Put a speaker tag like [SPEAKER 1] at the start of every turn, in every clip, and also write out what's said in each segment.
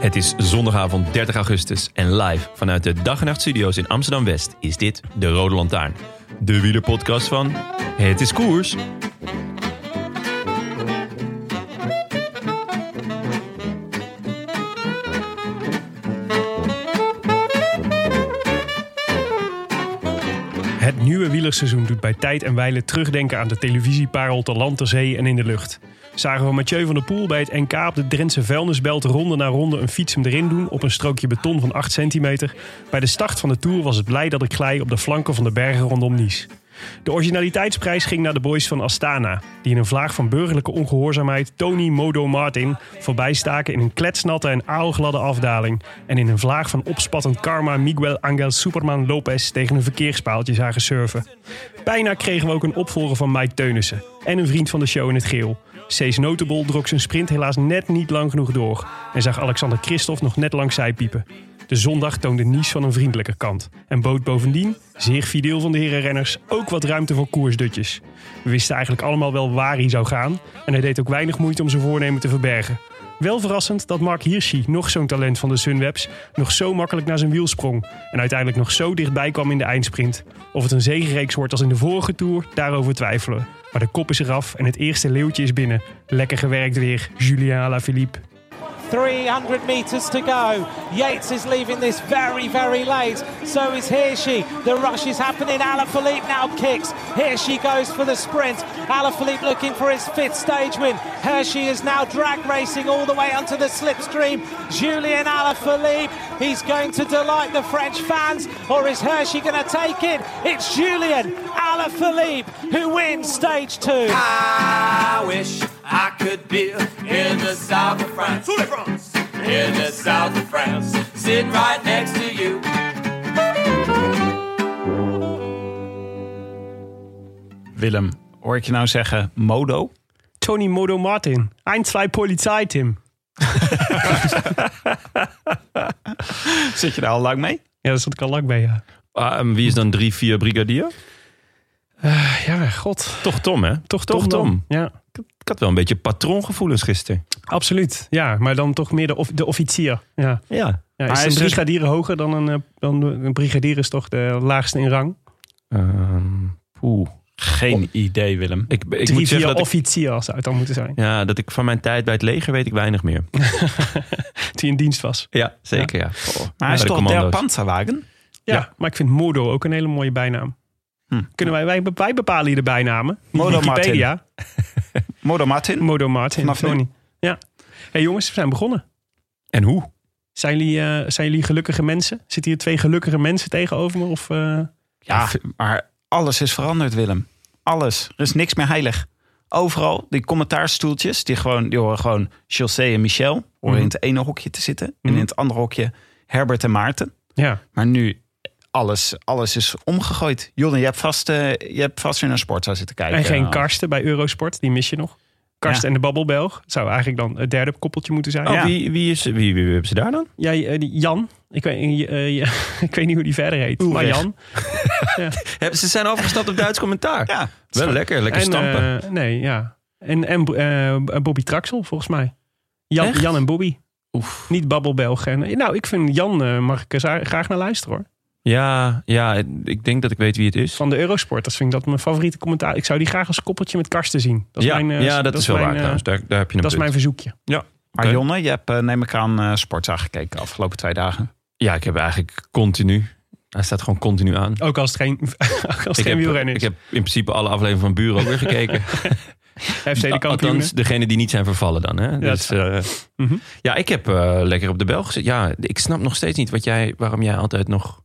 [SPEAKER 1] Het is zondagavond 30 augustus en live vanuit de Dag en Nacht Studio's in Amsterdam-West is dit De Rode Lantaarn. De wielerpodcast van Het is Koers.
[SPEAKER 2] Het nieuwe wielerseizoen doet bij tijd en wijle terugdenken aan de televisieparel te land, ter zee en in de lucht. Zagen we Mathieu van der Poel bij het NK op de Drentse vuilnisbelt ronde na ronde een fiets hem erin doen op een strookje beton van 8 centimeter. Bij de start van de Tour was het blij dat ik glij op de flanken van de bergen rondom Nice. De originaliteitsprijs ging naar de boys van Astana, die in een vlaag van burgerlijke ongehoorzaamheid Tony Modo Martin voorbijstaken in een kletsnatte en aalgladde afdaling en in een vlaag van opspattend karma Miguel Angel Superman Lopez tegen een verkeerspaaltje zagen surfen. Bijna kregen we ook een opvolger van Mike Teunissen en een vriend van de show in het geel. Cees Notable drok zijn sprint helaas net niet lang genoeg door en zag Alexander Christophe nog net langs zij piepen. De zondag toonde Nies van een vriendelijke kant en bood bovendien, zeer fideel van de herenrenners, ook wat ruimte voor koersdutjes. We wisten eigenlijk allemaal wel waar hij zou gaan en hij deed ook weinig moeite om zijn voornemen te verbergen. Wel verrassend dat Mark Hirschi, nog zo'n talent van de Sunwebs, nog zo makkelijk naar zijn wiel sprong en uiteindelijk nog zo dichtbij kwam in de eindsprint. Of het een zegenreeks wordt als in de vorige Tour, daarover twijfelen. Maar de kop is eraf en het eerste leeuwtje is binnen. Lekker gewerkt weer, Julien Alaphilippe.
[SPEAKER 3] 300 metres to go. Yates is leaving this very, very late. So is Hirschi. The rush is happening. Alaphilippe now kicks. Hirschi goes for the sprint. Alaphilippe looking for his fifth stage win. Hirschi is now drag racing all the way onto the slipstream. Julian Alaphilippe, he's going to delight the French fans, or is Hirschi going to take it? It's Julian Alaphilippe who wins stage two.
[SPEAKER 4] I wish I could be in the south of France. In the south of France. Sitting right next to you.
[SPEAKER 5] Willem, hoor ik je nou zeggen modo?
[SPEAKER 2] Tony Modo Martin, ein, zwei Polizei, Tim.
[SPEAKER 5] Zit je daar al lang mee?
[SPEAKER 2] Ja, daar zat ik al lang bij, ja.
[SPEAKER 1] Ah, en wie is dan 3, 4 brigadier?
[SPEAKER 2] Ja, god.
[SPEAKER 1] Toch Tom, hè?
[SPEAKER 2] Toch,
[SPEAKER 1] Toch
[SPEAKER 2] toch
[SPEAKER 1] Tom.
[SPEAKER 2] Tom. Ja,
[SPEAKER 1] Ik had wel een beetje patroongevoelens gisteren.
[SPEAKER 2] absoluut. Ja, maar dan toch meer de, of, de officier. Ja.
[SPEAKER 1] Ja.
[SPEAKER 2] Ja,
[SPEAKER 5] Maar
[SPEAKER 2] is
[SPEAKER 5] is
[SPEAKER 2] een
[SPEAKER 5] dus-
[SPEAKER 2] brigadier hoger dan een, eh, dan een brigadier is toch de laagste in rang?
[SPEAKER 1] Ehm, poeh. Oh.
[SPEAKER 5] Geen idee, Willem.
[SPEAKER 1] Ik, ik moet
[SPEAKER 2] Drie,
[SPEAKER 1] zeggen
[SPEAKER 2] vier
[SPEAKER 1] dat ik,
[SPEAKER 2] officier zou het dan moeten zijn.
[SPEAKER 1] ja, dat ik van mijn tijd bij het leger weet ik weinig meer.
[SPEAKER 2] Die in dienst was.
[SPEAKER 1] Ja, zeker ja. Oh.
[SPEAKER 5] Maar hij
[SPEAKER 1] Bij
[SPEAKER 5] is
[SPEAKER 1] de
[SPEAKER 5] toch der
[SPEAKER 1] commando's.
[SPEAKER 5] Panzerwagen?
[SPEAKER 2] Ja,
[SPEAKER 1] Ja. Hm.
[SPEAKER 2] maar ik vind Modo ook een hele mooie bijnaam. Kunnen wij, wij, wij bepalen hier de bijnamen. Niet
[SPEAKER 5] Modo
[SPEAKER 2] Wikipedia.
[SPEAKER 5] Modo Martin?
[SPEAKER 2] Modo Martin.
[SPEAKER 5] Vanaf nu.
[SPEAKER 2] Tony. Ja. hey jongens, we zijn begonnen.
[SPEAKER 1] En hoe?
[SPEAKER 2] Zijn jullie, eh, zijn jullie gelukkige mensen? Zitten hier twee gelukkige mensen tegenover me? Of, eh,
[SPEAKER 5] Ja, maar alles is veranderd, Willem. Alles. Er is niks meer heilig. Overal, die commentaarstoeltjes, die, gewoon, die horen gewoon Chaussee en Michel. Horen in het ene hokje te zitten. En in het andere hokje Herbert en Maarten.
[SPEAKER 2] ja.
[SPEAKER 5] Maar nu, alles, alles is omgegooid. Jonne, je hebt vast, eh, je hebt vast weer naar sportzaal zitten kijken.
[SPEAKER 2] En geen
[SPEAKER 5] Eh,
[SPEAKER 2] Karsten bij Eurosport, die mis je nog. Karsten
[SPEAKER 5] Ja.
[SPEAKER 2] en de Babbelbelg zou eigenlijk dan het derde koppeltje moeten zijn.
[SPEAKER 1] Oh,
[SPEAKER 5] Ja.
[SPEAKER 1] wie, wie, is, wie, wie, wie hebben ze daar dan?
[SPEAKER 2] Jij, eh, die Jan, ik weet, eh, eh, ik weet niet hoe die verder heet,
[SPEAKER 5] Oeh,
[SPEAKER 2] maar
[SPEAKER 5] weg.
[SPEAKER 2] Jan.
[SPEAKER 1] Hebben ze zijn overgestapt op Duits commentaar.
[SPEAKER 5] Ja,
[SPEAKER 1] Wel lekker, lekker
[SPEAKER 2] En,
[SPEAKER 1] stampen.
[SPEAKER 2] eh, nee, ja. En, en eh, Bobby Traxel, volgens mij. Jan,
[SPEAKER 1] Echt?
[SPEAKER 2] Jan en Bobby.
[SPEAKER 1] Oef.
[SPEAKER 2] Niet Babbelbelg. En, nou, ik vind Jan, eh, mag ik er za- graag naar luisteren hoor.
[SPEAKER 1] Ja, ja, ik denk dat ik weet wie het is.
[SPEAKER 2] Van de Eurosport, dat vind ik dat mijn favoriete commentaar. Ik zou die graag als koppeltje met Karsten zien. Dat is
[SPEAKER 1] ja,
[SPEAKER 2] mijn, eh,
[SPEAKER 1] ja, dat, is wel
[SPEAKER 2] mijn,
[SPEAKER 1] waar
[SPEAKER 2] eh,
[SPEAKER 1] trouwens. Daar, daar heb je dus. een punt.
[SPEAKER 2] Dat is mijn verzoekje.
[SPEAKER 1] ja.
[SPEAKER 5] Maar
[SPEAKER 1] Oké.
[SPEAKER 5] Jonne, je hebt, eh, neem ik aan, eh, sportzaal gekeken de afgelopen twee dagen.
[SPEAKER 1] ja, ik heb eigenlijk continu... Hij staat gewoon continu aan.
[SPEAKER 2] Ook als het geen, ook als het
[SPEAKER 1] ik,
[SPEAKER 2] geen
[SPEAKER 1] heb,
[SPEAKER 2] wielrennen is.
[SPEAKER 1] ik heb in principe alle afleveringen van Buren ook weer gekeken.
[SPEAKER 2] FC de kampioen.
[SPEAKER 1] nou, Althans, degene die niet zijn vervallen dan. Hè? dus, eh,
[SPEAKER 2] Mhm.
[SPEAKER 1] Ja, ik heb eh, lekker op de bel gezet. Ja, ik snap nog steeds niet wat jij, waarom jij altijd nog,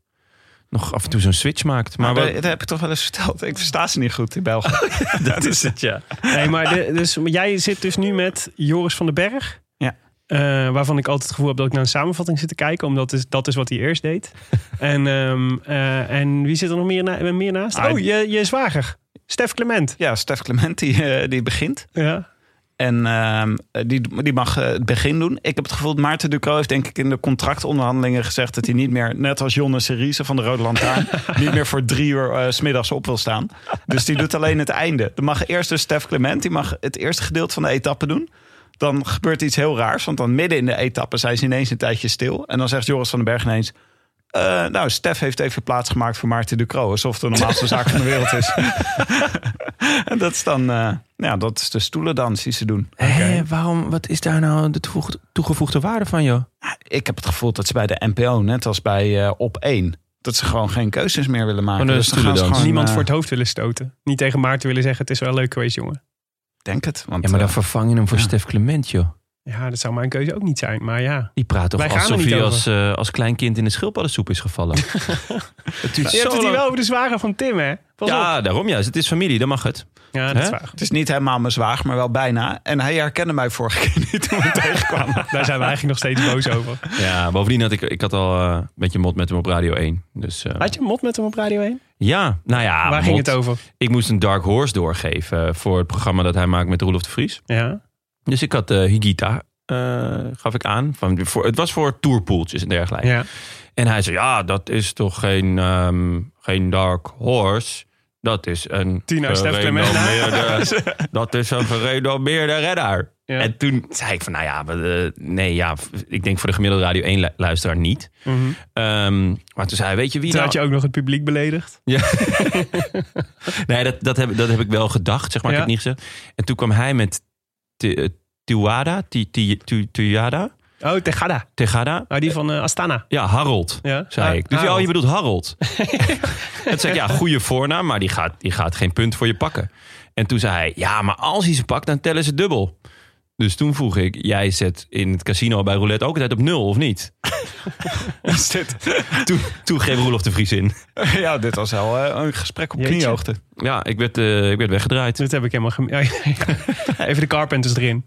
[SPEAKER 1] nog af en toe zo'n switch maakt. Maar,
[SPEAKER 5] Maar eh,
[SPEAKER 1] wat-
[SPEAKER 5] dat heb ik toch wel eens verteld. Ik versta ze niet goed in België.
[SPEAKER 1] dat is het, ja.
[SPEAKER 2] Nee, maar de- dus, maar jij zit dus nu met Joris van den Berg.
[SPEAKER 5] Ja.
[SPEAKER 2] Eh, waarvan ik altijd het gevoel heb dat ik naar een samenvatting zit te kijken. Omdat is, dat is wat hij eerst deed. en, ehm, eh, en wie zit er nog meer, na, meer naast?
[SPEAKER 5] Ah,
[SPEAKER 2] oh, je, je zwager. Stef Clement.
[SPEAKER 5] Ja, Stef Clement die, eh, die begint.
[SPEAKER 2] Ja.
[SPEAKER 5] En ehm, die, die mag eh, het begin doen. Ik heb het gevoel dat Maarten Ducro heeft denk ik in de contractonderhandelingen gezegd... dat hij niet meer, net als Jonne Seriese van de Rode Lantaarn... niet meer voor drie uur eh, s smiddags op wil staan. Dus die doet alleen het einde. Dan mag eerst dus Stef Clement, die mag het eerste gedeelte van de etappe doen. Dan gebeurt iets heel raars, want dan midden in de etappe... zijn ze ineens een tijdje stil. En dan zegt Joris van den Berg ineens... eh, nou, Stef heeft even plaatsgemaakt voor Maarten Ducro. Alsof het de normaalste zaak van de wereld is. en dat is dan... eh, ja, dat is de stoelendans die ze doen.
[SPEAKER 2] eh,
[SPEAKER 1] Hé, waarom, wat is daar nou de toegevoegde, toegevoegde waarde van, joh?
[SPEAKER 5] ik heb het gevoel dat ze bij de NPO, net als bij eh, Op 1, dat ze gewoon geen keuzes meer willen maken.
[SPEAKER 1] Gewoon een
[SPEAKER 5] dus dan gaan ze
[SPEAKER 1] stoelendans.
[SPEAKER 5] gewoon,
[SPEAKER 2] Niemand
[SPEAKER 5] eh,
[SPEAKER 2] voor het hoofd willen stoten. Niet tegen Maarten willen zeggen: het is wel leuk geweest, jongen.
[SPEAKER 5] Denk het. Want,
[SPEAKER 1] Ja, maar dan
[SPEAKER 5] eh,
[SPEAKER 1] vervang je hem voor
[SPEAKER 5] ja.
[SPEAKER 1] Stef Clement, joh.
[SPEAKER 2] Ja, dat zou mijn keuze ook niet zijn. Maar ja.
[SPEAKER 1] Die praat toch
[SPEAKER 2] Wij gaan er
[SPEAKER 1] alsof
[SPEAKER 2] niet
[SPEAKER 1] hij
[SPEAKER 2] over.
[SPEAKER 1] als, eh, als klein kind in de schildpaddensoep is gevallen. het duurt
[SPEAKER 2] Je hebt
[SPEAKER 1] zo
[SPEAKER 2] het hier
[SPEAKER 1] lang.
[SPEAKER 2] wel over de zwager van Tim, hè? Pas op.
[SPEAKER 1] Ja, daarom juist. Het is familie, dan mag het.
[SPEAKER 2] Ja, dat is
[SPEAKER 1] Hè?
[SPEAKER 2] waar.
[SPEAKER 5] het is niet helemaal mijn zwaag, maar wel bijna. En hij herkende mij vorige keer niet toen we hem tegenkwamen.
[SPEAKER 2] Daar zijn we eigenlijk nog steeds boos over.
[SPEAKER 1] Ja, bovendien had ik, ik had al eh, een beetje mot met hem op Radio 1. Dus, eh,
[SPEAKER 2] Had je een mot met hem op Radio 1?
[SPEAKER 1] ja, nou ja.
[SPEAKER 2] Waar
[SPEAKER 1] mot.
[SPEAKER 2] ging het over?
[SPEAKER 1] Ik moest een Dark Horse doorgeven eh, voor het programma dat hij maakt met Roelof de Vries.
[SPEAKER 2] Ja.
[SPEAKER 1] Dus ik had eh, Higita, eh, gaf ik aan. Van, voor, het was voor tourpoeltjes en dergelijke.
[SPEAKER 2] ja.
[SPEAKER 1] En hij zei, ja, dat is toch geen, ehm, geen Dark Horse... Dat is een
[SPEAKER 2] Tina Stef
[SPEAKER 1] gerenommeerde, dat is een gerenommeerde redder.
[SPEAKER 2] Ja.
[SPEAKER 1] En toen zei ik van, nou ja, we, eh, nee, ja, f- ik denk voor de gemiddelde Radio 1 lu- luisteraar niet.
[SPEAKER 2] Mhm.
[SPEAKER 1] Ehm, maar toen zei hij, weet je wie
[SPEAKER 2] Toen
[SPEAKER 1] nou...
[SPEAKER 2] had je ook nog het publiek beledigd.
[SPEAKER 1] Nee, dat, dat, heb, dat heb ik wel gedacht, zeg maar. Ik
[SPEAKER 2] Ja.
[SPEAKER 1] heb het niet gezegd. En toen kwam hij met Ti- eh, Tiwada, Ti- Ti- Tu- Tujada,
[SPEAKER 2] Oh, Tegada.
[SPEAKER 1] Tegada.
[SPEAKER 2] Oh, die van eh, Astana.
[SPEAKER 1] Ja, Harold,
[SPEAKER 2] Ja,
[SPEAKER 1] zei
[SPEAKER 2] Ha-
[SPEAKER 1] ik. Dus
[SPEAKER 2] Harold.
[SPEAKER 1] oh, je bedoelt Harold. en toen zei ik, ja, goede voornaam, maar die gaat, die gaat geen punt voor je pakken. En toen zei hij, ja, maar als hij ze pakt, dan tellen ze dubbel. Dus toen vroeg ik, jij zet in het casino bij roulette ook altijd op nul, of niet?
[SPEAKER 5] Is dit?
[SPEAKER 1] Toen, toen geef Roelof de Vries in.
[SPEAKER 5] ja, dit was wel eh, een gesprek op
[SPEAKER 2] Jeetje.
[SPEAKER 5] kniehoogte.
[SPEAKER 1] Ja, ik werd, eh, ik werd weggedraaid.
[SPEAKER 2] Dat heb ik helemaal gem- Even de carpenters erin.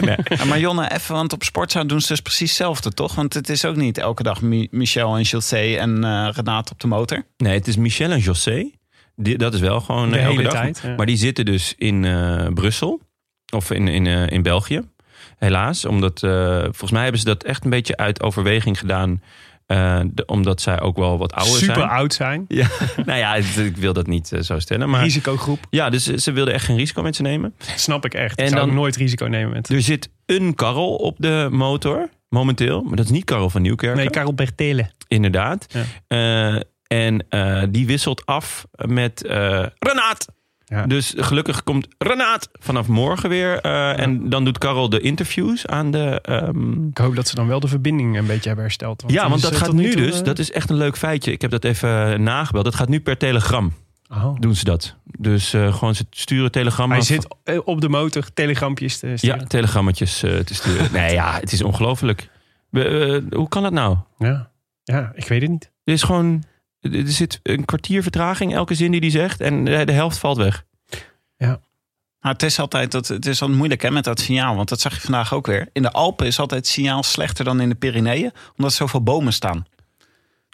[SPEAKER 5] Ja, maar Jonne, even, want op Sportza doen ze dus precies hetzelfde, toch? Want het is ook niet elke dag Mi- Michel en José en eh Renate op de motor.
[SPEAKER 1] Nee, het is Michel en José. Die, dat is wel gewoon
[SPEAKER 2] De
[SPEAKER 1] een hele
[SPEAKER 2] hele
[SPEAKER 1] dag.
[SPEAKER 2] tijd, ja.
[SPEAKER 1] Maar die zitten dus in eh, Brussel. Of in, in, eh, in België. Helaas. Omdat eh, volgens mij hebben ze dat echt een beetje uit overweging gedaan. eh, de- omdat zij ook wel wat ouder
[SPEAKER 2] Super
[SPEAKER 1] zijn.
[SPEAKER 2] oud zijn.
[SPEAKER 1] Ja, nou ja, het- ik wil dat niet eh, zo stellen. Maar
[SPEAKER 2] Risicogroep.
[SPEAKER 1] ja, dus ze wilden echt geen risico met ze nemen.
[SPEAKER 2] Snap ik echt.
[SPEAKER 1] En
[SPEAKER 2] ik zou
[SPEAKER 1] dan-
[SPEAKER 2] ook nooit risico nemen met...
[SPEAKER 1] Er zit een karrel op de motor. Momenteel. Maar dat is niet Karel van Nieuwkerk.
[SPEAKER 2] Nee, Karel Bertele.
[SPEAKER 1] Inderdaad. Eh, en eh, die wisselt af met eh Renaat.
[SPEAKER 2] Ja.
[SPEAKER 1] Dus gelukkig komt Renaat vanaf morgen weer. eh, En dan doet Karel de interviews aan de. ehm,
[SPEAKER 2] Ik hoop dat ze dan wel de verbinding een beetje hebben hersteld.
[SPEAKER 1] ja,
[SPEAKER 2] die
[SPEAKER 1] want
[SPEAKER 2] is,
[SPEAKER 1] dat
[SPEAKER 2] eh,
[SPEAKER 1] gaat
[SPEAKER 2] tot
[SPEAKER 1] nu
[SPEAKER 2] toe,
[SPEAKER 1] dus.
[SPEAKER 2] eh,
[SPEAKER 1] Dat is echt een leuk feitje. Ik heb dat even eh, nagebeld. Dat gaat nu per telegram.
[SPEAKER 2] Oh.
[SPEAKER 1] Doen ze dat. Dus eh, gewoon ze sturen telegram.
[SPEAKER 2] Hij
[SPEAKER 1] af-
[SPEAKER 2] zit eh, op de motor telegrampjes te
[SPEAKER 1] Ja,
[SPEAKER 2] sturen.
[SPEAKER 1] telegrammetjes eh, te sturen. nee, ja, het is ongelooflijk. We, eh, hoe kan dat nou?
[SPEAKER 2] Ja. ja, ik weet het niet.
[SPEAKER 1] Er is gewoon. Er zit een kwartier vertraging elke zin die hij zegt. En eh, de helft valt weg.
[SPEAKER 5] Maar het is altijd dat, het is altijd moeilijk hè, met dat signaal. Want dat zag je vandaag ook weer. In de Alpen is altijd het signaal slechter dan in de Pyreneeën. Omdat er zoveel bomen staan.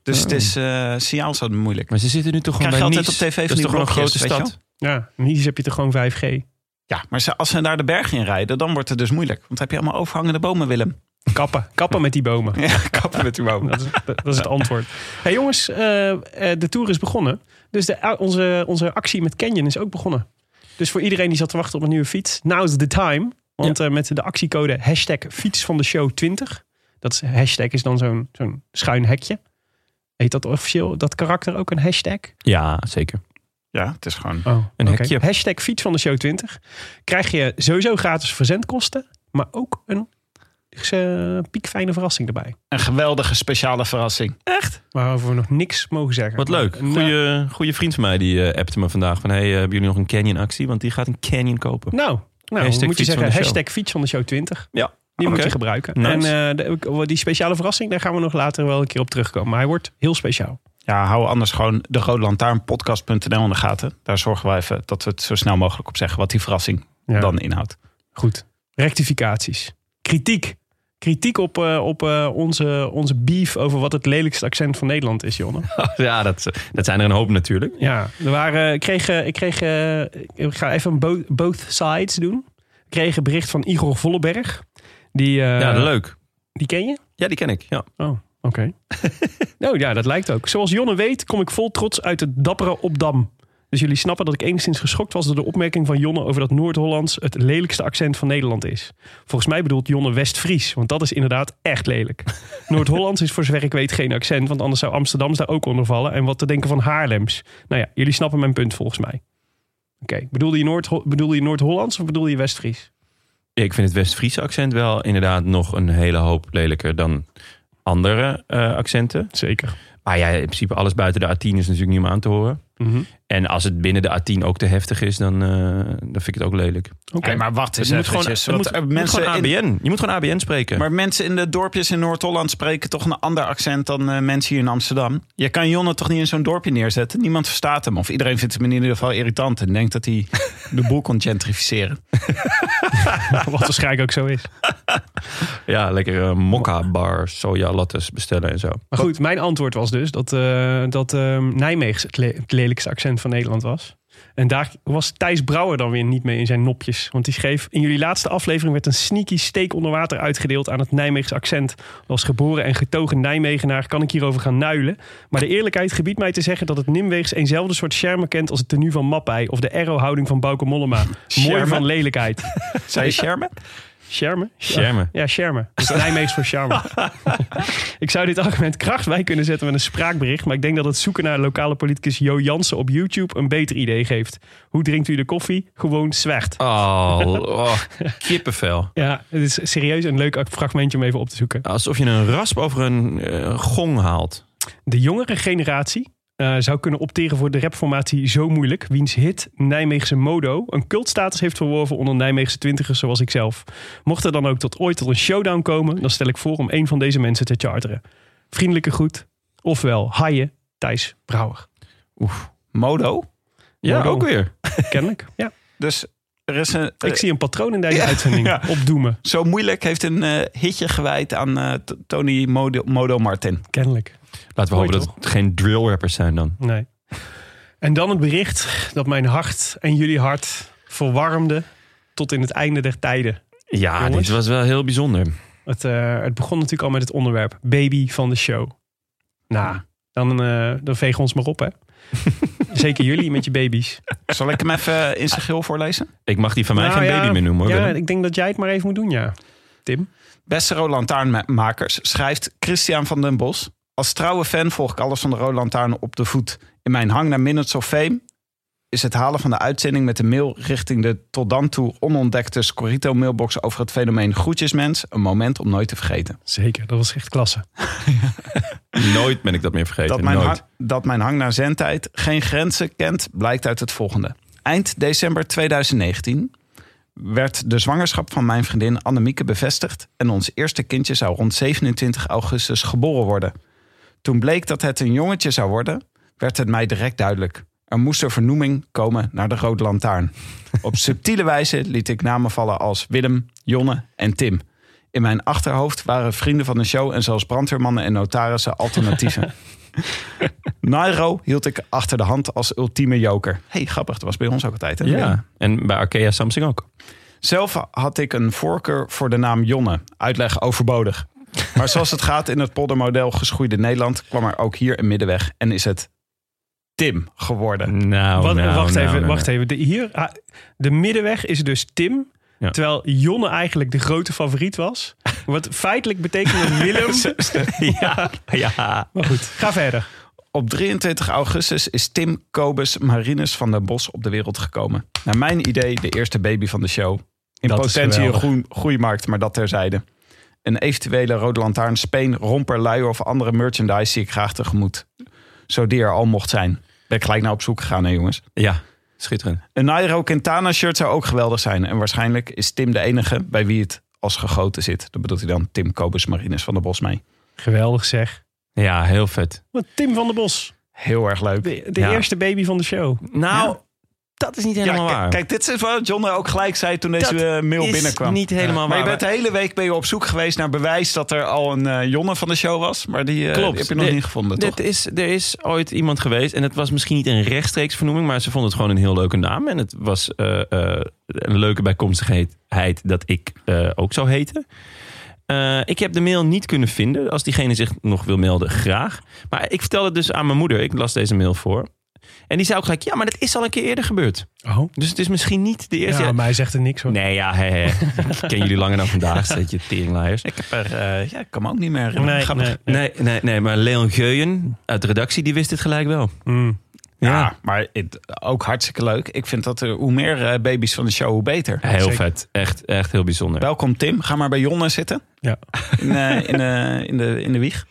[SPEAKER 5] Dus het is, eh, signaal is altijd moeilijk.
[SPEAKER 1] Maar ze zitten nu toch gewoon
[SPEAKER 5] Krijg je
[SPEAKER 1] bij
[SPEAKER 5] altijd
[SPEAKER 1] Nice?
[SPEAKER 5] op tv
[SPEAKER 1] Dat
[SPEAKER 5] van
[SPEAKER 1] is
[SPEAKER 5] die
[SPEAKER 1] toch gewoon een grote
[SPEAKER 5] blokjes, weet
[SPEAKER 1] stad?
[SPEAKER 2] Ja, in Nice heb je toch gewoon 5G.
[SPEAKER 5] Ja, maar ze- als ze daar de berg in rijden, dan wordt het dus moeilijk. Want dan heb je allemaal overhangende bomen, Willem.
[SPEAKER 2] Kappen. Kappen met die bomen.
[SPEAKER 5] Ja, kappen met die bomen.
[SPEAKER 2] Dat is, dat dat is het antwoord. Hey jongens, eh, eh, de tour is begonnen. Dus de, onze, onze actie met Canyon is ook begonnen. Dus voor iedereen die zat te wachten op een nieuwe fiets, now's the time. Want eh, met de actiecode hashtag fiets van de show 20. Dat is, hashtag is dan zo'n zo'n schuin hekje. Heet dat officieel, dat karakter ook een hashtag?
[SPEAKER 1] Ja, zeker.
[SPEAKER 5] Ja, het is gewoon...
[SPEAKER 2] Oh,
[SPEAKER 1] Een
[SPEAKER 2] oké.
[SPEAKER 1] hekje.
[SPEAKER 2] Hashtag fiets van de show 20. Krijg je sowieso gratis verzendkosten, maar ook een is eh, een piekfijne verrassing erbij.
[SPEAKER 5] Een geweldige speciale verrassing.
[SPEAKER 2] Waarover we nog niks mogen zeggen.
[SPEAKER 1] Wat leuk.
[SPEAKER 2] Nou,
[SPEAKER 1] Goeie, goeie vriend van mij die eh, appte me vandaag van... hey, eh, hebben jullie nog een Canyon actie? Want die gaat een Canyon kopen.
[SPEAKER 2] Nou, nou
[SPEAKER 1] Hashtag
[SPEAKER 2] moet je
[SPEAKER 1] fiets van
[SPEAKER 2] zeggen,
[SPEAKER 1] de show.
[SPEAKER 2] hashtag fiets van de show 20.
[SPEAKER 1] Ja,
[SPEAKER 2] Die moet
[SPEAKER 1] Oké.
[SPEAKER 2] je gebruiken.
[SPEAKER 1] Nice.
[SPEAKER 2] En eh, de- die speciale verrassing, daar gaan we nog later wel een keer op terugkomen. Maar hij wordt heel speciaal.
[SPEAKER 5] Ja, hou anders gewoon de Rode Lantaarn podcast.nl in de gaten. Daar zorgen we even dat we het zo snel mogelijk op zeggen wat die verrassing
[SPEAKER 2] Ja.
[SPEAKER 5] dan inhoudt.
[SPEAKER 2] Goed. Rectificaties. Kritiek. Kritiek op, eh, op eh, onze, onze beef over wat het lelijkste accent van Nederland is, Jonne.
[SPEAKER 1] Ja, dat, eh, dat zijn er een hoop natuurlijk.
[SPEAKER 2] Ja, er waren, ik kreeg, eh, ik kreeg eh, ik ga even een bo- both sides doen. Ik kreeg een bericht van Igor Volleberg. Die, eh,
[SPEAKER 1] ja, leuk.
[SPEAKER 2] die ken je?
[SPEAKER 1] Ja, die ken ik. Ja.
[SPEAKER 2] Oh, oké. nou ja, dat lijkt ook. Zoals Jonne weet, kom ik vol trots uit het dappere Opdam. Dus jullie snappen dat ik enigszins geschokt was door de opmerking van Jonne over dat Noord-Hollands het lelijkste accent van Nederland is. Volgens mij bedoelt Jonne West-Fries, want dat is inderdaad echt lelijk. Noord-Hollands is voor zover ik weet geen accent, want anders zou Amsterdams daar ook onder vallen. En wat te denken van Haarlems. Nou ja, jullie snappen mijn punt volgens mij. Oké, bedoelde je Noord- bedoelde je Noord-Hollands of bedoelde je West-Fries?
[SPEAKER 1] Ik vind het West-Friese accent wel inderdaad nog een hele hoop lelijker dan andere eh, accenten.
[SPEAKER 2] Zeker.
[SPEAKER 1] Maar ja, in principe alles buiten de A10 is natuurlijk niet om aan te horen.
[SPEAKER 2] Mhm.
[SPEAKER 1] En als het binnen de A10 ook te heftig is, dan, eh, dan vind ik het ook lelijk.
[SPEAKER 2] Oké.
[SPEAKER 5] Hey, maar wacht eens
[SPEAKER 1] Het moet gewoon,
[SPEAKER 5] eventjes,
[SPEAKER 1] het
[SPEAKER 5] want
[SPEAKER 1] moet,
[SPEAKER 5] er
[SPEAKER 1] het moet
[SPEAKER 5] mensen
[SPEAKER 1] gewoon
[SPEAKER 5] in-
[SPEAKER 1] ABN. Je moet gewoon ABN spreken.
[SPEAKER 5] Maar mensen in de dorpjes in Noord-Holland spreken toch een ander accent dan eh, mensen hier in Amsterdam. Je kan Jonne toch niet in zo'n dorpje neerzetten? Niemand verstaat hem. Of iedereen vindt hem in ieder geval irritant en denkt dat hij de boel kon gentrificeren.
[SPEAKER 2] Wat waarschijnlijk ook zo is.
[SPEAKER 1] Ja, lekker eh mokka bar, soja lattes bestellen en zo.
[SPEAKER 2] Maar goed, mijn antwoord was dus dat, eh dat eh, Nijmegen het, le- het lelijkste accent van Nederland was. En daar was Thijs Brouwer dan weer niet mee in zijn nopjes. Want die schreef... In jullie laatste aflevering werd een sneaky steek onder water uitgedeeld... aan het Nijmeegse accent. Als geboren en getogen Nijmegenaar kan ik hierover gaan nuilen. Maar de eerlijkheid gebiedt mij te zeggen... dat het Nimweegs eenzelfde soort schermen kent... als het tenue van Mappei of de aero-houding van Bauke Mollema. Mooi
[SPEAKER 5] Schermen?
[SPEAKER 2] van lelijkheid.
[SPEAKER 5] Zei je Sherman?
[SPEAKER 2] Schermen?
[SPEAKER 1] Schermen.
[SPEAKER 2] Ja, Schermen. Dus Nijmeegs voor Schermen. ik zou dit argument kracht bij kunnen zetten met een spraakbericht. Maar ik denk dat het zoeken naar lokale politicus Jo Jansen op YouTube een beter idee geeft. Hoe drinkt u de koffie? Gewoon zwijgt.
[SPEAKER 1] Oh, oh, kippenvel.
[SPEAKER 2] Ja, het is serieus een leuk fragmentje om even op te zoeken.
[SPEAKER 1] Alsof je een rasp over een eh, gong haalt.
[SPEAKER 2] De jongere generatie eh, zou kunnen opteren voor de rapformatie Zo Moeilijk, wiens hit Nijmeegse Modo een cultstatus heeft verworven onder Nijmeegse twintigers zoals ik zelf. Mocht er dan ook tot ooit tot een showdown komen, dan stel ik voor om een van deze mensen te charteren. Vriendelijke groet, ofwel Haie Thijs Brouwer.
[SPEAKER 5] Modo.
[SPEAKER 1] Ja, oh.
[SPEAKER 2] Modo.
[SPEAKER 1] ook weer.
[SPEAKER 2] Kennelijk, ja.
[SPEAKER 5] Dus er is een,
[SPEAKER 2] Ik zie een patroon in deze uitzending
[SPEAKER 5] Eh, ja.
[SPEAKER 2] opdoemen.
[SPEAKER 5] zo moeilijk heeft een eh, hitje gewijd aan eh, T- Tony Modo, Modo Martin.
[SPEAKER 2] Kennelijk.
[SPEAKER 1] Laten we
[SPEAKER 2] Mooi,
[SPEAKER 1] hopen dat
[SPEAKER 2] toch?
[SPEAKER 1] het geen drill rappers zijn dan.
[SPEAKER 2] Nee. En dan het bericht dat mijn hart en jullie hart verwarmde tot in het einde der tijden.
[SPEAKER 1] Ja,
[SPEAKER 2] Jongens.
[SPEAKER 1] dit was wel heel bijzonder.
[SPEAKER 2] Het, eh, het begon natuurlijk al met het onderwerp baby van de show. Nou, dan, eh dan vegen ons maar op, hè? Zeker jullie met je baby's.
[SPEAKER 5] Zal ik hem even in zijn geheel voorlezen?
[SPEAKER 1] Ik mag die van mij
[SPEAKER 2] Nou
[SPEAKER 1] geen
[SPEAKER 2] ja,
[SPEAKER 1] baby meer noemen hoor.
[SPEAKER 2] Ja,
[SPEAKER 1] Willem.
[SPEAKER 2] ik denk dat jij het maar even moet doen, ja. Tim.
[SPEAKER 5] Beste Rode Lantaarnmakers, schrijft Christian van den Bos. Als trouwe fan volg ik alles van de Rode Lantaarn op de voet. In mijn hang naar Minutes of Fame is het halen van de uitzending met de mail richting de tot dan toe onontdekte Scorito mailbox over het fenomeen groetjesmens een moment om nooit te vergeten.
[SPEAKER 2] Zeker, dat was echt klasse.
[SPEAKER 1] Oh, Nooit ben ik dat meer vergeten.
[SPEAKER 5] Dat mijn,
[SPEAKER 1] Nooit.
[SPEAKER 5] hang, dat mijn hang naar zendtijd geen grenzen kent, blijkt uit het volgende. Eind december 2019 werd de zwangerschap van mijn vriendin Annemieke bevestigd... en ons eerste kindje zou rond 27 augustus geboren worden. Toen bleek dat het een jongetje zou worden, werd het mij direct duidelijk. Er moest een vernoeming komen naar de Rode Lantaarn. Op subtiele wijze liet ik namen vallen als Willem, Jonne en Tim. In mijn achterhoofd waren vrienden van de show en zelfs brandweermannen en notarissen alternatieven. Nairo hield ik achter de hand als ultieme joker. hey, grappig, dat was bij ons ook altijd. Hè?
[SPEAKER 1] Ja, en bij Arkea Samsung ook.
[SPEAKER 5] Zelf had ik een voorkeur voor de naam Jonne. Uitleg overbodig. Maar zoals het gaat in het poldermodel geschoeide Nederland... kwam er ook hier een middenweg en is het Tim geworden.
[SPEAKER 1] Nou,
[SPEAKER 2] Wat-
[SPEAKER 1] nou,
[SPEAKER 2] wacht
[SPEAKER 1] nou,
[SPEAKER 2] even,
[SPEAKER 1] nou,
[SPEAKER 2] wacht even. De, hier, ah, de middenweg is dus Tim.
[SPEAKER 1] Ja.
[SPEAKER 2] Terwijl Jonne eigenlijk de grote favoriet was. Wat feitelijk betekent dat Willem...
[SPEAKER 1] Ja, ja.
[SPEAKER 2] Maar goed, ga verder.
[SPEAKER 5] Op 23 augustus is Tim Kobus Marinus van den Bos op de wereld gekomen. Naar mijn idee de eerste baby van de show. In
[SPEAKER 2] Dat is
[SPEAKER 5] potentie een
[SPEAKER 2] geweldig.
[SPEAKER 5] groen, groeimarkt, maar dat terzijde. Een eventuele rode lantaarn, speen, romper, luier of andere merchandise zie ik graag tegemoet. Zo die er al mocht zijn. Ben ik gelijk naar op zoek gegaan, hè jongens.
[SPEAKER 1] Ja, schitterend.
[SPEAKER 5] Een Nairo Quintana shirt zou ook geweldig zijn. En waarschijnlijk is Tim de enige bij wie het als gegoten zit. Dat bedoelt hij dan Tim Kobus Marines van de Bos mee.
[SPEAKER 2] Geweldig zeg.
[SPEAKER 1] Ja, heel vet.
[SPEAKER 2] Want Tim van der Bos,
[SPEAKER 5] Heel erg leuk.
[SPEAKER 2] de, de
[SPEAKER 1] Ja.
[SPEAKER 2] eerste baby van de show.
[SPEAKER 1] Nou, dat is niet helemaal
[SPEAKER 5] Ja,
[SPEAKER 1] waar.
[SPEAKER 5] k- Kijk, dit is wat John er ook gelijk zei toen
[SPEAKER 1] Dat
[SPEAKER 5] deze eh, mail
[SPEAKER 1] is
[SPEAKER 5] binnenkwam.
[SPEAKER 1] niet helemaal
[SPEAKER 5] Maar je
[SPEAKER 1] waar.
[SPEAKER 5] bent de hele week ben je op zoek geweest naar bewijs dat er al een eh, Jonne van de show was. Maar die, eh,
[SPEAKER 1] Klopt.
[SPEAKER 5] die heb je nog
[SPEAKER 1] Dit-
[SPEAKER 5] niet gevonden, toch?
[SPEAKER 1] Dit is, er is ooit iemand geweest en het was misschien niet een rechtstreeks vernoeming, maar ze vond het gewoon een heel leuke naam. En het was eh, eh, een leuke bijkomstigheid dat ik eh, ook zou heten. Eh, ik heb de mail niet kunnen vinden. Als diegene zich nog wil melden, graag. Maar ik vertelde het dus aan mijn moeder. Ik las deze mail voor. En die zei ook gelijk, ja, maar dat is al een keer eerder gebeurd.
[SPEAKER 2] Oh.
[SPEAKER 1] Dus het is misschien niet de
[SPEAKER 2] Ja,
[SPEAKER 1] eerste.
[SPEAKER 2] maar hij zegt er niks van.
[SPEAKER 1] Nee, ja, hè, hè. ik ken jullie langer dan vandaag, zet je teringlaaiers.
[SPEAKER 5] Ik heb er, eh, ja, ik kan me ook niet meer herinneren.
[SPEAKER 2] Nee,
[SPEAKER 5] Grappig.
[SPEAKER 2] nee.
[SPEAKER 1] Nee, nee, nee, maar Leon Geuyen uit de redactie, die wist dit gelijk wel.
[SPEAKER 2] Mm.
[SPEAKER 5] Ja, maar het, ook hartstikke leuk. Ik vind dat er, hoe meer eh, baby's van de show, hoe beter.
[SPEAKER 1] Heel
[SPEAKER 2] Zeker.
[SPEAKER 1] vet. Echt, echt heel bijzonder.
[SPEAKER 5] Welkom Tim, ga maar bij Jonne zitten.
[SPEAKER 2] Ja.
[SPEAKER 5] In, eh, in, eh, in, de, in de wieg.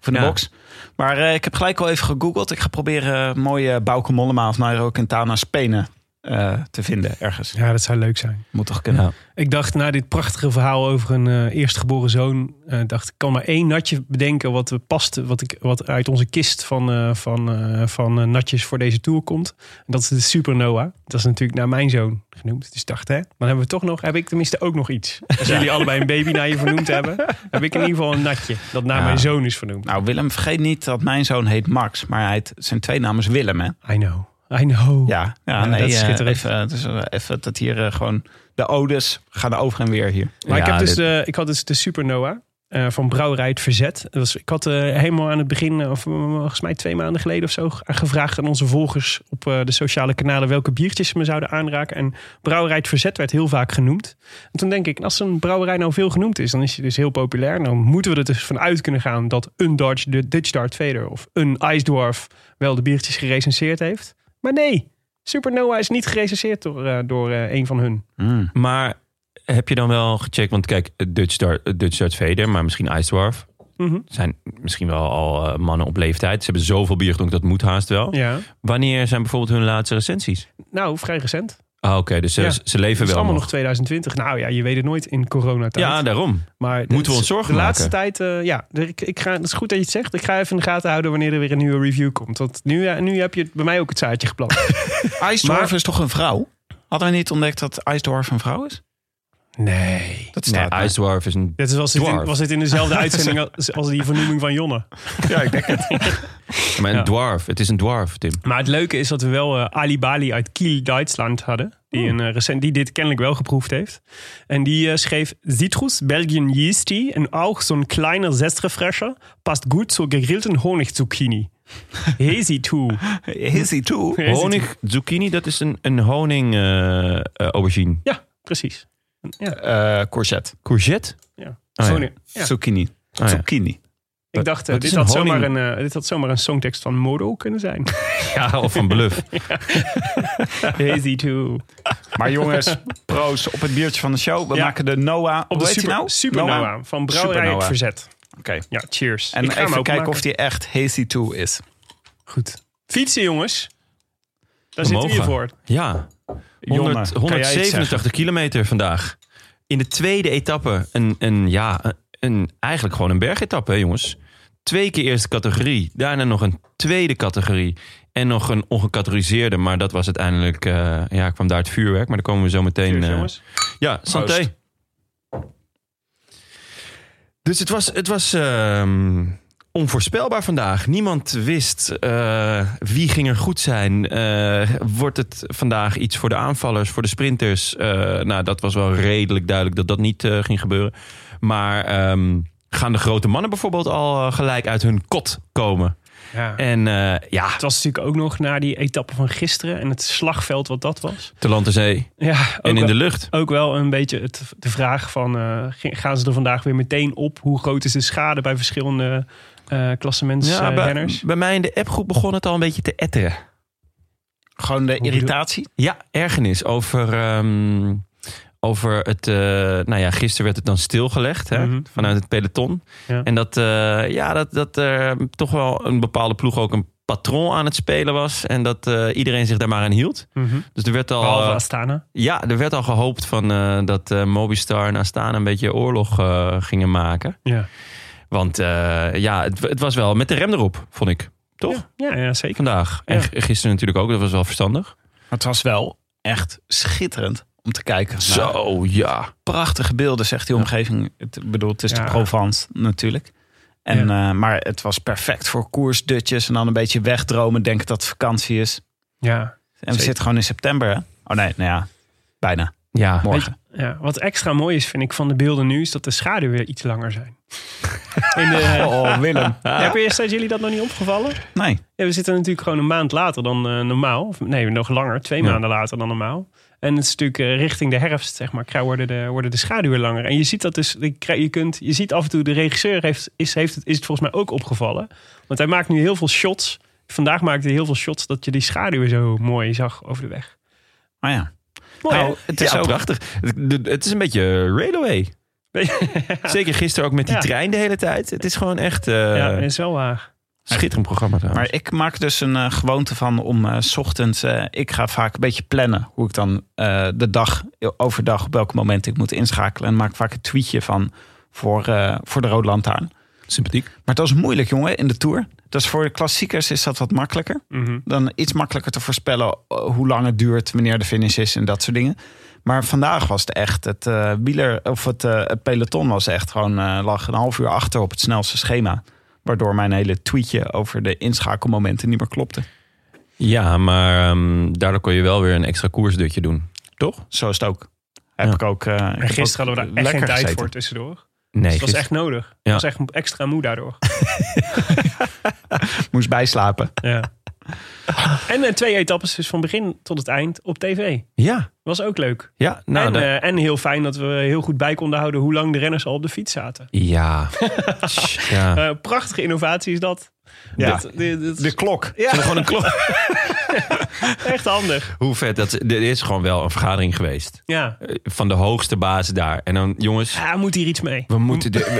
[SPEAKER 5] Of in de
[SPEAKER 1] Ja.
[SPEAKER 5] box. Maar eh, ik heb gelijk al even gegoogeld. Ik ga proberen eh, mooie Bauke Mollema of Nairo Quintana Spenen eh, te vinden ergens.
[SPEAKER 2] Ja, dat zou leuk zijn.
[SPEAKER 5] Moet toch kunnen.
[SPEAKER 1] Ja.
[SPEAKER 2] Ik dacht na dit prachtige verhaal over een eh, eerstgeboren zoon, eh, dacht ik kan maar één natje bedenken wat we past, wat, ik, wat uit onze kist van, eh, van, eh, van eh, natjes voor deze tour komt. En dat is de Supernova. Dat is natuurlijk naar mijn zoon genoemd. Dus ik dacht hè, dan hebben we toch nog, heb ik tenminste ook nog iets. Als jullie allebei een baby naar je vernoemd hebben, heb ik in ieder geval een natje dat naar
[SPEAKER 1] Ja.
[SPEAKER 2] mijn zoon is vernoemd.
[SPEAKER 5] Nou, Willem, vergeet niet dat mijn zoon heet Max. Maar hij heet- zijn twee namen is Willem, hè?
[SPEAKER 2] I know, I know.
[SPEAKER 5] Ja, ja,
[SPEAKER 2] Ja,
[SPEAKER 5] nee,
[SPEAKER 2] dat is
[SPEAKER 5] eh,
[SPEAKER 2] schitterend.
[SPEAKER 5] even, eh, dus eh, even dat hier eh, gewoon de odes gaan over en weer hier.
[SPEAKER 2] Maar ik,
[SPEAKER 1] Ja,
[SPEAKER 2] heb dus
[SPEAKER 1] dit-
[SPEAKER 2] de, ik had dus de Supernova eh, van Brouwerij het Verzet. Dat was, ik had eh, helemaal aan het begin, eh, of eh, volgens mij twee maanden geleden of zo, ge- gevraagd aan onze volgers op eh, de sociale kanalen welke biertjes ze me zouden aanraken. En Brouwerij het Verzet werd heel vaak genoemd. En toen denk ik, als een brouwerij nou veel genoemd is, dan is hij dus heel populair. Dan moeten we er dus vanuit kunnen gaan dat een Dutch, de Dutch Dart Vader of een Ice Dwarf wel de biertjes gerecenseerd heeft. Maar nee, Supernova is niet gerecenseerd door, eh, door eh, een van hun.
[SPEAKER 1] Maar heb je dan wel gecheckt? Want kijk, Dutch Star, Dutch Dutch Vader, maar misschien Ice Dwarf.
[SPEAKER 2] Mhm.
[SPEAKER 1] Zijn misschien wel al eh, mannen op leeftijd. Ze hebben zoveel bier gedronken, dat moet haast wel.
[SPEAKER 2] Ja.
[SPEAKER 1] Wanneer zijn bijvoorbeeld hun laatste recensies?
[SPEAKER 2] Nou, vrij recent.
[SPEAKER 1] Ah, Oké, dus ze,
[SPEAKER 2] Ja.
[SPEAKER 1] ze leven
[SPEAKER 2] Het is
[SPEAKER 1] wel
[SPEAKER 2] allemaal
[SPEAKER 1] nog.
[SPEAKER 2] nog 2020. Nou ja, je weet het nooit in coronatijd.
[SPEAKER 1] Ja, daarom.
[SPEAKER 2] maar
[SPEAKER 1] moeten we
[SPEAKER 2] het-
[SPEAKER 1] ons zorgen
[SPEAKER 2] De laatste
[SPEAKER 1] maken?
[SPEAKER 2] tijd, eh, ja. er- Ik, ik ga, het is goed dat je het zegt. Ik ga even in de gaten houden wanneer er weer een nieuwe review komt. Want nu, ja, nu heb je bij mij ook het zaadje geplant.
[SPEAKER 5] IJsdorf
[SPEAKER 2] Maar-
[SPEAKER 5] is toch een vrouw? Hadden we niet ontdekt dat IJsdorf een vrouw is?
[SPEAKER 2] Nee.
[SPEAKER 5] Dat
[SPEAKER 1] Nee,
[SPEAKER 5] staat er.
[SPEAKER 1] Ice Dwarf is een...
[SPEAKER 2] Dit was dit in,
[SPEAKER 1] Dwarf.
[SPEAKER 2] was dit in dezelfde uitzending als, als die vernoeming van Jonne.
[SPEAKER 5] Ja, ik denk het.
[SPEAKER 1] Maar een
[SPEAKER 2] Ja.
[SPEAKER 1] dwarf. Het is een dwarf, Tim.
[SPEAKER 2] Maar het leuke is dat we wel eh, Ali Bali uit Kiel, Duitsland hadden. Die, een, eh, recent, die dit kennelijk wel geproefd heeft. En die eh, schreef... Citrus, Belgian yeasty en ook zo'n kleine zestrefresher... past goed zur gegrillten honigzucchini. Hazy too.
[SPEAKER 5] Is hij toe?
[SPEAKER 2] Hazy too.
[SPEAKER 1] Honig zucchini, dat is een, een honing eh, eh, aubergine.
[SPEAKER 2] Ja, precies. Ja,
[SPEAKER 5] Eh courgette.
[SPEAKER 1] Courgette?
[SPEAKER 2] ja.
[SPEAKER 1] ja.
[SPEAKER 2] Honing. Ja.
[SPEAKER 5] Zucchini.
[SPEAKER 1] Ah, ja.
[SPEAKER 5] Zucchini.
[SPEAKER 2] Ik dacht, eh,
[SPEAKER 1] Wat is
[SPEAKER 2] dit,
[SPEAKER 1] een
[SPEAKER 2] had
[SPEAKER 1] honing?
[SPEAKER 2] zomaar een, eh, dit had zomaar een songtekst van Modo kunnen zijn.
[SPEAKER 1] Ja, of van bluff.
[SPEAKER 2] Hazy too.
[SPEAKER 5] Maar jongens, proost op het biertje van de show. We
[SPEAKER 2] Ja.
[SPEAKER 5] maken de Noah...
[SPEAKER 2] Op de
[SPEAKER 5] hoe heet die
[SPEAKER 2] super,
[SPEAKER 5] nou?
[SPEAKER 2] Supernova van Brouwerij
[SPEAKER 5] Supernova.
[SPEAKER 2] het Verzet.
[SPEAKER 5] Oké.
[SPEAKER 2] Ja, cheers.
[SPEAKER 5] En
[SPEAKER 2] Ik ga hem
[SPEAKER 5] even kijken
[SPEAKER 2] openmaken.
[SPEAKER 5] of die echt Hazy 2 is.
[SPEAKER 2] Goed. Fietsen, jongens. Daar
[SPEAKER 1] We
[SPEAKER 2] zitten we hier
[SPEAKER 1] mogen.
[SPEAKER 2] voor.
[SPEAKER 1] Ja, 100,
[SPEAKER 5] Jonne, kan jij iets zeggen?
[SPEAKER 1] 187 kilometer vandaag. In de tweede etappe, een, een, ja, een, eigenlijk gewoon een bergetappe, hè, jongens. Twee keer eerste categorie, daarna nog een tweede categorie. En nog een ongecategoriseerde, maar dat was uiteindelijk... eh, ja, kwam daar het vuurwerk, maar daar komen we zo meteen...
[SPEAKER 2] Cheers,
[SPEAKER 1] eh,
[SPEAKER 2] jongens.
[SPEAKER 1] ja,
[SPEAKER 5] Proost.
[SPEAKER 1] santé. Dus het was, het was ehm, onvoorspelbaar vandaag. Niemand wist eh, wie ging er goed zijn. Eh, wordt het vandaag iets voor de aanvallers, voor de sprinters? Eh, nou, dat was wel redelijk duidelijk dat dat niet eh, ging gebeuren. Maar ehm, gaan de grote mannen bijvoorbeeld al eh, gelijk uit hun kot komen?
[SPEAKER 2] Ja.
[SPEAKER 1] En eh ja,
[SPEAKER 2] Het was natuurlijk ook nog na die etappe van gisteren en het slagveld wat dat was.
[SPEAKER 1] te land en zee
[SPEAKER 2] Ja, ook,
[SPEAKER 1] en in
[SPEAKER 2] wel,
[SPEAKER 1] de lucht.
[SPEAKER 2] ook wel een beetje het, de vraag van eh, g- gaan ze er vandaag weer meteen op? Hoe groot is de schade bij verschillende eh
[SPEAKER 1] Ja, bij,
[SPEAKER 2] klassementsrenners?
[SPEAKER 1] bij mij in de appgroep begon het al een beetje te etteren.
[SPEAKER 5] Gewoon de
[SPEAKER 2] bedoel-
[SPEAKER 5] irritatie.
[SPEAKER 1] Ja, ergernis over, ehm, over het... eh, nou ja, gisteren werd het dan stilgelegd hè,
[SPEAKER 2] Mhm.
[SPEAKER 1] vanuit het peloton.
[SPEAKER 2] Ja.
[SPEAKER 1] En dat, eh, ja, dat, dat er toch wel een bepaalde ploeg ook een patroon aan het spelen was. En dat eh, iedereen zich daar maar aan hield.
[SPEAKER 2] Mhm.
[SPEAKER 1] Dus er werd al...
[SPEAKER 2] Behalve
[SPEAKER 1] eh,
[SPEAKER 2] Astana.
[SPEAKER 1] Ja, er werd al gehoopt van, eh, dat eh, Mobistar en Astana een beetje oorlog eh, gingen maken.
[SPEAKER 2] Ja.
[SPEAKER 1] Want eh, ja, het, het was wel met de rem erop, vond ik. Toch?
[SPEAKER 2] Ja, ja, zeker.
[SPEAKER 1] Vandaag. En
[SPEAKER 2] Ja.
[SPEAKER 1] g- gisteren natuurlijk ook, dat was wel verstandig.
[SPEAKER 5] Maar het was wel echt schitterend om te kijken. Nou,
[SPEAKER 1] Zo, ja.
[SPEAKER 5] prachtige beelden, zegt die omgeving. Het, ik bedoel, het is
[SPEAKER 2] Ja.
[SPEAKER 5] de Provence natuurlijk. En, eh, maar het was perfect voor koersdutjes en dan een beetje wegdromen, denken dat het vakantie is.
[SPEAKER 2] Ja.
[SPEAKER 5] En we zitten gewoon in september, hè? Oh nee, nou ja, bijna.
[SPEAKER 1] Ja,
[SPEAKER 5] Morgen.
[SPEAKER 2] ja. Wat extra mooi is, vind ik, van de beelden nu, is dat de schaduwen weer iets langer zijn. In de,
[SPEAKER 5] Oh, Willem.
[SPEAKER 2] Heb je, zijn jullie dat nog niet opgevallen?
[SPEAKER 5] Nee.
[SPEAKER 2] Ja, we zitten natuurlijk gewoon een maand later dan eh, normaal. Of, nee, nog langer. Twee
[SPEAKER 1] Ja.
[SPEAKER 2] maanden later dan normaal. En het is natuurlijk eh, richting de herfst, zeg maar, krijgen- worden de, worden de schaduwen langer. En je ziet dat dus, je krij- je, kunt, je ziet af en toe, de regisseur heeft, is, heeft het, is het volgens mij ook opgevallen. Want hij maakt nu heel veel shots. Vandaag maakte hij heel veel shots dat je die schaduwen zo mooi zag over de weg.
[SPEAKER 5] Maar Ah ja.
[SPEAKER 2] Mooi,
[SPEAKER 5] Nou,
[SPEAKER 1] het is
[SPEAKER 5] Ja,
[SPEAKER 1] ook prachtig. Het, het is een beetje railway. Zeker gisteren ook met die
[SPEAKER 2] Ja.
[SPEAKER 1] trein de hele tijd. Het is gewoon echt eh,
[SPEAKER 2] hè? ja, dat is wel waar.
[SPEAKER 1] schitterend programma trouwens.
[SPEAKER 5] Maar ik maak dus een eh, gewoonte van om eh, 's ochtends. eh, ik ga vaak een beetje plannen hoe ik dan eh, de dag, overdag, op welk moment ik moet inschakelen. En maak vaak een tweetje van voor, eh, voor de Rode Lantaarn.
[SPEAKER 1] sympathiek.
[SPEAKER 5] Maar dat is moeilijk, jongen, in de Tour. Dus voor de klassiekers is dat wat makkelijker.
[SPEAKER 2] Mhm.
[SPEAKER 5] Dan iets makkelijker te voorspellen eh, hoe lang het duurt, wanneer de finish is en dat soort dingen. Maar vandaag was het echt, het, eh, wieler, of het, eh, het peloton was echt gewoon, eh, lag een half uur achter op het snelste schema. Waardoor mijn hele tweetje over de inschakelmomenten niet meer klopte.
[SPEAKER 1] Ja, maar ehm, daardoor kon je wel weer een extra koersdutje doen. Toch?
[SPEAKER 5] Zo is het ook. Heb
[SPEAKER 1] Ja.
[SPEAKER 5] ik ook. eh, ik heb
[SPEAKER 2] En gisteren hadden
[SPEAKER 5] ook
[SPEAKER 2] we daar echt geen
[SPEAKER 5] lekker
[SPEAKER 2] tijd
[SPEAKER 5] gezeten.
[SPEAKER 2] voor tussendoor.
[SPEAKER 1] Nee,
[SPEAKER 2] Dus het was
[SPEAKER 1] gisteren-
[SPEAKER 2] echt nodig. Ik
[SPEAKER 1] Ja.
[SPEAKER 2] was echt extra moe daardoor. dus.
[SPEAKER 5] Moest bijslapen.
[SPEAKER 2] Ja. En eh, twee etappes dus van begin tot het eind op tv.
[SPEAKER 1] Ja,
[SPEAKER 2] Was ook leuk.
[SPEAKER 1] ja. Nou,
[SPEAKER 2] en,
[SPEAKER 1] daar-
[SPEAKER 2] eh, en heel fijn dat we heel goed bij konden houden hoe lang de renners al op de fiets zaten.
[SPEAKER 1] Ja. ja.
[SPEAKER 2] Eh, prachtige innovatie is dat.
[SPEAKER 5] Ja.
[SPEAKER 2] Dit- dit- dit is
[SPEAKER 5] De klok.
[SPEAKER 2] Ja.
[SPEAKER 1] Gewoon een klok.
[SPEAKER 2] echt handig.
[SPEAKER 1] Hoe vet. Dat, er is gewoon wel een vergadering geweest.
[SPEAKER 2] Ja.
[SPEAKER 1] Eh, Van de hoogste baas daar. En dan, jongens,
[SPEAKER 2] ja, moet hier iets mee.
[SPEAKER 1] we moeten... De,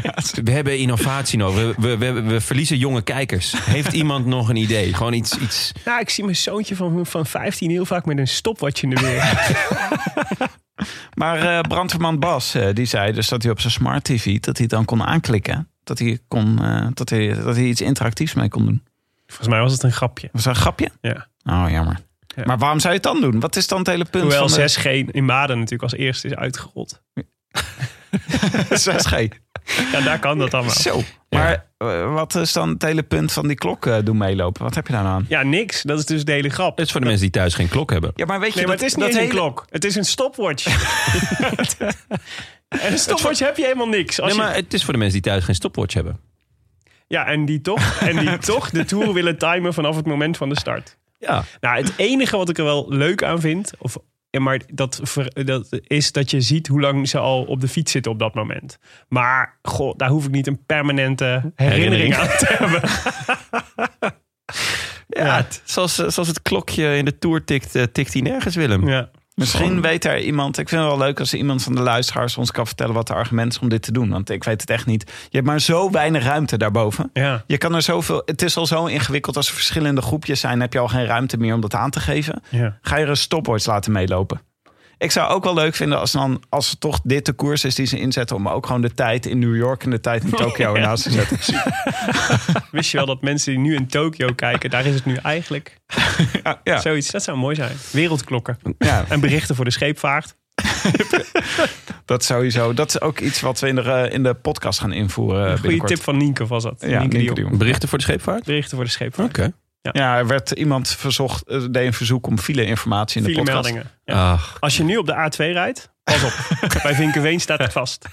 [SPEAKER 1] we, we hebben innovatie nodig. We, we, we, we verliezen jonge kijkers. Heeft iemand nog een idee? Gewoon iets... iets
[SPEAKER 2] Ja, Nou, ik zie mijn zoontje van, van 15 heel vaak met een stopwatch in de weer.
[SPEAKER 5] Maar eh brandweerman Bas, eh, die zei dus dat hij op zijn smart TV dat hij het dan kon aanklikken. Dat hij, kon, eh, dat, hij, dat hij iets interactiefs mee kon doen.
[SPEAKER 2] Volgens mij was het een grapje.
[SPEAKER 5] Was dat een grapje?
[SPEAKER 2] Ja.
[SPEAKER 5] Oh, jammer.
[SPEAKER 2] Ja.
[SPEAKER 5] Maar waarom zou je het dan doen? Wat is dan het hele punt
[SPEAKER 2] Hoewel
[SPEAKER 5] van
[SPEAKER 2] 6G in Maden natuurlijk als eerste is uitgerold.
[SPEAKER 5] de 6G?
[SPEAKER 2] Ja, daar kan dat allemaal.
[SPEAKER 5] Zo. Maar eh, wat is dan het hele punt van die klok eh, doen meelopen? Wat heb je daar nou aan?
[SPEAKER 2] Ja, niks. Dat is dus de hele grap.
[SPEAKER 1] het is voor de mensen die thuis geen klok hebben.
[SPEAKER 5] Ja, maar weet je,
[SPEAKER 2] Nee, maar
[SPEAKER 5] dat,
[SPEAKER 2] het is niet
[SPEAKER 5] dat
[SPEAKER 2] eens een
[SPEAKER 5] hele-
[SPEAKER 2] klok. Het is een stopwatch. en een stopwatch heb je helemaal niks. Als
[SPEAKER 1] Nee,
[SPEAKER 2] je-
[SPEAKER 1] maar het is voor de mensen die thuis geen stopwatch hebben.
[SPEAKER 2] Ja, en die toch, en die toch de Tour willen timen vanaf het moment van de start.
[SPEAKER 1] Ja.
[SPEAKER 2] Nou, het enige wat ik er wel leuk aan vind, of, ja, maar dat, ver- dat is dat je ziet hoe lang ze al op de fiets zitten op dat moment. Maar god, daar hoef ik niet een permanente herinnering,
[SPEAKER 1] Herinnering.
[SPEAKER 2] aan te hebben.
[SPEAKER 1] Ja, het- zoals, eh, zoals het klokje in de Tour tikt, eh, tikt hij nergens, Willem.
[SPEAKER 2] Ja.
[SPEAKER 5] Misschien weet er iemand. Ik vind het wel leuk als er iemand van de luisteraars ons kan vertellen wat de argument is om dit te doen. Want ik weet het echt niet. Je hebt maar zo weinig ruimte daarboven.
[SPEAKER 2] Ja.
[SPEAKER 5] Je kan er zoveel. Het is al zo ingewikkeld als er verschillende groepjes zijn. Heb je al geen ruimte meer om dat aan te geven?
[SPEAKER 2] Ja.
[SPEAKER 5] Ga je er een stopwatch laten meelopen? Ik zou ook wel leuk vinden als, dan, als het toch dit de koers is die ze inzetten. om ook gewoon de tijd in New York en de tijd in Tokio ernaast te zetten.
[SPEAKER 2] Wist je wel dat mensen die nu in Tokio kijken, daar is het nu eigenlijk
[SPEAKER 5] Ja, ja.
[SPEAKER 2] zoiets. Dat zou mooi zijn. Wereldklokken.
[SPEAKER 5] Ja.
[SPEAKER 2] En berichten voor de scheepvaart.
[SPEAKER 5] dat sowieso. Dat is ook iets wat we in de, eh, in de podcast gaan invoeren. eh,
[SPEAKER 2] Goeie
[SPEAKER 5] binnenkort.
[SPEAKER 2] tip van Nienke was dat.
[SPEAKER 5] Ja,
[SPEAKER 2] Nienke die
[SPEAKER 5] Nienke de Jong.
[SPEAKER 1] Berichten voor de scheepvaart?
[SPEAKER 2] op- Berichten voor de scheepvaart.
[SPEAKER 1] Oké.
[SPEAKER 5] Ja, er werd iemand verzocht, eh, deed een verzoek om file-informatie in de
[SPEAKER 2] File
[SPEAKER 5] podcast. Ah.
[SPEAKER 2] meldingen. Ja.
[SPEAKER 1] Ach,
[SPEAKER 2] Als je nu op de A2 rijdt, pas op. Bij Vinkenveen staat het vast.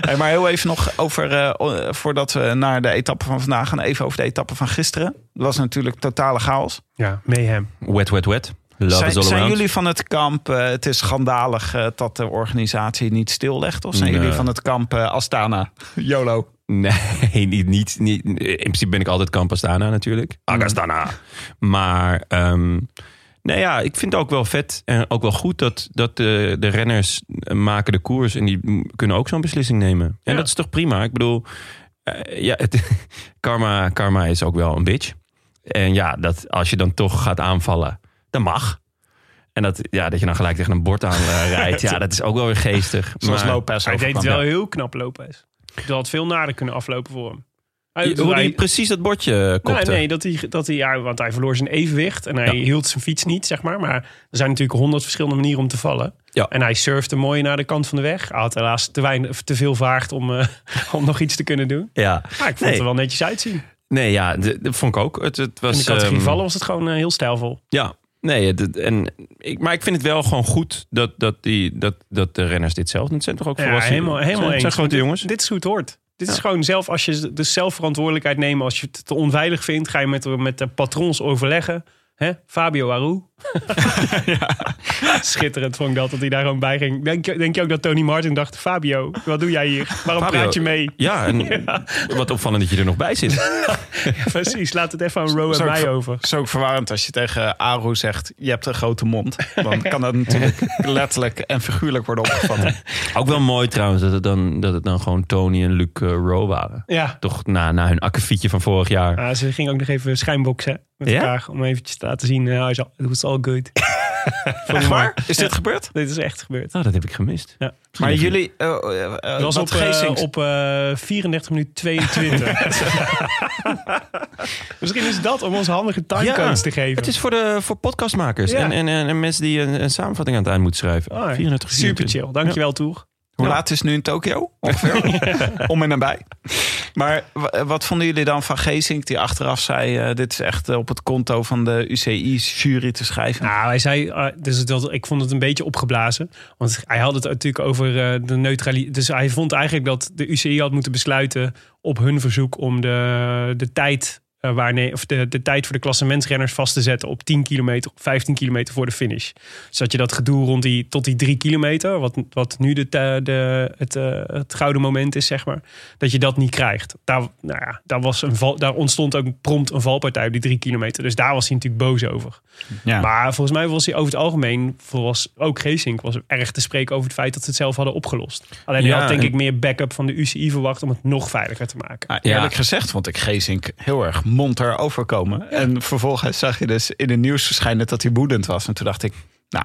[SPEAKER 5] Hey, maar heel even nog over, eh, o- eh, voordat we naar de etappe van vandaag gaan, even over de etappe van gisteren. Dat was natuurlijk totale chaos.
[SPEAKER 2] Ja, mayhem.
[SPEAKER 1] wet, wet, wet. Love
[SPEAKER 5] zijn
[SPEAKER 1] is all
[SPEAKER 5] zijn
[SPEAKER 1] around.
[SPEAKER 5] jullie van het kamp, eh, het is schandalig eh, dat de organisatie niet stillegt? Of zijn
[SPEAKER 1] Nee.
[SPEAKER 5] jullie van het kamp eh, Astana, YOLO?
[SPEAKER 1] Nee, niet, niet, niet.
[SPEAKER 5] Mm-hmm.
[SPEAKER 1] In principe ben ik altijd Campastana natuurlijk. Agastana. Maar ehm, Nou ja, ik vind het ook wel vet en ook wel goed dat, dat de, de renners maken de koers en die m- kunnen ook zo'n beslissing nemen. En
[SPEAKER 2] Ja.
[SPEAKER 1] dat is toch prima? Ik bedoel, eh, ja, het, karma, karma is ook wel een bitch. En ja, dat als je dan toch gaat aanvallen, dan mag. En dat, ja, dat je dan gelijk tegen een bord aan eh, rijdt, ja, dat is ook wel weer geestig.
[SPEAKER 5] Zoals
[SPEAKER 1] Maar-
[SPEAKER 5] Lopez
[SPEAKER 2] Hij deed het wel
[SPEAKER 5] overkwam.
[SPEAKER 2] heel knap, Lopez. Dat had veel nader kunnen aflopen voor hem. Hij,
[SPEAKER 1] Je- Hoe hij
[SPEAKER 2] hij-
[SPEAKER 1] precies dat bordje eh, kopte.
[SPEAKER 2] Nou, nee, dat hij, dat hij, ja, want hij verloor zijn evenwicht en hij hield zijn fiets niet, zeg maar. Maar er zijn natuurlijk honderd verschillende manieren om te vallen.
[SPEAKER 1] Ja.
[SPEAKER 2] En hij surfte mooi naar de kant van de weg. Hij had helaas te, weinig, of te veel vaart om, eh, om nog iets te kunnen doen.
[SPEAKER 1] Ja.
[SPEAKER 2] Maar ik vond
[SPEAKER 1] Nee.
[SPEAKER 2] het er wel netjes uitzien.
[SPEAKER 1] Nee, ja, d- dat vond ik ook. Het, het was,
[SPEAKER 2] In de categorie
[SPEAKER 1] ehm,
[SPEAKER 2] vallen was het gewoon eh, heel stijlvol.
[SPEAKER 1] Ja, nee, het- het- en ik, maar ik vind het wel gewoon goed dat, dat, die, dat, dat de renners dit zelf doen. Het zijn toch ook
[SPEAKER 2] Ja,
[SPEAKER 1] volwassenen?
[SPEAKER 2] helemaal- helemaal
[SPEAKER 1] Het zijn,
[SPEAKER 2] eens.
[SPEAKER 1] zijn grote jongens.
[SPEAKER 2] Dit is goed hoort. Dit is gewoon zelf, als je dus zelf verantwoordelijkheid neemt, als je het te onveilig vindt, ga je met, met de patrons overleggen. Hè? Fabio Aru. Schitterend vond ik dat, dat hij daar gewoon bij ging. Denk, je- denk je ook dat Tony Martin dacht, Fabio, wat doe jij hier? Waarom
[SPEAKER 1] Fabio,
[SPEAKER 2] praat je mee?
[SPEAKER 1] Ja, en wat opvallend dat je er nog bij zit.
[SPEAKER 2] Precies, laat het even aan Row en
[SPEAKER 5] Zo-
[SPEAKER 2] mij over.
[SPEAKER 5] Het is ook verwarrend als je tegen Aru zegt: Je hebt een grote mond. Dan kan dat natuurlijk letterlijk en figuurlijk worden opgevat.
[SPEAKER 1] Ook wel mooi trouwens dat het dan, dat het dan gewoon Tony en Luc eh, Rowe waren.
[SPEAKER 2] Ja.
[SPEAKER 1] Toch na, na hun akkefietje van vorig jaar.
[SPEAKER 2] Ah, ze ging ook nog even schijnboksen met
[SPEAKER 1] Ja?
[SPEAKER 2] elkaar. Om eventjes te laten zien, uh, it was all good. Vond ik mooi.
[SPEAKER 5] Is dit gebeurd?
[SPEAKER 2] Dit is echt gebeurd.
[SPEAKER 1] Oh, dat heb ik gemist.
[SPEAKER 2] Ja.
[SPEAKER 5] Maar jullie. eh, eh, eh,
[SPEAKER 2] Dat was
[SPEAKER 5] wat
[SPEAKER 2] op, eh,
[SPEAKER 5] Geesink-
[SPEAKER 2] op eh, 34 minuten 22. Misschien is dat om ons handige timecodes te geven.
[SPEAKER 1] Het is voor, de, voor podcastmakers
[SPEAKER 2] Ja.
[SPEAKER 1] en, en, en, en mensen die een, een samenvatting aan het eind moeten schrijven.
[SPEAKER 2] Ah,
[SPEAKER 1] 34
[SPEAKER 2] super
[SPEAKER 1] minuten.
[SPEAKER 2] chill. Dankjewel, Toer.
[SPEAKER 5] Hoe laat is het nu in Tokio? Ongeveer. Om en nabij. Maar w- eh, wat vonden jullie dan van Geesink die achteraf zei... eh, dit is echt eh, op het konto van de UCI-jury te schrijven?
[SPEAKER 2] Nou, hij zei, eh, dus dat, ik vond het een beetje opgeblazen. Want hij had het natuurlijk over eh, de neutraliteit. Dus hij vond eigenlijk dat de UCI had moeten besluiten op hun verzoek om de, de tijd. eh, waarne- of de, de tijd voor de klassementsrenners vast te zetten op 10 kilometer, 15 kilometer voor de finish. Dus dat je dat gedoe rond die, tot die 3 kilometer, wat, wat nu de, te- de, het, eh, het gouden moment is, zeg maar, dat je dat niet krijgt. Daar, nou ja, daar, was een val, daar ontstond ook prompt een valpartij op die 3 kilometer. Dus daar was hij natuurlijk boos over.
[SPEAKER 5] Ja.
[SPEAKER 2] Maar volgens mij was hij over het algemeen, was ook Geesink, was erg te spreken over het feit dat ze het zelf hadden opgelost. Alleen hij
[SPEAKER 1] Ja,
[SPEAKER 2] had denk
[SPEAKER 1] en-
[SPEAKER 2] ik meer backup van de UCI verwacht om het nog veiliger te maken.
[SPEAKER 5] Ja, eerlijk gezegd vond ik Geesink heel erg monter overkomen. En vervolgens zag je dus in het nieuws verschijnen dat hij woedend was. En toen dacht ik, nou,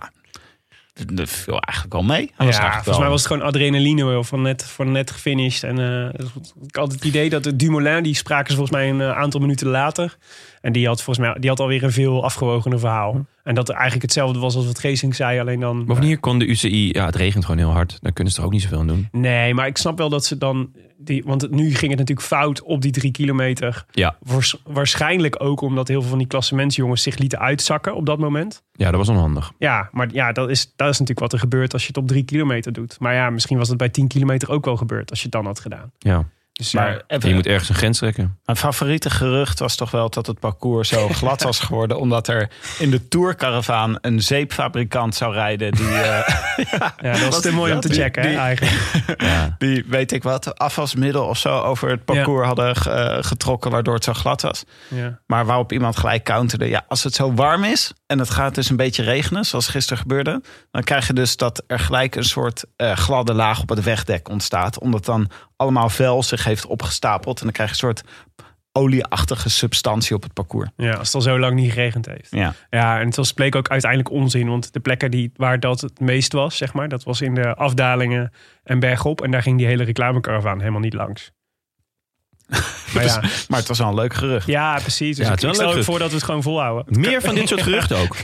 [SPEAKER 5] dat- dat viel eigenlijk wel mee. Hij was
[SPEAKER 2] ja,
[SPEAKER 5] eigenlijk
[SPEAKER 2] volgens mij
[SPEAKER 5] wel-
[SPEAKER 2] was het gewoon adrenaline wel, van net, van net gefinished. En eh, ik had het idee dat de Dumoulin, die spraken ze volgens mij een eh, aantal minuten later. En die had volgens mij die had alweer een veel afgewogener verhaal. En dat er eigenlijk hetzelfde was als wat Geesink zei, alleen dan...
[SPEAKER 1] Bovendien kon de UCI, ja, het regent gewoon heel hard. Daar kunnen ze er ook niet zoveel aan doen.
[SPEAKER 2] Nee, maar ik snap wel dat ze dan... Die, want het- nu ging het natuurlijk fout op die drie kilometer.
[SPEAKER 1] Ja,
[SPEAKER 2] Waars- waarschijnlijk ook omdat heel veel van die klassementsjongens zich lieten uitzakken op dat moment.
[SPEAKER 1] ja dat was onhandig.
[SPEAKER 2] Ja, maar ja, dat is, dat is natuurlijk wat er gebeurt als je het op drie kilometer doet. Maar ja, misschien was het bij 10 kilometer ook wel gebeurd als je het dan had gedaan.
[SPEAKER 1] Ja.
[SPEAKER 2] Dus ja,
[SPEAKER 5] Maar even-
[SPEAKER 1] je moet ergens een grens trekken.
[SPEAKER 5] Mijn favoriete gerucht was toch wel dat het parcours zo glad was geworden. Omdat er in de tourcaravaan een zeepfabrikant zou rijden. Die, eh,
[SPEAKER 2] ja, dat was te mooi om te
[SPEAKER 5] die-
[SPEAKER 2] checken, hè,
[SPEAKER 5] die-
[SPEAKER 2] eigenlijk.
[SPEAKER 5] die weet ik wat, afwasmiddel of zo over het parcours hadden eh, getrokken. Waardoor het zo glad was.
[SPEAKER 2] Ja.
[SPEAKER 5] Maar waarop iemand gelijk counterde. Ja, als het zo warm is en het gaat dus een beetje regenen. Zoals gisteren gebeurde. Dan krijg je dus dat er gelijk een soort eh, gladde laag op het wegdek ontstaat. Omdat dan allemaal vuil zich heeft opgestapeld. En dan krijg je een soort olieachtige substantie op het parcours.
[SPEAKER 2] ja, als het al zo lang niet geregend heeft.
[SPEAKER 5] Ja.
[SPEAKER 2] Ja, en het was, bleek ook uiteindelijk onzin. Want de plekken die, waar dat het meest was, zeg maar, dat was in de afdalingen en bergop. En daar ging die hele reclamecaravaan helemaal niet langs. maar ja,
[SPEAKER 5] Dus, Maar het was wel een leuk gerucht.
[SPEAKER 2] ja, precies. Dus
[SPEAKER 1] Ja, het is
[SPEAKER 2] ik
[SPEAKER 1] wel
[SPEAKER 2] ik stel
[SPEAKER 1] leuk.
[SPEAKER 2] ook voor dat we het gewoon volhouden.
[SPEAKER 1] Meer van dit soort geruchten ook.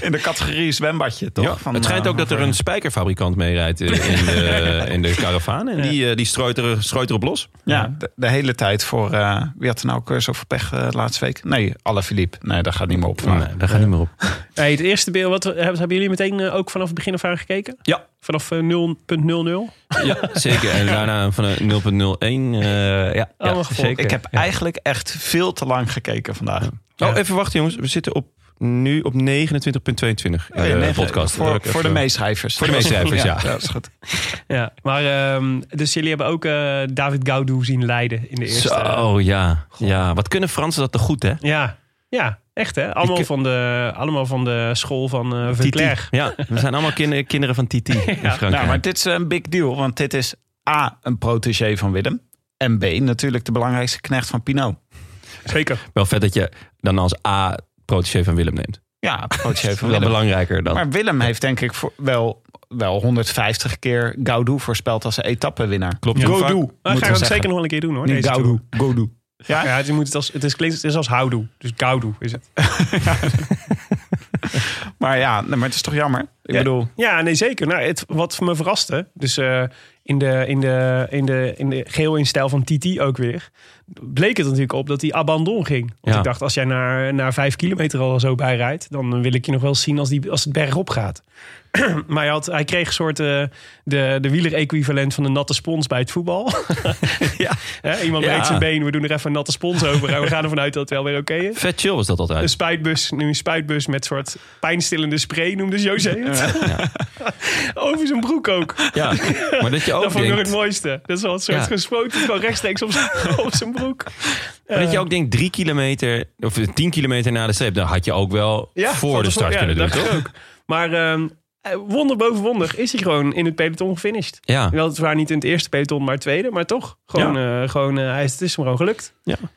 [SPEAKER 5] In de categorie zwembadje, toch?
[SPEAKER 1] Ja,
[SPEAKER 5] Van,
[SPEAKER 1] het schijnt
[SPEAKER 5] eh,
[SPEAKER 1] ook dat er een spijkerfabrikant meerijdt eh, in de, in de karavaan. En die, eh, die strooit, er, strooit erop los.
[SPEAKER 5] Ja, de, de hele tijd voor... eh, wie had er nou ook eh, zoveel pech eh, laatste week? Nee, Alle Philippe. Nee, daar gaat niet meer op. eh,
[SPEAKER 1] Nee, daar gaat niet meer op.
[SPEAKER 2] Hey, het eerste beeld, wat, hebben hebben jullie meteen eh, ook vanaf het begin af aan gekeken?
[SPEAKER 1] Ja.
[SPEAKER 2] Vanaf eh, 0.00?
[SPEAKER 1] Ja, zeker. En daarna van de 0.01. eh ja, eh, ja,
[SPEAKER 2] Allemaal gevolgd.
[SPEAKER 1] zeker.
[SPEAKER 5] Oh, Ik heb eigenlijk echt veel te lang gekeken vandaag.
[SPEAKER 1] Oh, even wachten jongens. We zitten op, nu op 29.22 in
[SPEAKER 5] Oh ja,
[SPEAKER 1] de
[SPEAKER 5] nee,
[SPEAKER 1] Eh, podcast.
[SPEAKER 5] Voor, voor de meeschrijvers.
[SPEAKER 1] Voor de meeschrijvers, ja.
[SPEAKER 5] dat is goed.
[SPEAKER 2] Ja. Maar, ehm, dus jullie hebben ook eh, David Gaudu zien leiden in de eerste. eh,
[SPEAKER 1] Zo, ja. ja. Wat kunnen Fransen dat toch goed, hè?
[SPEAKER 2] Ja. Ja. Echt hè? Allemaal,
[SPEAKER 1] Ik-
[SPEAKER 2] van, de, allemaal van de school van eh Verklerg.
[SPEAKER 1] Ja, we zijn allemaal kinder- kinderen van Titi in Frankrijk.
[SPEAKER 5] Nou, maar dit is een big deal, want dit is A, een protégé van Willem. En B, natuurlijk de belangrijkste knecht van Pinot.
[SPEAKER 2] Zeker.
[SPEAKER 1] Wel vet dat je dan als A protégé van Willem neemt.
[SPEAKER 5] Ja, protégé
[SPEAKER 1] Dat
[SPEAKER 5] van
[SPEAKER 1] wel
[SPEAKER 5] Willem.
[SPEAKER 1] belangrijker dan.
[SPEAKER 5] Maar Willem heeft denk ik voor- wel, wel 150 keer Gaudou voorspeld als een etappewinnaar.
[SPEAKER 1] Klopt.
[SPEAKER 2] Ja.
[SPEAKER 1] Frank?
[SPEAKER 2] Go do. Dat
[SPEAKER 5] we
[SPEAKER 2] Ah, ga ik ook
[SPEAKER 5] zeggen.
[SPEAKER 2] zeker nog wel een keer doen hoor.
[SPEAKER 5] Nee,
[SPEAKER 2] deze
[SPEAKER 5] Gaudou.
[SPEAKER 2] tour.
[SPEAKER 5] Gaudou. Ja?
[SPEAKER 2] Ja, het, moet het, als, het, is, klinkt- het is als houdoe. Dus Gaudu is het.
[SPEAKER 5] Maar ja, nee, maar het is toch jammer. Ik bedoel,
[SPEAKER 2] Ja, nee zeker. Nou, het, wat me verraste. Dus eh, in, de, in, de, in, de, in de geel in stijl van Titi ook weer. Bleek het natuurlijk op dat hij abandon ging. Want
[SPEAKER 1] Ja.
[SPEAKER 2] ik dacht als jij naar, naar vijf kilometer al zo bij rijdt. Dan wil ik je nog wel zien als, die, als het bergop gaat. Maar hij, had, hij kreeg een soort eh, de, de wieler-equivalent van de natte spons bij het voetbal. ja. Hè, iemand
[SPEAKER 1] Ja.
[SPEAKER 2] breekt zijn been, we doen er even een natte spons over. En we gaan ervan uit dat het wel weer oké is.
[SPEAKER 1] Vet chill was dat
[SPEAKER 2] Een
[SPEAKER 1] altijd.
[SPEAKER 2] spuitbus, nu een spuitbus met soort pijnstillende spray, noemde José het. Over zijn broek ook.
[SPEAKER 1] Ja. Maar dat je ook
[SPEAKER 2] dat vond ik nog
[SPEAKER 1] denkt...
[SPEAKER 2] het mooiste. Dat is wel een soort
[SPEAKER 1] Ja.
[SPEAKER 2] gespoten, gewoon rechtstreeks op zijn, op zijn broek.
[SPEAKER 1] Maar dat je ook denkt, drie kilometer of tien kilometer na de streep, dan had je ook wel voor
[SPEAKER 2] van
[SPEAKER 1] de
[SPEAKER 2] tevoren-
[SPEAKER 1] start
[SPEAKER 2] ja,
[SPEAKER 1] kunnen doen,
[SPEAKER 2] dacht
[SPEAKER 1] toch?
[SPEAKER 2] ik ook. Maar ehm, eh, wonder boven wonder is hij gewoon in het peloton gefinished.
[SPEAKER 1] Ja.
[SPEAKER 2] Weliswaar niet in het eerste peloton, maar het tweede. Maar toch, gewoon, eh, gewoon, eh, hij is, het is hem gewoon gelukt.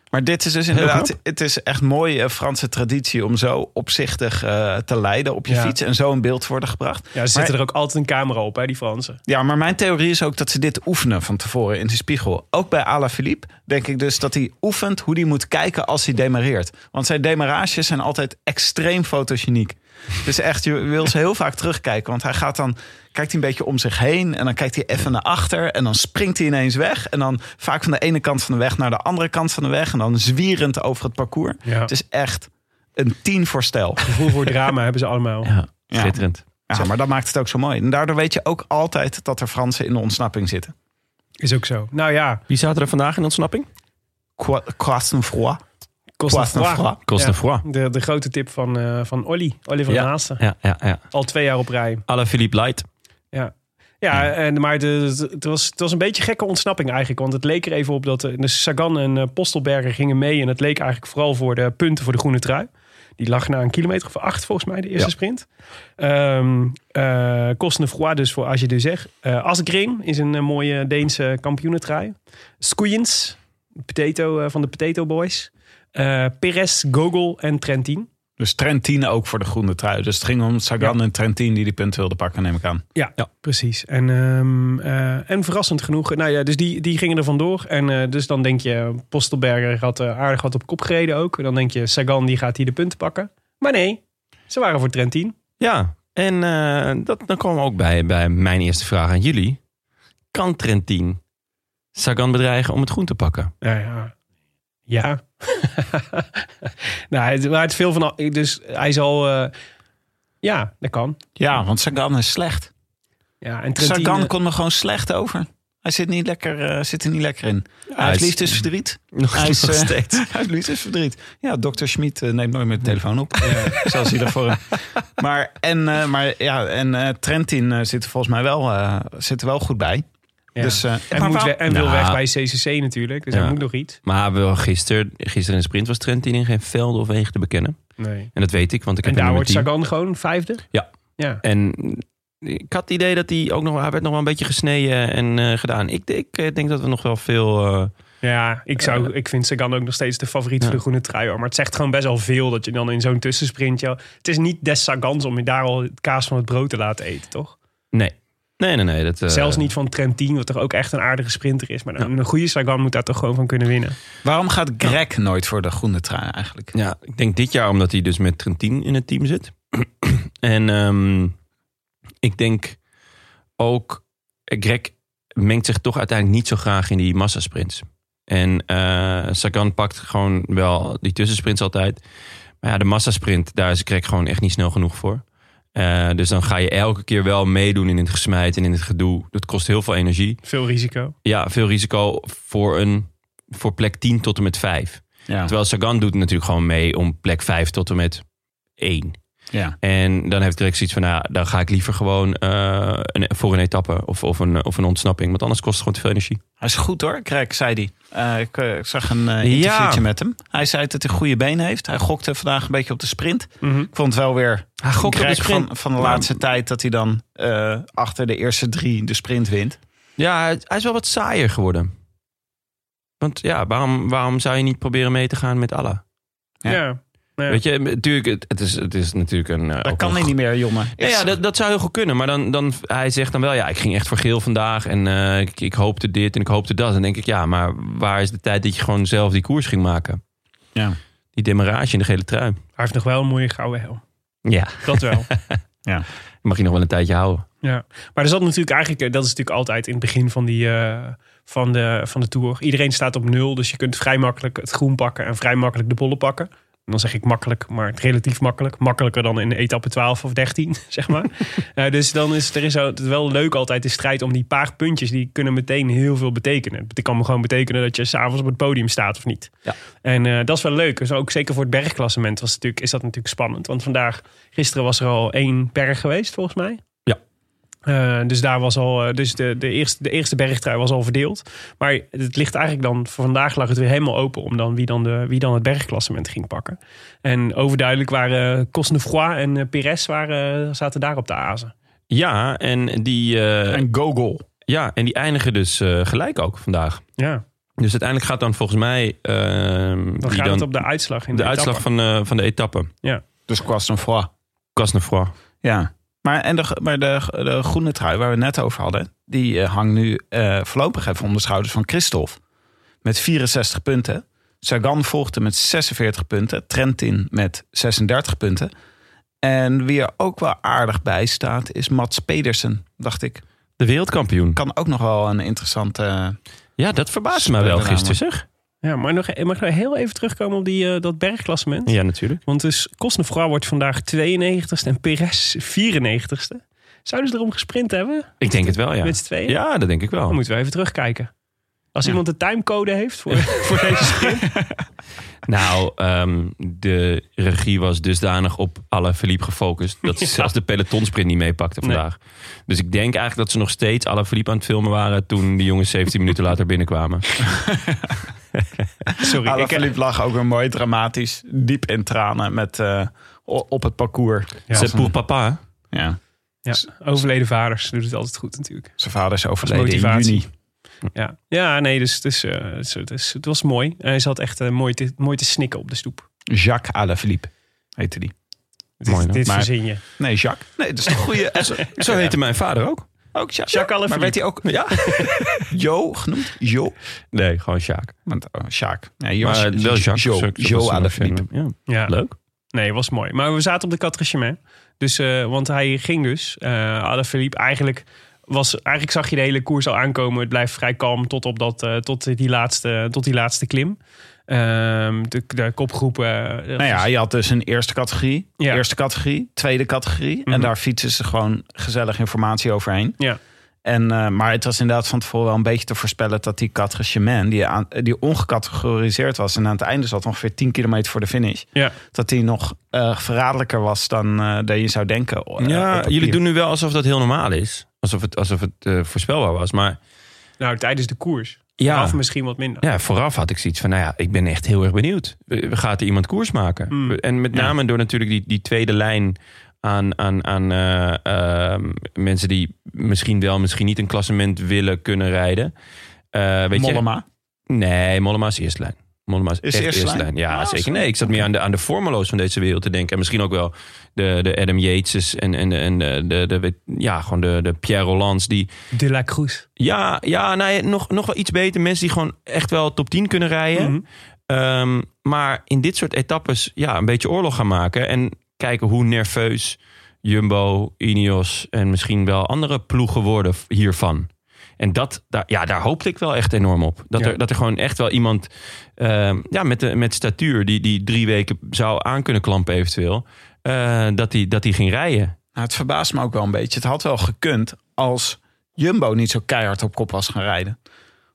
[SPEAKER 5] maar dit is dus inderdaad, het is echt mooie eh, Franse traditie om zo opzichtig eh, te leiden op je
[SPEAKER 2] Ja.
[SPEAKER 5] fiets en zo in beeld te worden gebracht.
[SPEAKER 2] Ja, ze
[SPEAKER 5] Maar-
[SPEAKER 2] zetten er ook altijd een camera op, hè, die Fransen.
[SPEAKER 5] Ja, maar mijn theorie is ook dat ze dit oefenen van tevoren in de spiegel. Ook bij Alaphilippe denk ik dus dat hij oefent hoe hij moet kijken als hij demareert. Want zijn demarages zijn altijd extreem fotogeniek. Dus echt, je wil ze heel vaak terugkijken. Want hij gaat dan, kijkt hij een beetje om zich heen en dan kijkt hij even naar achter. En dan springt hij ineens weg. En dan vaak van de ene kant van de weg naar de andere kant van de weg. En dan zwierend over het parcours.
[SPEAKER 2] Ja.
[SPEAKER 5] Het is echt een tien voor stijl.
[SPEAKER 2] Gevoel voor drama hebben ze allemaal.
[SPEAKER 1] Ja,
[SPEAKER 5] Ja.
[SPEAKER 1] schitterend.
[SPEAKER 5] Ja, maar dat maakt het ook zo mooi. En daardoor weet je ook altijd dat er Fransen in de ontsnapping zitten.
[SPEAKER 2] Is ook zo. Nou ja,
[SPEAKER 1] Wie zaten er vandaag in ontsnapping?
[SPEAKER 5] Qua- Quastenfroid. Poisson-Froid.
[SPEAKER 1] Cosnefroy.
[SPEAKER 2] de, de grote tip van, eh, van Olly, Oliver
[SPEAKER 1] Ja.
[SPEAKER 2] Naasten.
[SPEAKER 1] Ja, ja, ja.
[SPEAKER 2] Al twee jaar op rij.
[SPEAKER 1] Alle Philippe Light.
[SPEAKER 2] Ja, ja en, maar de, de- het, was, het was een beetje gekke ontsnapping eigenlijk. Want het leek er even op dat eh, dus Sagan en eh, Postelberger gingen mee. En het leek eigenlijk vooral voor de punten voor de groene trui. Die lag na een kilometer of acht volgens mij, de eerste sprint. Ehm eh Cosnefroid dus voor als je dus zegt. Eh Asgreen is een eh, mooie Deense kampioenentrui. Skoeiens, potato, eh, van de Potato Boys. Eh Perez, Gogol en Trentin.
[SPEAKER 5] Dus Trentin ook voor de groene trui. Dus het ging om Sagan
[SPEAKER 2] Ja.
[SPEAKER 5] en Trentin die die punten wilden pakken, neem ik aan.
[SPEAKER 2] Ja, precies. En, ehm, eh, en verrassend genoeg. Nou ja, dus die, die gingen er vandoor. En eh, dus dan denk je, Postelberger had eh, aardig wat op kop gereden ook. Dan denk je, Sagan die gaat hier de punten pakken. Maar nee, ze waren voor Trentin.
[SPEAKER 1] Ja, en eh, dat, dan komen we ook bij, bij mijn eerste vraag aan jullie. Kan Trentin Sagan bedreigen om het groen te pakken?
[SPEAKER 2] Nou ja. Ja. nou, het, maar het veel van... al- Dus hij zal... eh, ja, dat kan.
[SPEAKER 5] Ja, want Sagan is slecht.
[SPEAKER 2] Ja, en Trentin...
[SPEAKER 5] Sagan
[SPEAKER 2] eh,
[SPEAKER 5] komt er gewoon slecht over. Hij zit, niet lekker, eh, zit er niet lekker in. hij heeft
[SPEAKER 1] is-
[SPEAKER 5] liefdesverdriet.
[SPEAKER 1] Nog,
[SPEAKER 5] Hij is,
[SPEAKER 1] nog
[SPEAKER 5] eh,
[SPEAKER 1] steeds.
[SPEAKER 5] Hij heeft liefdesverdriet. Ja, dokter Schmid eh, neemt nooit meer de telefoon op. Zelfs hij daarvoor. Maar, en, eh, maar, ja, en eh, Trentin eh, zit er volgens mij wel, eh, zit er wel goed bij.
[SPEAKER 2] ja.
[SPEAKER 5] Dus, eh,
[SPEAKER 2] en
[SPEAKER 5] maar
[SPEAKER 2] moet
[SPEAKER 5] waar-
[SPEAKER 2] we- en wil
[SPEAKER 1] Nou.
[SPEAKER 2] weg bij CCC natuurlijk. Dus
[SPEAKER 1] Ja.
[SPEAKER 2] hij moet nog iets.
[SPEAKER 1] Maar wel gisteren, gisteren in de sprint was Trentin in geen velden of wegen te bekennen.
[SPEAKER 2] Nee.
[SPEAKER 1] En dat weet ik, want ik
[SPEAKER 2] En
[SPEAKER 1] heb hem
[SPEAKER 2] daar
[SPEAKER 1] nummer
[SPEAKER 2] wordt
[SPEAKER 1] 10.
[SPEAKER 2] Sagan gewoon vijfde?
[SPEAKER 1] Ja.
[SPEAKER 2] Ja.
[SPEAKER 1] En ik had het idee dat hij ook nog, hij werd nog wel een beetje gesneden en eh, gedaan. Ik, ik eh, denk dat we nog wel veel. eh,
[SPEAKER 2] Ja, ik, zou, ik vind Sagan ook nog steeds de favoriet voor de groene trui. hoor. Maar het zegt gewoon best wel veel dat je dan in zo'n tussensprint... joh, het is niet des Sagans om je daar al het kaas van het brood te laten eten, toch?
[SPEAKER 1] nee. Nee, nee, nee. Dat, eh,
[SPEAKER 2] Zelfs niet van Trentin, wat toch ook echt een aardige sprinter is. Maar een, een goede Sagan moet daar toch gewoon van kunnen winnen.
[SPEAKER 5] waarom gaat Greg nooit voor de groene trui eigenlijk?
[SPEAKER 1] Ja, ik denk dit jaar omdat hij dus met Trentin in het team zit. en ehm, ik denk ook, eh, Greg mengt zich toch uiteindelijk niet zo graag in die massasprints. En eh, Sagan pakt gewoon wel die tussensprints altijd. Maar ja, de massasprint, daar is Greg gewoon echt niet snel genoeg voor. Eh, dus dan ga je elke keer wel meedoen in het gesmijt en in het gedoe. Dat kost heel veel energie
[SPEAKER 2] Veel risico.
[SPEAKER 1] ja, veel risico voor, een, voor plek 10 tot en met 5.
[SPEAKER 5] Ja.
[SPEAKER 1] Terwijl Sagan doet natuurlijk gewoon mee om plek 5 tot en met 1.
[SPEAKER 5] Ja.
[SPEAKER 1] En dan heeft direct zoiets van, nou, ja, dan ga ik liever gewoon eh, een, voor een etappe of, of, een, of een ontsnapping. Want anders kost het gewoon te veel energie.
[SPEAKER 5] Hij is goed hoor, Krek, zei hij. Eh, ik, eh, ik zag een eh, interviewtje
[SPEAKER 1] Ja.
[SPEAKER 5] met hem. Hij zei dat hij goede benen heeft. Hij gokte vandaag een beetje op de sprint.
[SPEAKER 2] Mhm.
[SPEAKER 5] Ik vond het wel weer
[SPEAKER 1] Hij gokt op de
[SPEAKER 5] Krek
[SPEAKER 1] sprint.
[SPEAKER 5] Van, van de
[SPEAKER 1] Ja.
[SPEAKER 5] laatste tijd dat hij dan eh, achter de eerste drie de sprint wint.
[SPEAKER 1] Ja, hij- hij is wel wat saaier geworden. Want ja, waarom, waarom zou je niet proberen mee te gaan met Allah?
[SPEAKER 5] Ja.
[SPEAKER 2] Ja. Ja.
[SPEAKER 1] Weet je, natuurlijk, het, het, is, het is natuurlijk een... eh, ook
[SPEAKER 5] Dat
[SPEAKER 1] een
[SPEAKER 5] kan hij niet meer, jongen.
[SPEAKER 1] Nou Ja, ja dat, dat zou heel goed kunnen. Maar dan, dan, hij zegt dan wel, ja, ik ging echt voor geel vandaag. En eh, ik, ik hoopte dit en ik hoopte dat. En dan denk ik, ja, maar waar is de tijd dat je gewoon zelf die koers ging maken?
[SPEAKER 5] Ja.
[SPEAKER 1] Die demarrage in de gele trui.
[SPEAKER 2] Hij heeft nog wel een mooie gouden helm.
[SPEAKER 1] Ja.
[SPEAKER 2] Dat wel.
[SPEAKER 1] Mag je nog wel een tijdje houden.
[SPEAKER 2] Ja, maar er zat natuurlijk eigenlijk, eh, dat is natuurlijk altijd in het begin van, die, eh, van, de, van de tour. Iedereen staat op nul, dus je kunt vrij makkelijk het groen pakken en vrij makkelijk de bollen pakken. En dan zeg ik makkelijk, maar het relatief makkelijk. Makkelijker dan in etappe 12 of 13, zeg maar. Eh, dus dan is er is al- het wel leuk altijd de strijd om die paar puntjes. Die kunnen meteen heel veel betekenen. Het kan gewoon betekenen dat je s'avonds op het podium staat of niet.
[SPEAKER 1] Ja.
[SPEAKER 2] En eh, dat is wel leuk. Dus ook zeker voor het bergklassement was het natuurlijk, is dat natuurlijk spannend. Want vandaag, gisteren was er al één berg geweest volgens mij. Eh, dus daar was al, eh, dus de, de, eerste, de eerste bergtrui was al verdeeld. Maar het ligt eigenlijk dan, voor vandaag lag het weer helemaal open om dan wie dan, de, wie dan het bergklassement ging pakken. En overduidelijk waren eh, Cosnefroid en eh, Perez waren, eh, zaten daar op de azen.
[SPEAKER 1] Ja, en die, eh,
[SPEAKER 5] Een go-goal.
[SPEAKER 1] ja, en die eindigen dus eh, gelijk ook vandaag.
[SPEAKER 2] Ja,
[SPEAKER 1] Dus uiteindelijk gaat dan volgens mij... eh,
[SPEAKER 2] dan
[SPEAKER 1] die
[SPEAKER 2] gaat
[SPEAKER 1] dan
[SPEAKER 2] het op de uitslag. In
[SPEAKER 1] de,
[SPEAKER 2] de,
[SPEAKER 1] uitslag
[SPEAKER 2] etappe.
[SPEAKER 1] van, eh, van de etappe.
[SPEAKER 5] Dus Quasnefroid.
[SPEAKER 1] Casnefroid.
[SPEAKER 5] Ja. Maar, en de, maar de, de groene trui waar we het net over hadden, die eh, hangt nu eh, voorlopig even om de schouders van Christophe. Met 64 punten. Sagan volgde met 46 punten. Trentin met 36 punten. En wie er ook wel aardig bij staat, is Mats Pedersen, dacht ik.
[SPEAKER 1] De wereldkampioen.
[SPEAKER 5] Kan ook nog wel een interessante...
[SPEAKER 1] Ja, dat verbaasde mij wel
[SPEAKER 5] Spannende
[SPEAKER 1] gisteren, zeg.
[SPEAKER 2] Ja, maar nog, mag ik nou heel even terugkomen op die, eh, dat bergklassement?
[SPEAKER 1] Ja, natuurlijk.
[SPEAKER 2] Want dus Cosnefroid wordt vandaag 92ste en Perez 94ste. Zouden ze erom gesprint hebben?
[SPEAKER 1] Ik denk het wel, ja.
[SPEAKER 2] Met z'n tweeën?
[SPEAKER 1] Ja, dat denk ik wel.
[SPEAKER 2] Dan moeten we even terugkijken. Als iemand de timecode heeft voor, voor deze sprint.
[SPEAKER 1] Nou, ehm, de regie was dusdanig op alle Philippe gefocust. Dat ze zelfs de pelotonsprint niet meepakte
[SPEAKER 2] Nee.
[SPEAKER 1] vandaag. Dus ik denk eigenlijk dat ze nog steeds alle Philippe aan het filmen waren. toen die jongens 17 minuten later binnenkwamen.
[SPEAKER 2] Sorry, ik, eh,
[SPEAKER 5] Alaphilippe lag ook weer mooi dramatisch, diep in tranen met, eh, o- op het parcours.
[SPEAKER 2] Ja.
[SPEAKER 1] C'est pour papa. hè?
[SPEAKER 5] Ja,
[SPEAKER 2] ja, overleden vaders doen het altijd goed natuurlijk.
[SPEAKER 5] zijn vader is overleden in
[SPEAKER 2] motivatie.
[SPEAKER 5] juni.
[SPEAKER 2] Ja, ja nee, dus, dus, eh, het is- het is- het was mooi. En hij zat echt eh, mooi, te, mooi te snikken op de stoep.
[SPEAKER 5] Jacques Alaphilippe heette die.
[SPEAKER 2] Dit,
[SPEAKER 1] Mooi, hè?
[SPEAKER 2] dit
[SPEAKER 5] Maar-
[SPEAKER 2] verzin je.
[SPEAKER 5] Nee, Jacques. Nee, dat is een goede.
[SPEAKER 1] Zo heette mijn vader ook.
[SPEAKER 5] ook Jacques.
[SPEAKER 2] Jacques
[SPEAKER 5] Ja, Maar werd
[SPEAKER 2] Alaphilippe.
[SPEAKER 5] hij ook ja? Jo genoemd? Jo.
[SPEAKER 1] Nee, gewoon Sjaak.
[SPEAKER 5] Want oh, Jacques. Nee, Jo-
[SPEAKER 1] Maar wel Jacques.
[SPEAKER 5] Jo,
[SPEAKER 1] zo- zo-
[SPEAKER 5] jo,
[SPEAKER 1] zo- zo-
[SPEAKER 5] Alaphilippe.
[SPEAKER 1] Ja.
[SPEAKER 2] Ja.
[SPEAKER 1] Leuk.
[SPEAKER 2] Nee, was mooi. Maar we zaten op de Catricement. Dus, eh, want hij ging dus. eh Alaphilippe eigenlijk... Was, eigenlijk zag je de hele koers al aankomen. Het blijft vrij kalm tot, op dat, eh, tot, die, laatste, tot die laatste klim. Ehm, de, de kopgroepen... eh,
[SPEAKER 5] Nou ja, je had dus een eerste categorie,
[SPEAKER 2] Ja.
[SPEAKER 5] eerste categorie, tweede categorie.
[SPEAKER 2] Mhm.
[SPEAKER 5] En daar fietsen ze gewoon gezellig informatie overheen.
[SPEAKER 2] Ja.
[SPEAKER 5] En, eh, maar het was inderdaad van tevoren wel een beetje te voorspellen dat die categorie die, aan, die ongecategoriseerd was en aan het einde zat ongeveer 10 kilometer voor de finish,
[SPEAKER 2] ja.
[SPEAKER 5] dat die nog eh, verraderlijker was dan, eh, dan je zou denken. eh, op
[SPEAKER 1] ja,
[SPEAKER 5] papier.
[SPEAKER 1] jullie doen nu wel alsof dat heel normaal is. Alsof het, alsof het eh, voorspelbaar was. Maar
[SPEAKER 2] Nou, tijdens de koers.
[SPEAKER 1] ja,
[SPEAKER 2] Of misschien wat minder.
[SPEAKER 1] Ja, vooraf had ik zoiets van, nou ja, ik ben echt heel erg benieuwd. Eh, Gaat er iemand koers maken?
[SPEAKER 2] Mm.
[SPEAKER 1] En met name door natuurlijk die, die tweede lijn aan, aan, aan eh, ehm, mensen die misschien wel, misschien niet een klassement willen kunnen rijden. Eh, weet
[SPEAKER 5] Mollema. Nou,
[SPEAKER 1] Je? Nee, Mollema is eerste lijn. Mollema is,
[SPEAKER 5] Is
[SPEAKER 1] echt
[SPEAKER 5] eerste
[SPEAKER 1] eerste lijn.
[SPEAKER 5] lijn?
[SPEAKER 1] Ja,
[SPEAKER 5] Ah,
[SPEAKER 1] zeker.
[SPEAKER 5] zo.
[SPEAKER 1] Nee, ik zat meer aan de, aan de formeloos van deze wereld te denken. En misschien ook wel de, de Adam Yates en, en, en de, de, de, de- ja, gewoon de, de Pierre Rollands. Die,
[SPEAKER 2] De La Cruz.
[SPEAKER 1] ja, ja nou, ja, nog, nog wel iets beter. Mensen die gewoon echt wel top 10 kunnen rijden.
[SPEAKER 2] Mhm.
[SPEAKER 1] Ehm, maar in dit soort etappes ja, een beetje oorlog gaan maken. En kijken hoe nerveus Jumbo, Ineos en misschien wel andere ploegen worden v- hiervan. En dat, daar, ja, daar hoopte ik wel echt enorm op. Dat,
[SPEAKER 2] Ja.
[SPEAKER 1] er, dat er gewoon echt wel iemand ehm, ja, met, de- met statuur... Die, die drie weken zou aan kunnen klampen eventueel... eh, dat die, dat die ging rijden.
[SPEAKER 5] Nou, het verbaast me ook wel een beetje. Het had wel gekund als Jumbo niet zo keihard op kop was gaan rijden.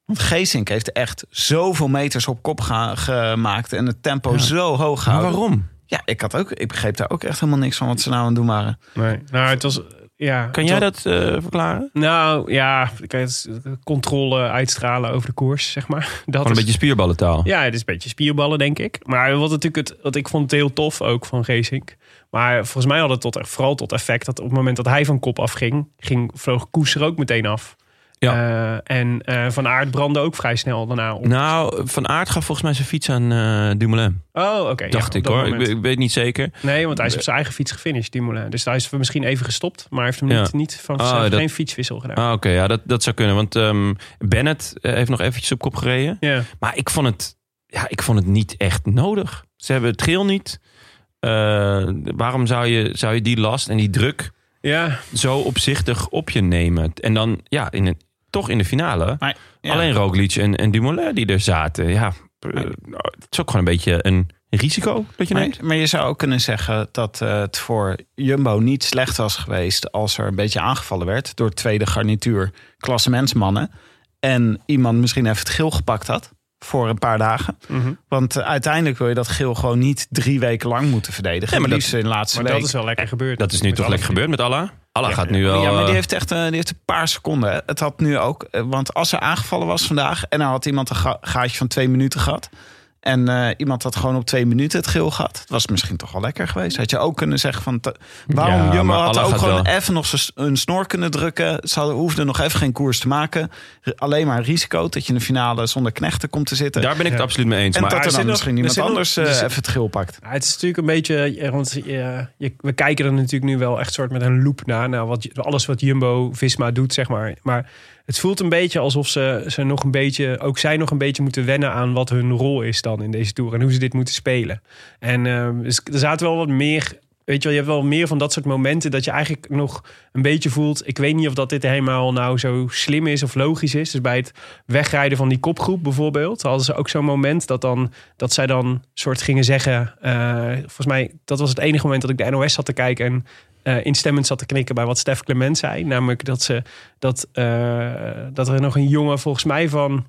[SPEAKER 5] Want Geesink
[SPEAKER 1] Nou,
[SPEAKER 5] heeft echt zoveel meters op kop ga- gemaakt en het tempo zo hoog gehouden.
[SPEAKER 1] waarom?
[SPEAKER 5] Ja, ik, had ook, ik begreep daar ook echt helemaal niks van wat ze nou aan het doen waren.
[SPEAKER 2] Nee. Nou, het was... Ja,
[SPEAKER 1] Kan jij dat eh, verklaren?
[SPEAKER 2] Nou ja, kijk, het is controle uitstralen over de koers, zeg maar. Dat
[SPEAKER 1] Gewoon
[SPEAKER 2] is-
[SPEAKER 1] een beetje spierballentaal.
[SPEAKER 2] Ja, het is een beetje spierballen, denk ik. Maar wat natuurlijk het, wat ik vond het heel tof ook van Racing. Maar volgens mij had het tot, e- vooral tot effect dat op het moment dat hij van kop afging, ging, vloog Koes er ook meteen af. Eh, en eh, Van Aert brandde ook vrij snel daarna op.
[SPEAKER 1] Nou, Van Aard gaf volgens mij zijn fiets aan eh Dumoulin.
[SPEAKER 2] Oh, oké. ja,
[SPEAKER 1] Dacht
[SPEAKER 2] op
[SPEAKER 1] ik
[SPEAKER 2] dat
[SPEAKER 1] hoor. Ik,
[SPEAKER 2] moment.
[SPEAKER 1] weet- ik weet niet zeker.
[SPEAKER 2] Nee, want hij is op zijn eigen fiets gefinished, die Moulin. Dus hij is misschien even gestopt, maar hij heeft hem
[SPEAKER 1] Ja.
[SPEAKER 2] niet, niet van,
[SPEAKER 1] Ah,
[SPEAKER 2] ze hebben
[SPEAKER 1] dat-
[SPEAKER 2] geen fietswissel gedaan.
[SPEAKER 1] Ah, Oké, ja, dat, dat zou kunnen. Want ehm, Bennett eh, heeft nog eventjes op kop gereden.
[SPEAKER 2] Ja.
[SPEAKER 1] Maar ik vond het, ja, ik vond het niet echt nodig. Ze hebben het geel niet. Eh, waarom zou je, zou je die last en die druk
[SPEAKER 2] ja,
[SPEAKER 1] zo opzichtig op je nemen? En dan, ja, in een, toch in de finale.
[SPEAKER 5] Maar, ja.
[SPEAKER 1] Alleen Roglic en, en Dumoulin die er zaten. Ja, eh, het is ook gewoon een beetje een risico dat je
[SPEAKER 5] Maar,
[SPEAKER 1] neemt.
[SPEAKER 5] maar je zou ook kunnen zeggen dat eh, het voor Jumbo niet slecht was geweest als er een beetje aangevallen werd door tweede garnituur klassementsmannen. En iemand misschien even het geel gepakt had voor een paar dagen.
[SPEAKER 1] Mhm.
[SPEAKER 5] Want eh, uiteindelijk wil je dat geel gewoon niet drie weken lang moeten verdedigen.
[SPEAKER 1] Nee, maar dat-
[SPEAKER 5] liefst in de laatste
[SPEAKER 2] maar
[SPEAKER 5] week.
[SPEAKER 2] dat is wel lekker gebeurd.
[SPEAKER 1] Dat is nu
[SPEAKER 2] Met
[SPEAKER 1] toch
[SPEAKER 2] alle
[SPEAKER 1] lekker gebeurd met Allah? Allah gaat nu wel...
[SPEAKER 5] Ja, maar die
[SPEAKER 1] eh,
[SPEAKER 5] heeft echt eh, die heeft een paar seconden. hè. Het had nu ook, eh, want als er aangevallen was vandaag en er had iemand een ga- gaatje van twee minuten gehad. En eh, iemand had gewoon op twee minuten het geel gehad. Dat was misschien toch wel lekker geweest. Had je ook kunnen zeggen van... te- waarom
[SPEAKER 1] Ja,
[SPEAKER 5] Jumbo
[SPEAKER 1] maar
[SPEAKER 5] had
[SPEAKER 1] Allah
[SPEAKER 5] ook
[SPEAKER 1] gaat
[SPEAKER 5] gewoon
[SPEAKER 1] wel.
[SPEAKER 5] even nog z'n s- een snor kunnen drukken. Ze hadden, hoefden nog even geen koers te maken. R- alleen maar risico dat je in de finale zonder knechten komt te zitten.
[SPEAKER 1] daar ben ik het
[SPEAKER 2] Ja.
[SPEAKER 1] absoluut mee eens.
[SPEAKER 5] en
[SPEAKER 1] Maar
[SPEAKER 5] dat
[SPEAKER 2] er
[SPEAKER 5] er
[SPEAKER 2] zit
[SPEAKER 5] dan
[SPEAKER 2] nog- er
[SPEAKER 5] misschien iemand
[SPEAKER 2] zit nog-
[SPEAKER 5] anders eh,
[SPEAKER 2] er zit-
[SPEAKER 5] even het geel pakt.
[SPEAKER 2] Ja, het is natuurlijk een beetje, eh, want eh, je, we kijken er natuurlijk nu wel echt soort met een loop naar, naar wat, alles wat Jumbo Visma doet, zeg maar. Maar het voelt een beetje alsof ze, ze nog een beetje, ook zij nog een beetje moeten wennen aan wat hun rol is dan in deze tour en hoe ze dit moeten spelen. En ehm, dus er zaten wel wat meer, weet je wel, je hebt wel meer van dat soort momenten dat je eigenlijk nog een beetje voelt, ik weet niet of dat dit helemaal nou zo slim is of logisch is. Dus bij het wegrijden van die kopgroep bijvoorbeeld, hadden ze ook zo'n moment dat dan dat zij dan soort gingen zeggen. eh, volgens mij, dat was het enige moment dat ik de NOS zat te kijken en eh, instemmend zat te knikken bij wat Stef Clement zei. Namelijk dat ze dat, eh, dat er nog een jongen volgens mij van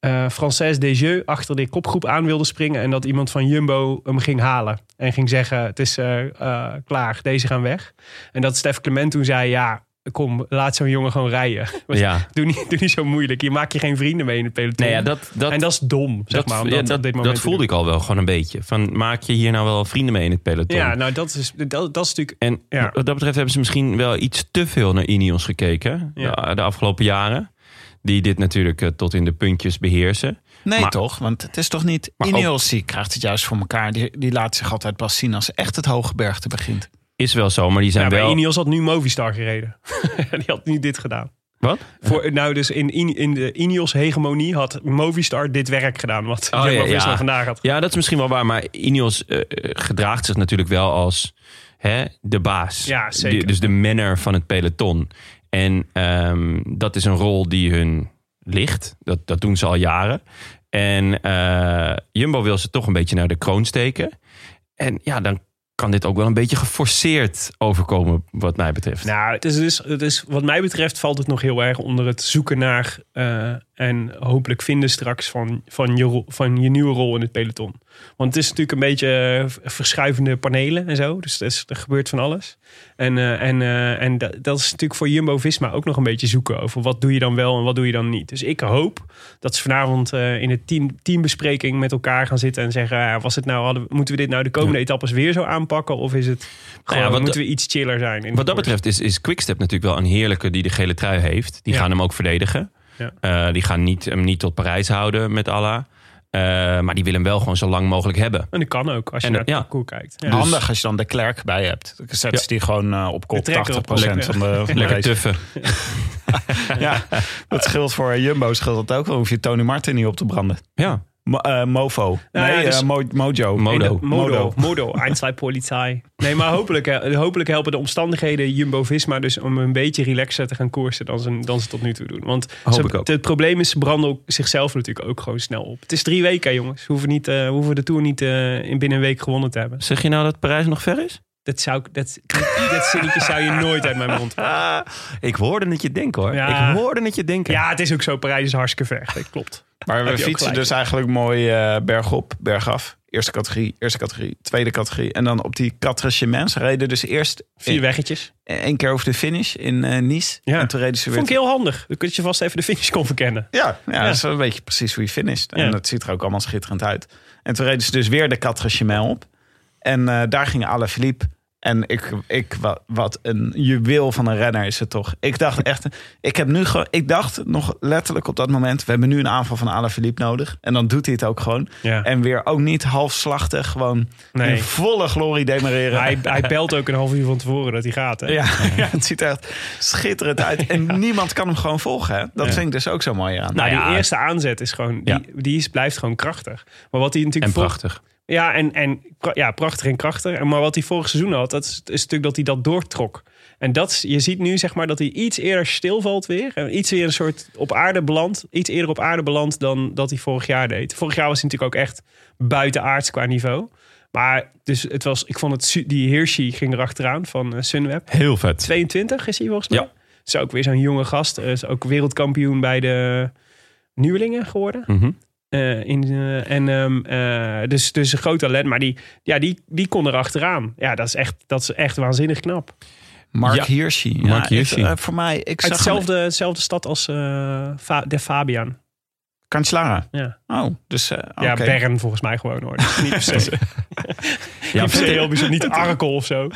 [SPEAKER 2] eh Française Desjeux achter de kopgroep aan wilde springen. En dat iemand van Jumbo hem ging halen. En ging zeggen: Het is eh, eh, klaar, deze gaan weg. En dat Stef Clement toen zei: Ja. Kom, laat zo'n jongen gewoon rijden.
[SPEAKER 1] Ja.
[SPEAKER 2] doe, niet, doe niet zo moeilijk. Je maakt je geen vrienden mee in het peloton.
[SPEAKER 1] Nee, ja, dat, dat,
[SPEAKER 2] en dat is dom, zeg
[SPEAKER 1] dat,
[SPEAKER 2] maar. om
[SPEAKER 1] ja,
[SPEAKER 2] dat,
[SPEAKER 1] dat,
[SPEAKER 2] op dit
[SPEAKER 1] dat
[SPEAKER 2] moment te
[SPEAKER 1] voelde
[SPEAKER 2] doen.
[SPEAKER 1] ik al wel gewoon een beetje. Van, maak je hier nou wel vrienden mee in het peloton?
[SPEAKER 2] Ja, nou dat is, dat, dat is natuurlijk...
[SPEAKER 1] En
[SPEAKER 2] Ja.
[SPEAKER 1] wat dat betreft hebben ze misschien wel iets te veel naar Ineos gekeken
[SPEAKER 2] Ja.
[SPEAKER 1] de, de afgelopen jaren. Die dit natuurlijk eh, tot in de puntjes beheersen.
[SPEAKER 5] Nee,
[SPEAKER 1] Maar-
[SPEAKER 5] toch? Want het is toch niet.
[SPEAKER 1] Maar ook-
[SPEAKER 5] Ineos die krijgt het juist voor elkaar. Die, die laat zich altijd pas zien als echt het hoge bergte begint.
[SPEAKER 1] Is wel zo, maar die zijn
[SPEAKER 2] Ja, bij
[SPEAKER 1] wel...
[SPEAKER 2] nou, Ineos had nu Movistar gereden. Die had nu dit gedaan.
[SPEAKER 1] Wat?
[SPEAKER 2] Voor, nou, dus in, in, in de Ineos-hegemonie had Movistar dit werk gedaan. Wat
[SPEAKER 1] Oh,
[SPEAKER 2] Jumbo
[SPEAKER 1] ja, ja.
[SPEAKER 2] Visma vandaag had.
[SPEAKER 1] Ja, dat is misschien wel waar. Maar Ineos eh, eh, gedraagt zich natuurlijk wel als hè, de baas.
[SPEAKER 2] Ja, zeker.
[SPEAKER 1] De- dus de manner van het peloton. En ehm, dat is een rol die hun ligt. Dat, dat doen ze al jaren. En eh, Jumbo wil ze toch een beetje naar de kroon steken. En ja, dan kan dit ook wel een beetje geforceerd overkomen, wat mij betreft.
[SPEAKER 2] Nou, het is, dus, het is, wat mij betreft valt het nog heel erg onder het zoeken naar eh, en hopelijk vinden straks van, van, je, rol- van je nieuwe rol in het peloton. Want het is natuurlijk een beetje eh, verschuivende panelen en zo. Dus er, is- er gebeurt van alles. En, eh, en, eh, en dat, dat is natuurlijk voor Jumbo Visma ook nog een beetje zoeken over wat doe je dan wel en wat doe je dan niet. Dus ik hoop dat ze vanavond eh, in de team, teambespreking met elkaar gaan zitten en zeggen: ja, was het nou, hadden, we- moeten we dit nou de komende etappes weer zo aanpakken? Of is het gewoon,
[SPEAKER 1] Nou wat-
[SPEAKER 2] moeten we iets chiller zijn? in de
[SPEAKER 1] Wat dat
[SPEAKER 2] koers?
[SPEAKER 1] betreft is, is Quickstep natuurlijk wel een heerlijke die de gele trui heeft. Die
[SPEAKER 2] Ja.
[SPEAKER 1] gaan hem ook verdedigen.
[SPEAKER 2] Ja.
[SPEAKER 1] Eh, die gaan niet, hem niet tot Parijs houden met Allah. Eh, maar die willen hem wel gewoon zo lang mogelijk hebben.
[SPEAKER 2] En dat kan ook, als je
[SPEAKER 1] En
[SPEAKER 2] naar
[SPEAKER 1] dat-
[SPEAKER 2] het
[SPEAKER 1] ja. Dus
[SPEAKER 2] parcours kijkt. Ja.
[SPEAKER 5] Handig als je dan de klerk bij hebt. Dan zet ze die gewoon eh, op
[SPEAKER 2] De
[SPEAKER 5] kop. 80%
[SPEAKER 2] trekker op kop, ja.
[SPEAKER 5] van de, van de
[SPEAKER 1] Lekker
[SPEAKER 5] race.
[SPEAKER 1] tuffen.
[SPEAKER 5] Ja, dat scheelt voor eh, Jumbo scheelt dat ook. Dan hoef je Tony Martin niet op te branden.
[SPEAKER 1] Ja.
[SPEAKER 5] Mo- eh, Mofo.
[SPEAKER 2] Nou ja,
[SPEAKER 5] nee,
[SPEAKER 2] dus-
[SPEAKER 5] eh, Mo- Mojo.
[SPEAKER 1] Mo- Modo.
[SPEAKER 2] In de- Modo.
[SPEAKER 5] Modo.
[SPEAKER 2] Modo. Einzelpolizei. Nee, maar hopelijk, eh, hopelijk helpen de omstandigheden Jumbo-Visma dus om een beetje relaxer te gaan koersen dan ze, dan ze tot nu toe doen. Want
[SPEAKER 1] Hoop
[SPEAKER 2] ze-
[SPEAKER 1] ik ook.
[SPEAKER 2] het probleem is, ze branden ook zichzelf natuurlijk ook gewoon snel op. Het is drie weken, jongens. We hoeven, niet, eh, we hoeven de Tour niet eh, in binnen een week gewonnen te hebben.
[SPEAKER 1] Zeg je nou dat Parijs nog ver is?
[SPEAKER 2] Dat, zou, ik- dat, dat zinnetje zou je nooit uit mijn mond
[SPEAKER 1] Ah, ik hoorde het je denken hoor.
[SPEAKER 2] Ja.
[SPEAKER 1] Ik hoorde het je denken.
[SPEAKER 2] Ja, het is ook zo. Parijs is hartstikke ver. Dat klopt.
[SPEAKER 5] Maar
[SPEAKER 2] Heb
[SPEAKER 5] we
[SPEAKER 2] je ook
[SPEAKER 5] fietsen
[SPEAKER 2] gelijk.
[SPEAKER 5] dus eigenlijk mooi eh bergop, bergaf. Eerste categorie, eerste categorie, tweede categorie. En dan op die Quatre Chemins reden dus eerst
[SPEAKER 2] Vier weggetjes.
[SPEAKER 5] Eh, één keer over de finish in eh, Nice.
[SPEAKER 2] Ja.
[SPEAKER 5] En toen reden ze weer
[SPEAKER 2] Vond ik heel handig. Dan kun je vast even de finish kon verkennen.
[SPEAKER 5] Ja, ja,
[SPEAKER 2] Ja.
[SPEAKER 5] dat is wel een beetje precies hoe je finisht. En
[SPEAKER 2] Ja.
[SPEAKER 5] dat ziet er ook allemaal schitterend uit. En toen reden ze dus weer de Quatre Chemins op. En eh, daar ging Alaphilippe. En ik, ik, wa- wat een juweel van een renner is het toch. Ik dacht echt, ik, heb nu ge- ik dacht nog letterlijk op dat moment... we hebben nu een aanval van Alaphilippe nodig. En dan doet hij het ook gewoon.
[SPEAKER 2] Ja.
[SPEAKER 5] En weer ook niet halfslachtig, gewoon
[SPEAKER 2] Nee.
[SPEAKER 5] in volle glorie demareren.
[SPEAKER 2] Hij, hij belt ook een half uur van tevoren dat hij gaat. Hè?
[SPEAKER 5] Ja, ja, het ziet er echt schitterend uit. En niemand kan hem gewoon volgen. Hè? Dat vind ik dus ook zo mooi aan.
[SPEAKER 2] Nou,
[SPEAKER 1] Nou ja.
[SPEAKER 2] die eerste aanzet is gewoon, die, die is, blijft gewoon krachtig. Maar wat hij
[SPEAKER 1] En
[SPEAKER 2] natuurlijk vol-
[SPEAKER 1] prachtig.
[SPEAKER 2] Ja, en, en pra- ja, prachtig en krachtig. En Maar wat hij vorig seizoen had, dat is, is natuurlijk dat hij dat doortrok. En dat is, je ziet nu zeg maar dat hij iets eerder stilvalt weer. En iets weer een soort op aarde belandt. Iets eerder op aarde belandt dan dat hij vorig jaar deed. Vorig jaar was hij natuurlijk ook echt buitenaards qua niveau. Maar dus het was, ik vond het, su- die Hirschi ging erachteraan van eh, Sunweb.
[SPEAKER 1] Heel vet.
[SPEAKER 2] 22 is hij volgens mij.
[SPEAKER 1] Ja.
[SPEAKER 2] Is ook weer zo'n jonge gast. Eh, Is ook wereldkampioen bij de nieuwelingen geworden.
[SPEAKER 1] Mhm.
[SPEAKER 2] Eh, in, eh, en, ehm, eh, dus, dus een groot talent. Maar die, ja, die, die kon er achteraan. Ja, dat is echt, dat is echt waanzinnig knap.
[SPEAKER 5] Mark
[SPEAKER 1] Ja.
[SPEAKER 5] Hirschi.
[SPEAKER 1] Mark
[SPEAKER 5] Ja, ik-
[SPEAKER 1] Hirschi.
[SPEAKER 5] eh, voor mij, ik
[SPEAKER 2] Uit
[SPEAKER 5] zag
[SPEAKER 2] dezelfde, dezelfde stad als eh, Fa- de Fabian.
[SPEAKER 5] hem- Cancellara.
[SPEAKER 2] Ja,
[SPEAKER 5] Oh, dus... eh
[SPEAKER 2] ja
[SPEAKER 5] oké.
[SPEAKER 2] Bern volgens mij gewoon hoor. Niet Ah, per se, niet
[SPEAKER 1] Ja,
[SPEAKER 2] per se
[SPEAKER 1] vet,
[SPEAKER 2] heel bijzonder. Niet Arkel of zo.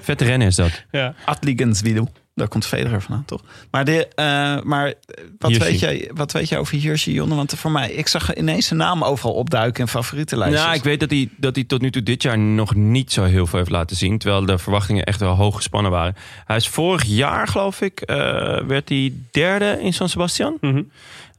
[SPEAKER 1] vet rennen is dat.
[SPEAKER 2] Ja.
[SPEAKER 5] Adligenswiedel. Daar komt Federer vandaan, toch? Maar, de, eh, maar eh, wat,
[SPEAKER 1] Hirschi.
[SPEAKER 5] weet jij, wat weet jij over Hirschi, Jonne? Want voor mij, ik zag ineens zijn naam overal opduiken in favorietenlijstjes.
[SPEAKER 1] Nou, ik weet dat hij, dat hij tot nu toe dit jaar nog niet zo heel veel heeft laten zien. Terwijl de verwachtingen echt wel hoog gespannen waren. Hij is vorig jaar, geloof ik, eh, werd hij derde in San Sebastian.
[SPEAKER 2] Mhm.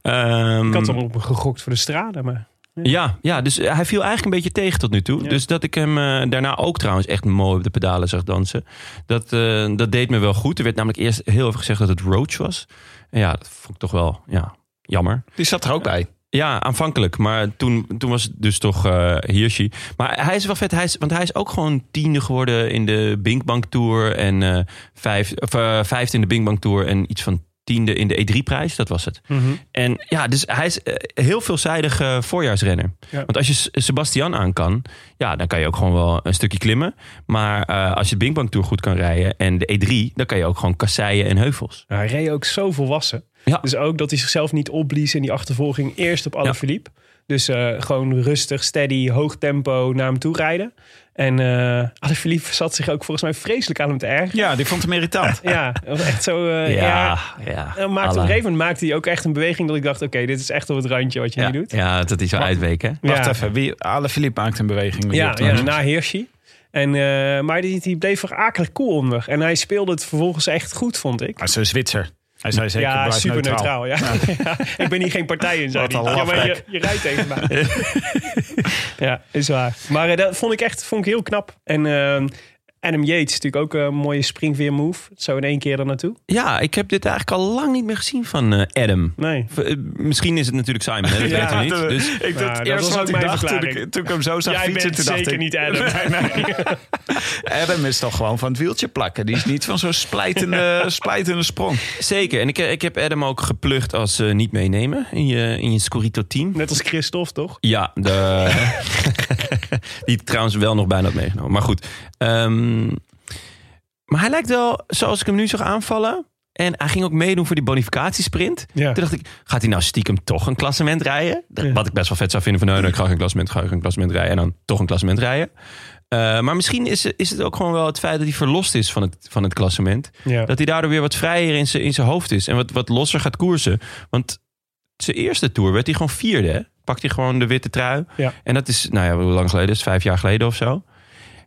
[SPEAKER 1] Ehm,
[SPEAKER 2] Ik had hem op gegokt voor de straden. Maar
[SPEAKER 1] ja, ja, dus hij viel eigenlijk een beetje tegen tot nu toe.
[SPEAKER 2] Ja.
[SPEAKER 1] Dus dat ik hem eh, daarna ook trouwens echt mooi op de pedalen zag dansen. Dat, eh, dat deed me wel goed. Er werd namelijk eerst heel even gezegd dat het Roach was. En ja, dat vond ik toch wel ja, jammer.
[SPEAKER 5] Die zat er ook bij.
[SPEAKER 1] Ja, aanvankelijk. Maar toen, toen was het dus toch eh Hirschi. Maar hij is wel vet. Hij is, want hij is ook gewoon tiende geworden in de Binkbank Tour. En eh, vijf, of, eh, vijfde in de Binkbank Tour. En iets van tiende in de E3-prijs. Dat was het.
[SPEAKER 2] Mhm.
[SPEAKER 1] En ja, dus hij is eh, heel veelzijdig eh, voorjaarsrenner.
[SPEAKER 2] Ja.
[SPEAKER 1] Want als je S- Sebastian aan kan, ja, dan kan je ook gewoon wel een stukje klimmen. Maar eh, als je de Binkbank Tour goed kan rijden en de E3, dan kan je ook gewoon kasseien en heuvels.
[SPEAKER 2] Nou, hij reed ook zo volwassen.
[SPEAKER 1] Ja.
[SPEAKER 2] Dus ook dat hij zichzelf niet opblies in die achtervolging. Eerst op Alaphilippe. Dus eh, gewoon rustig, steady, hoog tempo naar hem toe rijden. En eh Alaphilippe zat zich ook volgens mij vreselijk aan hem te erg.
[SPEAKER 5] Ja, die vond hem irritant.
[SPEAKER 2] Ja, dat was echt zo... eh, ja. Eh,
[SPEAKER 1] ja. ja.
[SPEAKER 2] En maakte op een
[SPEAKER 1] Allah.
[SPEAKER 2] gegeven moment maakte hij ook echt een beweging dat ik dacht... oké, dit is echt op het randje wat je
[SPEAKER 1] ja,
[SPEAKER 2] nu doet.
[SPEAKER 1] ja, dat hij zo uitweek, hè?
[SPEAKER 5] Wacht
[SPEAKER 2] Ja.
[SPEAKER 5] even, wie, Alaphilippe maakt een beweging. die
[SPEAKER 2] Ja,
[SPEAKER 5] op de-
[SPEAKER 2] ja na Hirschi. En, eh, maar die, die bleef er akelig cool onder. En hij speelde het vervolgens echt goed, vond ik.
[SPEAKER 5] Hij is een Ah, Zwitser. Hij zei zeker,
[SPEAKER 2] Ja,
[SPEAKER 5] blijf
[SPEAKER 2] super neutraal. ja. Ja, Ik ben hier geen partij in, zei
[SPEAKER 5] Wat
[SPEAKER 2] hij.
[SPEAKER 5] een
[SPEAKER 2] Ja, maar je,
[SPEAKER 5] lafbek.
[SPEAKER 2] je rijdt tegen mij. ja, is waar. Maar eh, dat vond ik echt vond ik heel knap. En ehm, Adam Yates natuurlijk ook een mooie springveer move. Zo in één keer er naartoe.
[SPEAKER 1] Ja, ik heb dit eigenlijk al lang niet meer gezien van eh, Adam.
[SPEAKER 2] Nee.
[SPEAKER 1] V- eh, Misschien is het natuurlijk Simon, hè? dat weten
[SPEAKER 2] Ja,
[SPEAKER 1] we
[SPEAKER 5] dat-
[SPEAKER 1] niet. Dus,
[SPEAKER 5] Ik
[SPEAKER 2] Nou,
[SPEAKER 5] dacht
[SPEAKER 2] dat
[SPEAKER 5] eerst
[SPEAKER 2] was
[SPEAKER 5] wat
[SPEAKER 2] ook
[SPEAKER 5] ik
[SPEAKER 2] mijn
[SPEAKER 5] dacht toen ik,
[SPEAKER 2] verklaring.
[SPEAKER 5] toen ik hem zo zag
[SPEAKER 2] Jij
[SPEAKER 5] fietsen.
[SPEAKER 2] bent
[SPEAKER 5] Toen dacht
[SPEAKER 2] zeker
[SPEAKER 5] ik,
[SPEAKER 2] niet e- Adam.
[SPEAKER 5] Adam is toch gewoon van het wieltje plakken. Die is niet van zo'n splijtende, splijtende sprong.
[SPEAKER 1] zeker, en ik, eh, ik heb Adam ook geplucht als eh, niet meenemen in je, in je Scorito team.
[SPEAKER 2] Net als Christophe, toch?
[SPEAKER 1] Ja, de... die trouwens wel nog bijna had meegenomen. Maar goed. Ehm, maar hij lijkt wel, zoals ik hem nu zag aanvallen... en hij ging ook meedoen voor die bonificatiesprint.
[SPEAKER 2] Ja.
[SPEAKER 1] Toen dacht ik, gaat hij nou stiekem toch een klassement rijden? Dat- Wat ik best wel vet zou vinden van... nee, nee, ik ga geen klassement, ga geen klassement rijden... en dan toch een klassement rijden. Eh, maar misschien is, is het ook gewoon wel het feit dat hij verlost is van het, van het klassement.
[SPEAKER 2] Ja.
[SPEAKER 1] Dat hij daardoor weer wat vrijer in zijn in zijn hoofd is. En wat, wat losser gaat koersen. Want zijn eerste tour werd hij gewoon vierde. hè? Pakte hij gewoon de witte trui.
[SPEAKER 2] Ja.
[SPEAKER 1] En dat is, nou ja, hoe lang geleden is het? Vijf jaar geleden of zo.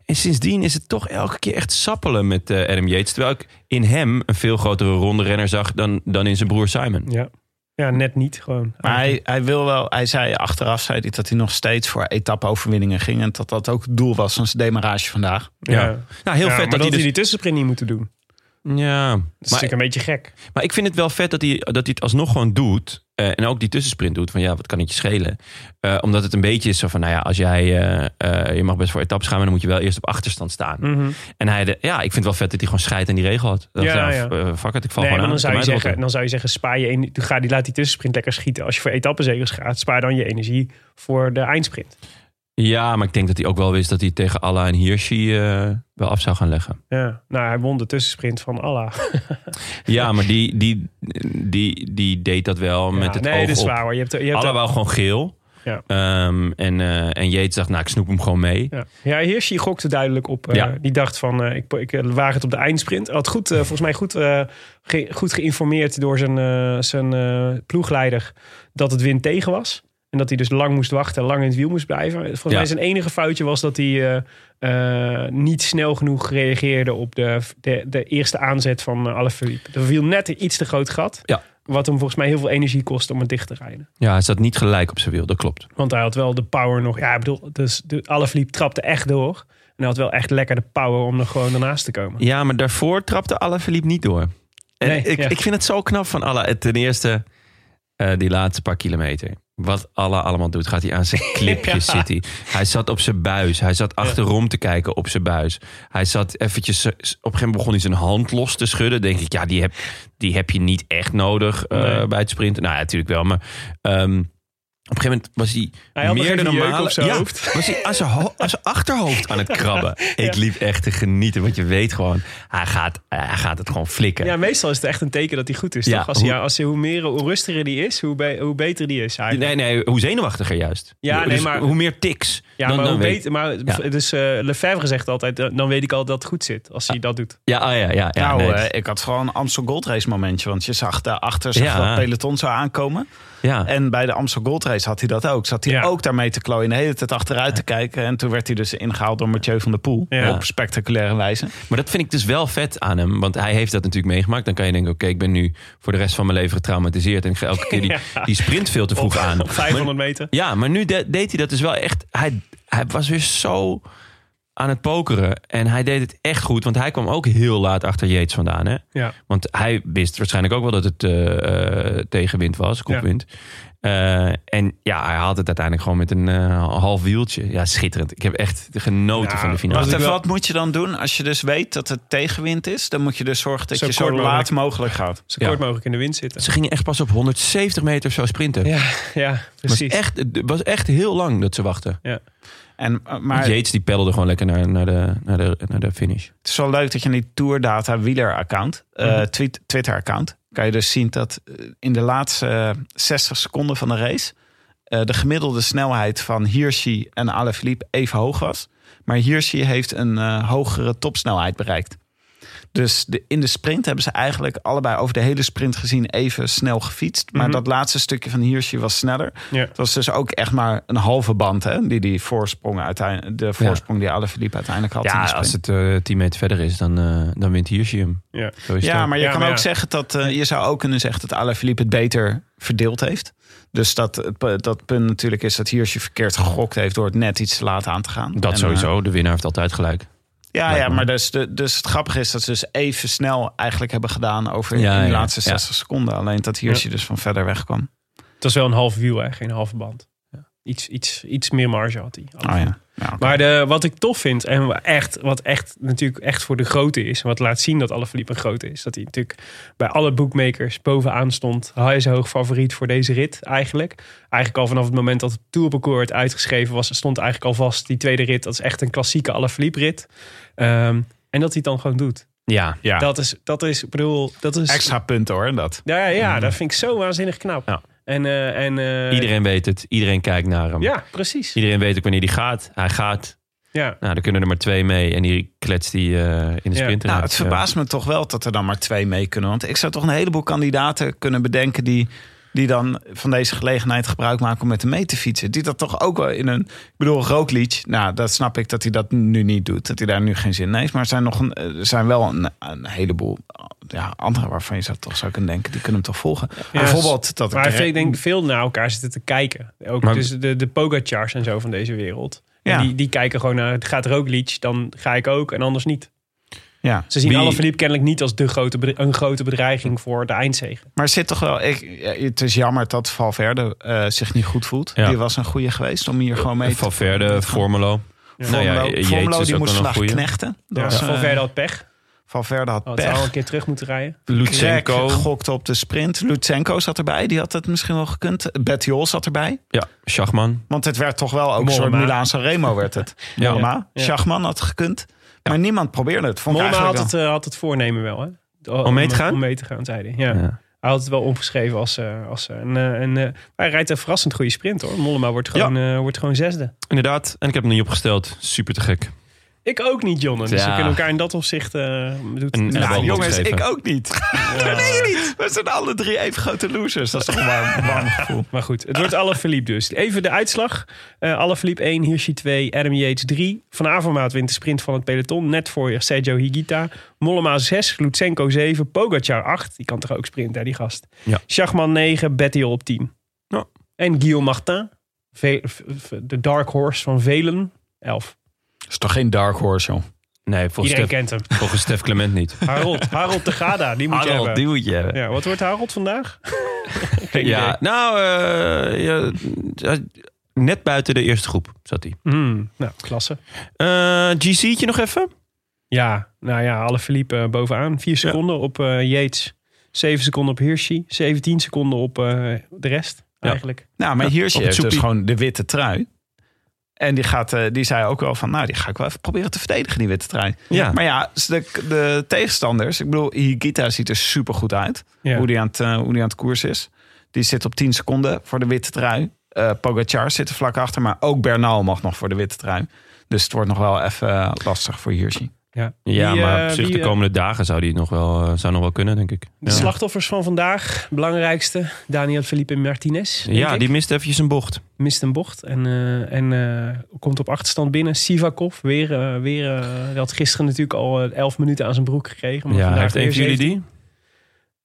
[SPEAKER 1] En sindsdien is het toch elke keer echt sappelen met eh, Adam Yates. Terwijl ik in hem een veel grotere ronde renner zag dan, dan in zijn broer Simon.
[SPEAKER 2] ja. ja, net niet gewoon.
[SPEAKER 5] Maar hij, hij wil wel, hij zei achteraf zei hij dat hij nog steeds voor etappe-overwinningen ging. En dat dat ook het doel was van zijn demarage vandaag.
[SPEAKER 2] ja.
[SPEAKER 1] Nou, heel
[SPEAKER 2] Ja,
[SPEAKER 1] vet
[SPEAKER 2] maar
[SPEAKER 1] dat, hij dus...
[SPEAKER 2] die tussensprint niet moeten doen. Dat is
[SPEAKER 1] Ja, maar,
[SPEAKER 2] natuurlijk een beetje gek.
[SPEAKER 1] maar ik vind het wel vet dat hij, dat hij het alsnog gewoon doet. eh, en ook die tussensprint doet. Van ja, wat kan het je schelen? Eh, omdat het een beetje is zo van, nou ja, als jij... eh, eh, je mag best voor etappes gaan, maar dan moet je wel eerst op achterstand staan.
[SPEAKER 2] Mhm.
[SPEAKER 1] En hij, de, ja, ik vind het wel vet dat hij gewoon scheidt aan die regel had. Dat,
[SPEAKER 2] Ja,
[SPEAKER 1] ja,
[SPEAKER 2] ja.
[SPEAKER 1] f- eh, fuck it, ik val gewoon
[SPEAKER 2] Nee, maar
[SPEAKER 1] aan.
[SPEAKER 2] dan zou, je
[SPEAKER 1] Kan mij het
[SPEAKER 2] zeggen, dan zou je zeggen, spaar je ener- ga die, laat die tussensprint lekker schieten. Als je voor etappezegers gaat, spaar dan je energie voor de eindsprint.
[SPEAKER 1] Ja, maar ik denk dat hij ook wel wist dat hij tegen Allah en Hirschi eh, wel af zou gaan leggen.
[SPEAKER 2] Ja. Nou, hij won de tussensprint van Allah.
[SPEAKER 1] Ja, maar die, die, die, die deed dat wel met
[SPEAKER 2] Ja,
[SPEAKER 1] het
[SPEAKER 2] nee,
[SPEAKER 1] oog
[SPEAKER 2] dat is
[SPEAKER 1] op.
[SPEAKER 2] waar. hoor. Je hebt, je hebt
[SPEAKER 1] Allah wou gewoon geel.
[SPEAKER 2] Ja.
[SPEAKER 1] Ehm, en, eh en Jeet dacht, nou, ik snoep hem gewoon mee.
[SPEAKER 2] Ja, ja Hirschi gokte duidelijk op. eh,
[SPEAKER 1] Ja.
[SPEAKER 2] Die dacht van, eh, ik, ik eh, waag het op de eindsprint. Had goed, eh, volgens mij goed, eh, ge- goed geïnformeerd door zijn, eh, zijn eh, ploegleider dat het wind tegen was. En dat hij dus lang moest wachten, lang in het wiel moest blijven. Volgens
[SPEAKER 1] Ja.
[SPEAKER 2] mij zijn enige foutje was dat hij eh, eh, niet snel genoeg reageerde op de, de, de eerste aanzet van uh, Alaphilippe. Er viel net een iets te groot gat.
[SPEAKER 1] Ja.
[SPEAKER 2] Wat hem volgens mij heel veel energie kostte om het dicht te rijden.
[SPEAKER 1] Ja, hij zat niet gelijk op zijn wiel, dat klopt.
[SPEAKER 2] Want hij had wel de power nog. Ja, ik bedoel, dus de Alaphilippe trapte echt door. En hij had wel echt lekker de power om er gewoon ernaast te komen.
[SPEAKER 1] Ja, maar daarvoor trapte Alaphilippe niet door. En
[SPEAKER 2] Nee,
[SPEAKER 1] ik,
[SPEAKER 2] ja.
[SPEAKER 1] ik vind het zo knap van Allah. Ten eerste, eh, die laatste paar kilometer. Wat Allah allemaal doet, gaat hij aan zijn clipjes
[SPEAKER 2] Ja.
[SPEAKER 1] zitten. Hij zat op zijn buis. Hij zat achterom te kijken op zijn buis. Hij zat eventjes... eh, Op een gegeven moment begon hij zijn hand los te schudden. Denk ik, ja, die heb, die heb je niet echt nodig eh,
[SPEAKER 2] Nee.
[SPEAKER 1] bij het sprinten. Nou ja, natuurlijk wel, maar... ehm, op een gegeven moment was hij,
[SPEAKER 2] Hij had nog
[SPEAKER 1] meer
[SPEAKER 2] even
[SPEAKER 1] dan
[SPEAKER 2] jeuk
[SPEAKER 1] normaal.
[SPEAKER 2] op zijn
[SPEAKER 1] ja,
[SPEAKER 2] hoofd.
[SPEAKER 1] was hij aan zijn, ho- aan zijn achterhoofd aan het krabben. Ik liep echt te genieten, want je weet gewoon, hij gaat, hij gaat het gewoon flikken.
[SPEAKER 2] Ja, meestal is het echt een teken dat hij goed is.
[SPEAKER 1] Ja,
[SPEAKER 2] toch? Als, hij,
[SPEAKER 1] hoe-
[SPEAKER 2] ja, als hij, hoe meer, hoe rustiger die is, hoe, be- hoe beter die is eigenlijk.
[SPEAKER 1] Nee, nee, hoe zenuwachtiger juist.
[SPEAKER 2] Ja, nee,
[SPEAKER 1] Dus
[SPEAKER 2] maar-
[SPEAKER 1] Hoe meer tiks.
[SPEAKER 2] Ja,
[SPEAKER 1] dan-
[SPEAKER 2] maar,
[SPEAKER 1] dan
[SPEAKER 2] hoe
[SPEAKER 1] weet-
[SPEAKER 2] beter, maar
[SPEAKER 1] Ja.
[SPEAKER 2] dus eh Lefebvre zegt altijd, eh, dan weet ik al dat het goed zit als hij dat doet.
[SPEAKER 1] Ja, ah, ja, ja. ja
[SPEAKER 5] nou,
[SPEAKER 1] nee,
[SPEAKER 5] eh,
[SPEAKER 1] het-
[SPEAKER 5] ik had vooral een Amstel Gold Race momentje. Want je zag daarachter zag
[SPEAKER 1] Ja.
[SPEAKER 5] dat peloton zou aankomen.
[SPEAKER 1] ja.
[SPEAKER 5] En bij de Amstel Gold Race had hij dat ook. Zat hij
[SPEAKER 2] Ja.
[SPEAKER 5] ook daarmee te klooien. De hele tijd achteruit te kijken. En toen werd hij dus ingehaald door Mathieu van der Poel.
[SPEAKER 2] Ja.
[SPEAKER 5] Op spectaculaire wijze.
[SPEAKER 1] Maar dat vind ik dus wel vet aan hem. Want hij heeft dat natuurlijk meegemaakt. Dan kan je denken, oké, ik ben nu voor de rest van mijn leven getraumatiseerd. En ik ga elke keer die,
[SPEAKER 2] Ja. Oh.
[SPEAKER 1] die sprint veel te vroeg aan.
[SPEAKER 2] Op 500 meter.
[SPEAKER 1] Ja, maar nu de- deed hij dat dus wel echt. Hij, hij was weer zo aan het pokeren. En hij deed het echt goed. Want hij kwam ook heel laat achter Yates vandaan. Hè?
[SPEAKER 2] Ja.
[SPEAKER 1] Want hij wist waarschijnlijk ook wel dat het eh, eh, tegenwind was, kopwind. Eh, en ja, hij had het uiteindelijk gewoon met een eh, half wieltje. Ja, schitterend. Ik heb echt genoten
[SPEAKER 2] Ja,
[SPEAKER 1] van de finale.
[SPEAKER 5] Wacht
[SPEAKER 2] ik
[SPEAKER 5] even,
[SPEAKER 2] wel-
[SPEAKER 5] wat moet je dan doen als je dus weet dat het tegenwind is? Dan moet je dus zorgen dat
[SPEAKER 2] Zo
[SPEAKER 5] je zo
[SPEAKER 2] kort
[SPEAKER 5] laat mogelijk gaat.
[SPEAKER 2] Zo
[SPEAKER 1] Ja.
[SPEAKER 2] kort mogelijk in de wind zitten.
[SPEAKER 1] Ze gingen echt pas op 170 meter zo sprinten.
[SPEAKER 2] Ja, ja
[SPEAKER 1] het, was
[SPEAKER 2] precies.
[SPEAKER 1] echt, het was echt heel lang dat ze wachten.
[SPEAKER 2] Ja.
[SPEAKER 5] En, eh, maar
[SPEAKER 1] Yates die peddelde gewoon lekker naar, naar, de, naar, de, naar de finish.
[SPEAKER 5] het is wel leuk dat je in die Tour Data wieler account, eh,
[SPEAKER 2] Mhm.
[SPEAKER 5] tweet- Twitter account, kan je dus zien dat eh, in de laatste eh, 60 seconden van de race eh, de gemiddelde snelheid van Hirschi en Alaphilippe even hoog was. Maar Hirschi heeft een eh, hogere topsnelheid bereikt. Dus de, in de sprint hebben ze eigenlijk allebei over de hele sprint gezien even snel gefietst.
[SPEAKER 2] Mhm.
[SPEAKER 5] Maar dat laatste stukje van Hirschi was sneller.
[SPEAKER 2] Ja.
[SPEAKER 5] Het was dus ook echt maar een halve band hè, die die voorsprong uiteindelijk, de voorsprong die Alaphilippe uiteindelijk had. in de
[SPEAKER 1] Ja,
[SPEAKER 5] sprint.
[SPEAKER 1] als het eh 10 meter verder is, dan, eh, dan wint Hirschi hem.
[SPEAKER 2] Ja.
[SPEAKER 1] Zo is het
[SPEAKER 5] Ja,
[SPEAKER 1] ook.
[SPEAKER 5] maar je
[SPEAKER 2] Ja,
[SPEAKER 5] kan
[SPEAKER 2] maar
[SPEAKER 5] ook
[SPEAKER 2] ja.
[SPEAKER 5] zeggen dat eh, je zou ook kunnen zeggen dat Alaphilippe het beter verdeeld heeft. Dus dat, het pu- dat punt natuurlijk is dat Hirschi verkeerd gegokt heeft door het net iets te laat aan te gaan.
[SPEAKER 1] Dat
[SPEAKER 5] En, eh,
[SPEAKER 1] sowieso, de winnaar heeft altijd gelijk.
[SPEAKER 5] ja,
[SPEAKER 1] Lijkt
[SPEAKER 5] ja,
[SPEAKER 1] me.
[SPEAKER 5] maar dus, de, dus het grappige is dat ze dus even snel eigenlijk hebben gedaan over
[SPEAKER 1] Ja,
[SPEAKER 5] in de
[SPEAKER 1] ja,
[SPEAKER 5] laatste
[SPEAKER 1] ja.
[SPEAKER 5] 60 seconden. Alleen dat Hirschi dus van verder weg kwam.
[SPEAKER 2] Het was wel een half wiel, hè? geen halve band. Iets, iets, iets meer marge had hij.
[SPEAKER 1] Ah,
[SPEAKER 5] Oh ja. Ja, oké.
[SPEAKER 2] Maar de, wat ik tof vind en wa- echt, wat echt natuurlijk echt voor de grote is. En wat laat zien dat Alaphilippe een grote is. Dat hij natuurlijk bij alle bookmakers bovenaan stond. Hij is hoog favoriet voor deze rit eigenlijk. Eigenlijk al vanaf het moment dat het tourparcours werd uitgeschreven was. Stond eigenlijk al vast die tweede rit. Dat is echt een klassieke Alaphilippe rit. Ehm, en dat hij het dan gewoon doet.
[SPEAKER 1] Ja, ja.
[SPEAKER 2] Dat is, dat is, ik bedoel, dat is...
[SPEAKER 5] Extra punten hoor, dat.
[SPEAKER 2] Ja, ja, ja, dat vind ik zo waanzinnig knap.
[SPEAKER 1] Ja.
[SPEAKER 2] En, eh, en, eh,
[SPEAKER 1] iedereen weet het. Iedereen kijkt naar hem.
[SPEAKER 2] Ja, precies.
[SPEAKER 1] Iedereen weet ook wanneer die gaat. Hij gaat.
[SPEAKER 2] Ja.
[SPEAKER 1] Nou, dan kunnen er maar twee mee. En die kletst die eh, in de
[SPEAKER 2] Ja.
[SPEAKER 1] sprinter.
[SPEAKER 5] Nou,
[SPEAKER 1] uit.
[SPEAKER 5] het verbaast me toch wel dat er dan maar twee mee kunnen. Want ik zou toch een heleboel kandidaten kunnen bedenken die, die dan van deze gelegenheid gebruik maken om met hem mee te fietsen. Die dat toch ook wel in een. Ik bedoel, Roglic, nou, dat snap ik dat hij dat nu niet doet. Dat hij daar nu geen zin in heeft. Maar er zijn, nog een, eh, er zijn wel een, een heleboel ja, anderen waarvan je zou toch zou kunnen denken. Die kunnen hem toch volgen. Bijvoorbeeld dat
[SPEAKER 2] Maar
[SPEAKER 5] ik-
[SPEAKER 2] ik denk veel naar elkaar zitten te kijken. Ook
[SPEAKER 1] Maar-
[SPEAKER 2] dus de, de Pogacars en zo van deze wereld.
[SPEAKER 5] Ja.
[SPEAKER 2] En die, die kijken gewoon naar, het gaat Roglic, dan ga ik ook en anders niet.
[SPEAKER 5] Ja.
[SPEAKER 2] Ze zien
[SPEAKER 1] Wie-
[SPEAKER 2] alle Alaphilippe kennelijk niet als de grote, bedre- een grote bedreiging voor de eindzegen.
[SPEAKER 5] Maar er zit toch wel. Ik, het is jammer dat Valverde eh, zich niet goed voelt.
[SPEAKER 1] Ja.
[SPEAKER 5] Die was een goede geweest om
[SPEAKER 2] Eh,
[SPEAKER 5] hier gewoon mee te
[SPEAKER 1] Valverde, Formelo. Nou ja,
[SPEAKER 5] Formelo,
[SPEAKER 1] Yates
[SPEAKER 5] Formelo
[SPEAKER 1] is
[SPEAKER 5] die
[SPEAKER 1] ook
[SPEAKER 5] moest
[SPEAKER 1] wel een
[SPEAKER 5] vandaag
[SPEAKER 1] goeie.
[SPEAKER 5] knechten. Dat
[SPEAKER 2] Ja.
[SPEAKER 5] was, eh,
[SPEAKER 2] Valverde had pech.
[SPEAKER 5] Valverde had
[SPEAKER 2] Oh, het zou al
[SPEAKER 5] pech.
[SPEAKER 2] een keer terug moeten rijden.
[SPEAKER 1] Lutsenko.
[SPEAKER 5] Krek gokte op de sprint. Lutsenko zat erbij, die had het misschien wel gekund. Bettiol zat erbij.
[SPEAKER 1] Ja, Schachman.
[SPEAKER 5] Want het werd toch wel ook een soort
[SPEAKER 2] Mollema.
[SPEAKER 5] Milaanse Remo werd het.
[SPEAKER 1] Ja.
[SPEAKER 5] Mollema,
[SPEAKER 2] Ja.
[SPEAKER 5] Schachman had gekund. Maar niemand probeerde het. Vond ik
[SPEAKER 2] Mollema had
[SPEAKER 5] eigenlijk
[SPEAKER 2] het, eh, had het voornemen wel, hè? O-
[SPEAKER 1] Om mee te gaan?
[SPEAKER 2] Om mee te gaan, zei hij. Ja.
[SPEAKER 1] Ja.
[SPEAKER 2] Hij had het wel omgeschreven als... eh, als eh, een, eh, een, eh, hij rijdt een verrassend goede sprint, hoor. Mollema wordt gewoon, eh, wordt gewoon zesde.
[SPEAKER 1] Inderdaad. En ik heb hem niet opgesteld. Super te gek.
[SPEAKER 2] Ik ook niet, Jonne. Dus
[SPEAKER 1] Ja.
[SPEAKER 2] we kunnen elkaar in dat opzicht... eh
[SPEAKER 1] En-
[SPEAKER 2] doet, doet-
[SPEAKER 1] en
[SPEAKER 5] wel.
[SPEAKER 1] de
[SPEAKER 5] Nou,
[SPEAKER 1] bal
[SPEAKER 5] jongens,
[SPEAKER 1] opgegeven.
[SPEAKER 5] ik ook niet. Dat weet je niet. We zijn alle drie even grote losers. Dat is toch een warm, warm gevoel.
[SPEAKER 2] Maar goed, het wordt alle verliep dus. Even de uitslag. Eh alle verliep 1, Hirschi 2, Adam Yates 3. Van Avermaat wint de sprint van het peloton. Net voor je Sergio Higuita. Mollema 6, Lutsenko 7, Pogacar 8. Die kan toch ook sprinten, hè, die gast.
[SPEAKER 1] Ja.
[SPEAKER 2] Schachman 9, Bettiol op 10.
[SPEAKER 1] Ja.
[SPEAKER 2] En Guillaume Martin, ve- v- v- de dark horse van velen, 11.
[SPEAKER 5] Dat is toch geen dark horse, joh.
[SPEAKER 1] Nee, volgens
[SPEAKER 2] Iedereen
[SPEAKER 1] Stef,
[SPEAKER 2] kent hem.
[SPEAKER 1] volgens Stef Clement niet.
[SPEAKER 2] Harold, Harold de Gada, die moet je hebben.
[SPEAKER 1] duwtje hebben.
[SPEAKER 2] Ja, wat wordt Harold vandaag? Geen
[SPEAKER 1] Ja,
[SPEAKER 2] idee.
[SPEAKER 1] nou, eh, ja, eh, net buiten de eerste groep zat hij.
[SPEAKER 2] Hmm, nou, klasse.
[SPEAKER 1] Eh, GC'tje nog even?
[SPEAKER 2] Ja, nou ja, alle verliep bovenaan. Vier seconden op eh Yates. Zeven seconden op Hirschi. 17 seconden op eh, de rest,
[SPEAKER 1] Ja.
[SPEAKER 2] eigenlijk.
[SPEAKER 5] Nou, maar hier
[SPEAKER 1] op het
[SPEAKER 5] heeft dus
[SPEAKER 1] soepie.
[SPEAKER 5] gewoon de witte trui. En die, gaat, eh, die zei ook wel van, nou, die ga ik wel even proberen te verdedigen, die witte trui.
[SPEAKER 1] Ja.
[SPEAKER 5] Maar ja, de, de tegenstanders, ik bedoel, Higita ziet er supergoed uit.
[SPEAKER 2] Ja.
[SPEAKER 5] Hoe, die aan het, eh, hoe die aan het koers is. Die zit op 10 seconden voor de witte trui. Eh Pogacar zit er vlak achter, maar ook Bernal mag nog voor de witte trui. Dus het wordt nog wel even eh, lastig voor Hirschi.
[SPEAKER 2] Ja,
[SPEAKER 1] Ja,
[SPEAKER 2] Die,
[SPEAKER 1] maar
[SPEAKER 2] eh,
[SPEAKER 1] op zich
[SPEAKER 2] die,
[SPEAKER 1] de
[SPEAKER 2] eh,
[SPEAKER 1] komende dagen zou die het nog wel, eh, zou nog wel kunnen, denk ik.
[SPEAKER 2] De
[SPEAKER 1] Ja.
[SPEAKER 2] slachtoffers van vandaag, belangrijkste, Daniel Felipe Martinez. denk
[SPEAKER 1] Ja,
[SPEAKER 2] ik.
[SPEAKER 1] die mist eventjes een bocht.
[SPEAKER 2] mist een bocht en, eh, en eh, komt op achterstand binnen. Sivakov, weer, eh, weer eh, die had gisteren natuurlijk al eh, 11 minuten aan zijn broek gekregen. Maar
[SPEAKER 1] Ja,
[SPEAKER 2] vandaag
[SPEAKER 1] heeft een
[SPEAKER 2] weer
[SPEAKER 1] van jullie
[SPEAKER 2] 17.
[SPEAKER 1] die?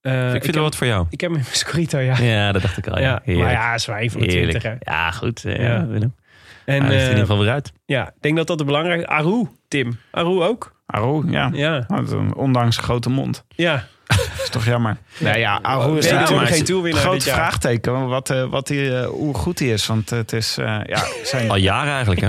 [SPEAKER 2] Eh,
[SPEAKER 1] ik vind
[SPEAKER 2] heb,
[SPEAKER 1] er wat voor jou.
[SPEAKER 2] ik heb hem in mijn Scorito, ja.
[SPEAKER 1] Ja, dat dacht ik al.
[SPEAKER 2] ja, maar ja, is wel een van de 20, hè.
[SPEAKER 1] Ja, goed. eh,
[SPEAKER 2] Ja.
[SPEAKER 1] Willem.
[SPEAKER 2] En
[SPEAKER 1] Hij ligt
[SPEAKER 2] eh,
[SPEAKER 1] geval weer uit.
[SPEAKER 2] ja, ik denk dat dat de belangrijkste... Aru, Tim. Aru ook.
[SPEAKER 5] Aru, ja.
[SPEAKER 2] Ja,
[SPEAKER 5] Nou, dat is een- ondanks een grote mond.
[SPEAKER 2] ja.
[SPEAKER 5] Dat is toch jammer. Nou ja, Aru
[SPEAKER 2] We
[SPEAKER 5] is
[SPEAKER 2] zijn
[SPEAKER 5] natuurlijk
[SPEAKER 2] natuurlijk
[SPEAKER 1] maar
[SPEAKER 2] geen
[SPEAKER 1] het-
[SPEAKER 2] toerwinnaar
[SPEAKER 5] groot
[SPEAKER 2] dit jaar.
[SPEAKER 5] vraagteken wat, eh, wat die, eh, hoe goed hij is. Want het is, eh, ja, zijn...
[SPEAKER 1] Al jaren eigenlijk,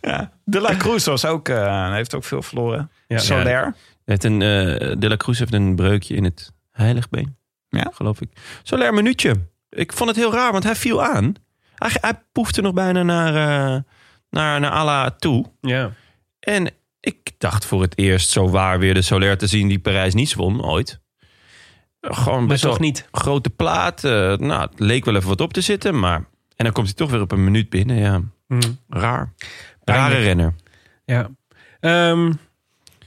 [SPEAKER 1] hè?
[SPEAKER 5] De La Cruz was ook, eh, heeft ook veel verloren.
[SPEAKER 2] Ja.
[SPEAKER 5] Soler.
[SPEAKER 1] Heeft een, eh, de La Cruz heeft een breukje in het heiligbeen.
[SPEAKER 5] Ja.
[SPEAKER 1] Geloof ik. Soler minuutje. Ik vond het heel raar, want hij viel aan. Hij, hij poefde nog bijna naar, eh naar, naar Ala toe.
[SPEAKER 2] Ja.
[SPEAKER 1] En ik dacht voor het eerst zo waar weer de Soler te zien die Parijs niet won ooit. Gewoon
[SPEAKER 2] Maar
[SPEAKER 1] best wel
[SPEAKER 2] toch niet.
[SPEAKER 1] grote plaat. eh, nou, het leek wel even wat op te zitten, maar... En dan komt hij toch weer op een minuut binnen, ja.
[SPEAKER 2] Mhm.
[SPEAKER 1] Raar. Rare
[SPEAKER 2] Pijnlijk.
[SPEAKER 1] renner.
[SPEAKER 2] Ja. Ehm,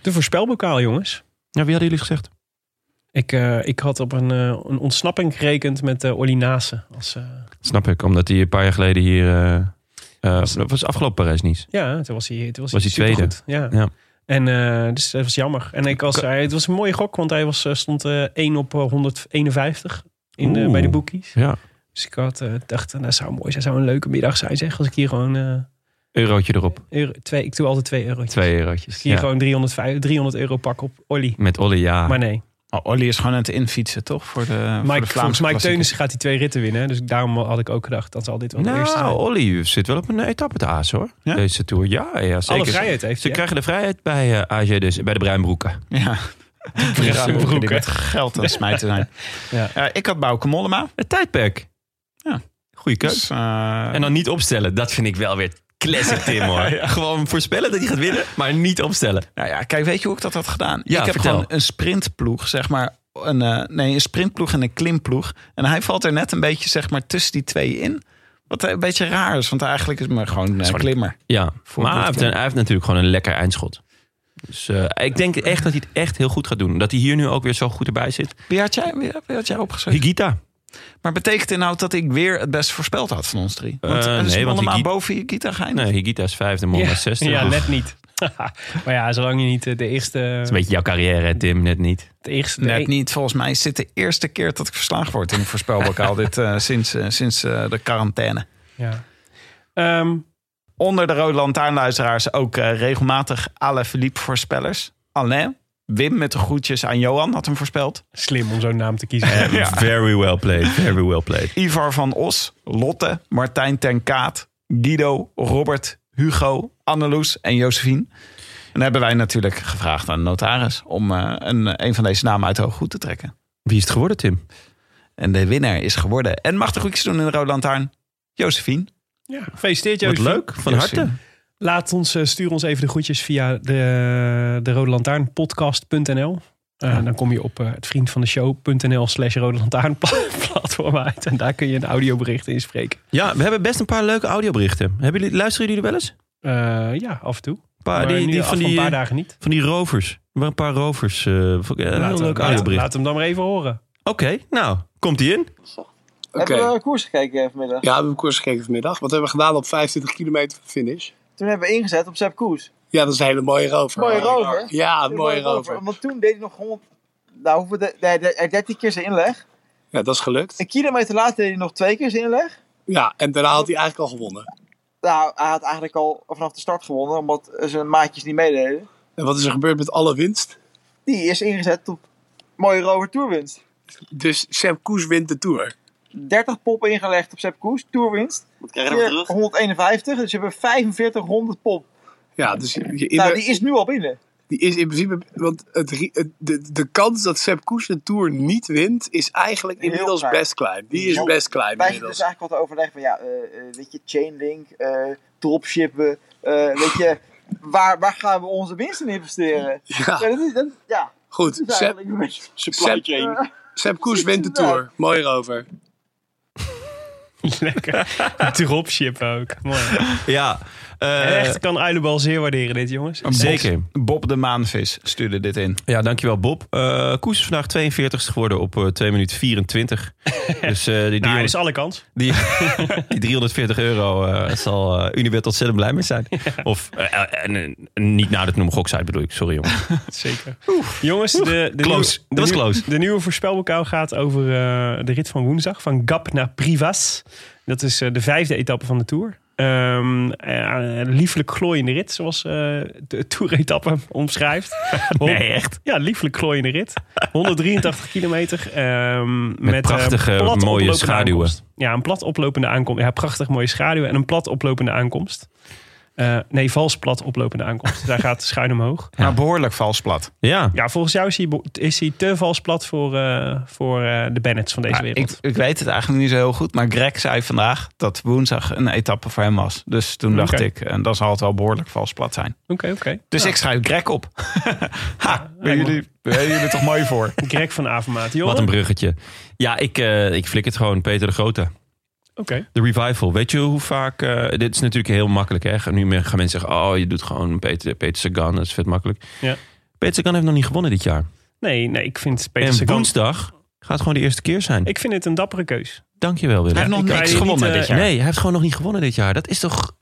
[SPEAKER 2] de voorspelbokaal, jongens.
[SPEAKER 1] Ja, wie hadden jullie gezegd?
[SPEAKER 2] Ik, eh, ik had op een, eh, een ontsnapping gerekend met eh Olly Naassen. Als, eh,
[SPEAKER 1] Snap ik, omdat hij een paar jaar geleden hier... eh, eh, dat was afgelopen Parijs-Nice.
[SPEAKER 2] ja, toen was hij, toen was
[SPEAKER 1] Was
[SPEAKER 2] hij
[SPEAKER 1] hij tweede.
[SPEAKER 2] supergoed. Ja.
[SPEAKER 1] Ja.
[SPEAKER 2] En eh, dus dat was jammer. En ik was, hij, het was een mooie gok, want hij was, eh, stond eh 1 op eh, 151 in de,
[SPEAKER 1] Oeh.
[SPEAKER 2] bij de boekies.
[SPEAKER 1] Ja.
[SPEAKER 2] Dus ik had, eh, dacht, nou, dat zou mooi zijn. zou een leuke middag zijn, zeg. Als ik hier gewoon... eh,
[SPEAKER 1] Eurotje erop.
[SPEAKER 2] euro- twee, ik doe altijd 2 euro.
[SPEAKER 1] Twee eurotjes.
[SPEAKER 2] Ik hier
[SPEAKER 1] Ja.
[SPEAKER 2] gewoon 300, 300 euro pak op Olly.
[SPEAKER 1] Met Olle, ja.
[SPEAKER 2] Maar nee.
[SPEAKER 5] Oh, Olly is gewoon aan het infietsen, toch? Voor de, voor de
[SPEAKER 2] Mike,
[SPEAKER 5] Vlaamse
[SPEAKER 2] volgens Mike
[SPEAKER 5] klassieker.
[SPEAKER 2] Teunissen gaat die twee ritten winnen. hè? Dus daarom had ik ook gedacht, dat zal dit wel de eerste zijn.
[SPEAKER 1] nou, Olly zit wel op een etappe te aas, hoor.
[SPEAKER 5] Ja?
[SPEAKER 1] Deze Tour. Ja, ja zeker.
[SPEAKER 2] Alle vrijheid heeft
[SPEAKER 1] Ze
[SPEAKER 2] hij. hè?
[SPEAKER 1] krijgen de vrijheid bij eh, AG dus, bij de Bruinbroeken.
[SPEAKER 5] Ja. De
[SPEAKER 2] Bruinbroeken,
[SPEAKER 5] broeken die
[SPEAKER 2] hè?
[SPEAKER 5] met geld aan het smijten zijn.
[SPEAKER 2] Ja.
[SPEAKER 5] Eh, ik had Bouke Mollema.
[SPEAKER 1] Het tijdperk.
[SPEAKER 5] Ja.
[SPEAKER 1] Goeie keus.
[SPEAKER 5] Dus, eh,
[SPEAKER 1] En dan niet opstellen. Dat vind ik wel weer classic Tim, hoor. Gewoon voorspellen dat hij gaat winnen, maar niet opstellen.
[SPEAKER 5] nou ja, kijk, weet je hoe ik dat had gedaan?
[SPEAKER 1] Ja,
[SPEAKER 5] ik heb
[SPEAKER 1] vertel.
[SPEAKER 5] gewoon een sprintploeg, zeg maar. Een, eh, nee, een sprintploeg en een klimploeg. En hij valt er net een beetje zeg maar, tussen die twee in. Wat een beetje raar is, want eigenlijk is het maar gewoon een klimmer.
[SPEAKER 1] Ja, maar hij
[SPEAKER 5] dit
[SPEAKER 1] heeft,
[SPEAKER 5] keer.
[SPEAKER 1] een- hij heeft natuurlijk gewoon een lekker eindschot. Dus eh, ik denk echt dat hij het echt heel goed gaat doen. Dat hij hier nu ook weer zo goed erbij zit.
[SPEAKER 5] Wie had jij, wie, wie had jij opgeschreven?
[SPEAKER 1] Higita.
[SPEAKER 5] Maar betekent inhoud dat ik weer het beste voorspeld had van ons drie? Want,
[SPEAKER 1] Eh,
[SPEAKER 5] eh, is
[SPEAKER 1] nee, want
[SPEAKER 5] Mollema
[SPEAKER 1] Higi-
[SPEAKER 5] boven je gitaar geëindigd.
[SPEAKER 1] Nee, Higita is vijfde, Mon
[SPEAKER 2] ja.
[SPEAKER 1] is zesde.
[SPEAKER 2] Ja,
[SPEAKER 1] Oef.
[SPEAKER 2] net niet. maar ja, zolang je niet eh, de eerste...
[SPEAKER 1] Dat is een beetje jouw carrière, hè, Tim, net niet.
[SPEAKER 2] De eerste de
[SPEAKER 5] Net
[SPEAKER 2] e-
[SPEAKER 5] niet. Volgens mij is dit de eerste keer dat ik verslagen word in een voorspelbokaal. dit, eh, sinds eh, sinds eh, de quarantaine.
[SPEAKER 2] Ja. Ehm,
[SPEAKER 5] Onder de Rode Lantaarnluisteraars ook eh, regelmatig alle Philippe voorspellers. Alain, Wim met de groetjes aan Johan had hem voorspeld.
[SPEAKER 2] slim om zo'n naam te kiezen.
[SPEAKER 1] Very well played, very well played.
[SPEAKER 5] Ivar van Os, Lotte, Martijn ten Kaat, Guido, Robert, Hugo, Anneloes en Josephine. En hebben wij natuurlijk gevraagd aan de notaris om eh, een, een van deze namen uit hoog goed te trekken.
[SPEAKER 1] Wie is het geworden, Tim?
[SPEAKER 5] En de winnaar is geworden. En mag de groetjes doen in de Rode Lantaarn. Josephine.
[SPEAKER 2] Ja, gefeliciteerd
[SPEAKER 1] Wat
[SPEAKER 2] Joosje.
[SPEAKER 1] leuk, van harte.
[SPEAKER 2] Laat ons, eh, stuur ons even de groetjes via de, de Rode Lantaarn podcast.nl. Eh, Dan kom je op eh, het vriend van de show.nl slash Rode Lantaarn pla- platform uit. En daar kun je een audiobericht inspreken.
[SPEAKER 1] Ja, we hebben best een paar leuke audioberichten. Hebben jullie, luisteren jullie er wel eens? Een
[SPEAKER 2] Eh, ja, af en toe.
[SPEAKER 1] paar-
[SPEAKER 2] Maar
[SPEAKER 1] Ah, die,
[SPEAKER 2] nu
[SPEAKER 1] die,
[SPEAKER 2] af
[SPEAKER 1] van,
[SPEAKER 2] een
[SPEAKER 1] die,
[SPEAKER 2] paar
[SPEAKER 1] eh,
[SPEAKER 2] dagen niet.
[SPEAKER 1] van die rovers. Er waren een paar rovers. eh, vond ik, eh, een heel leuk
[SPEAKER 2] laat,
[SPEAKER 1] audiobericht.
[SPEAKER 2] laat hem dan maar even horen.
[SPEAKER 1] Oké, nou, komt die in?
[SPEAKER 6] Oké.
[SPEAKER 7] Hebben we koers gekeken eh, vanmiddag?
[SPEAKER 6] Ja, we hebben een koers gekeken vanmiddag. Wat hebben we gedaan op 25 kilometer van finish?
[SPEAKER 7] Toen hebben we ingezet op Sepp Koers.
[SPEAKER 6] Ja, dat is een hele mooie rover.
[SPEAKER 7] Mooie rover.
[SPEAKER 6] Ja, een mooie rover.
[SPEAKER 7] Want toen deed hij nog 100... Nou, hoeveel de, de, de- 13 keer zijn inleg.
[SPEAKER 6] Ja, dat is gelukt.
[SPEAKER 7] Een kilometer later deed hij nog twee keer zijn inleg.
[SPEAKER 6] Ja, en daarna had hij eigenlijk al gewonnen.
[SPEAKER 7] Nou, hij had eigenlijk al vanaf de start gewonnen, omdat zijn maatjes niet meededen.
[SPEAKER 6] En wat is er gebeurd met alle winst?
[SPEAKER 7] Die is ingezet op mooie rover toerwinst.
[SPEAKER 6] Dus Sam Koes wint de Tour.
[SPEAKER 7] 30 pop ingelegd op Sepp Koers, toerwinst.
[SPEAKER 8] Wat krijg je ervoor
[SPEAKER 7] Keer
[SPEAKER 8] terug?
[SPEAKER 7] 151, dus je hebt 4500 pop.
[SPEAKER 6] Ja, dus je- je- in
[SPEAKER 7] Nou,
[SPEAKER 6] de-
[SPEAKER 7] die is nu al binnen.
[SPEAKER 6] die is in principe... Want het, ri- het- de, de kans dat Sam Koes de Tour niet wint... is eigenlijk
[SPEAKER 7] Heel
[SPEAKER 6] inmiddels
[SPEAKER 7] klein.
[SPEAKER 6] best klein. Die is
[SPEAKER 7] Ja.
[SPEAKER 6] best klein
[SPEAKER 7] Wij zitten dus
[SPEAKER 6] inmiddels.
[SPEAKER 7] eigenlijk wat te overleggen van ja, eh, eh, weet je, chainlink, eh, dropshippen, eh, weet je, waar, waar gaan we onze winst in investeren? Ja,
[SPEAKER 6] Ja,
[SPEAKER 7] dat is, dat, is- ja,
[SPEAKER 6] goed.
[SPEAKER 7] dat is
[SPEAKER 6] Sam,
[SPEAKER 7] eigenlijk een beetje...
[SPEAKER 8] Supply
[SPEAKER 6] Zet-
[SPEAKER 8] chain.
[SPEAKER 6] Sam Koes wint de Tour. Mooi rover.
[SPEAKER 2] Lekker. Dropship ook. Mooi.
[SPEAKER 1] Ja, eh,
[SPEAKER 2] Echt, ik kan Uilenbal zeer waarderen dit, jongens.
[SPEAKER 1] zeker.
[SPEAKER 5] Bob de Maanvis stuurde dit in.
[SPEAKER 1] Ja, dankjewel Bob. Eh Koes is vandaag 42 geworden op eh 2 minuten 24. dus eh, die,
[SPEAKER 2] Nou,
[SPEAKER 1] 300
[SPEAKER 2] is alle kans.
[SPEAKER 1] die, die 340 euro eh, zal eh Unibet ontzettend blij mee zijn. Of eh, eh, en, eh, niet nou dat noem uit bedoel ik. Sorry jongen.
[SPEAKER 2] Zeker. Jongens, de, de,
[SPEAKER 1] Close.
[SPEAKER 2] nieuwe- de
[SPEAKER 1] Dat was
[SPEAKER 2] nieuwe-
[SPEAKER 1] close.
[SPEAKER 2] de nieuwe voorspelbokaal gaat over eh, de rit van woensdag. Van Gap naar Privas. Dat is eh, de vijfde etappe van de Tour. Ehm, eh, een lieflijk glooiende rit, zoals eh, de Tour-etappe omschrijft.
[SPEAKER 1] Nee, echt?
[SPEAKER 2] Ja, lieflijk glooiende rit. 183 kilometer. ehm, met, eh,
[SPEAKER 1] prachtige,
[SPEAKER 2] plat
[SPEAKER 1] mooie
[SPEAKER 2] oplopende
[SPEAKER 1] schaduwen.
[SPEAKER 2] aankomst. Ja, een plat oplopende aankomst. Ja, prachtig mooie schaduwen en een plat oplopende aankomst. Eh, nee, vals plat oplopende aankomst. Daar gaat schuin omhoog.
[SPEAKER 5] Maar Nou, behoorlijk vals plat.
[SPEAKER 1] Ja.
[SPEAKER 2] Ja, volgens jou is hij, bo- is hij te vals plat voor, eh, voor eh, de Bennets van deze
[SPEAKER 5] Ja,
[SPEAKER 2] wereld.
[SPEAKER 5] Ah, ik, ik weet het eigenlijk niet zo heel goed. Maar Greg zei vandaag dat woensdag een etappe voor hem was. Dus toen dacht
[SPEAKER 2] Oké.
[SPEAKER 5] ik, en dat zal het wel behoorlijk vals plat zijn.
[SPEAKER 2] Oké, oké.
[SPEAKER 5] Dus ik schrijf Greg op. ha, ben jullie, ben jullie er toch mooi voor?
[SPEAKER 2] Greg van Avermaat. Johan?
[SPEAKER 1] Wat een bruggetje. Ja, ik, eh ik flik het gewoon. Peter de Grote.
[SPEAKER 2] Oké.
[SPEAKER 1] De revival. Weet je hoe vaak... eh, dit is natuurlijk heel makkelijk. Hè? Nu men- gaan mensen zeggen... Oh, je doet gewoon Peter, Peter Sagan. Dat is vet makkelijk.
[SPEAKER 2] Ja.
[SPEAKER 1] Peter Sagan heeft nog niet gewonnen dit jaar.
[SPEAKER 2] Nee, nee, ik vind Peter
[SPEAKER 1] en
[SPEAKER 2] Sagan...
[SPEAKER 1] woensdag gaat gewoon de eerste keer zijn.
[SPEAKER 2] Ik vind het een dappere keus.
[SPEAKER 1] Dankjewel, Willem.
[SPEAKER 5] Hij heeft nog
[SPEAKER 2] ik kan
[SPEAKER 5] niks
[SPEAKER 2] je niet,
[SPEAKER 5] gewonnen
[SPEAKER 2] eh,
[SPEAKER 5] dit jaar.
[SPEAKER 1] Nee, hij heeft gewoon nog niet gewonnen dit jaar. Dat is toch...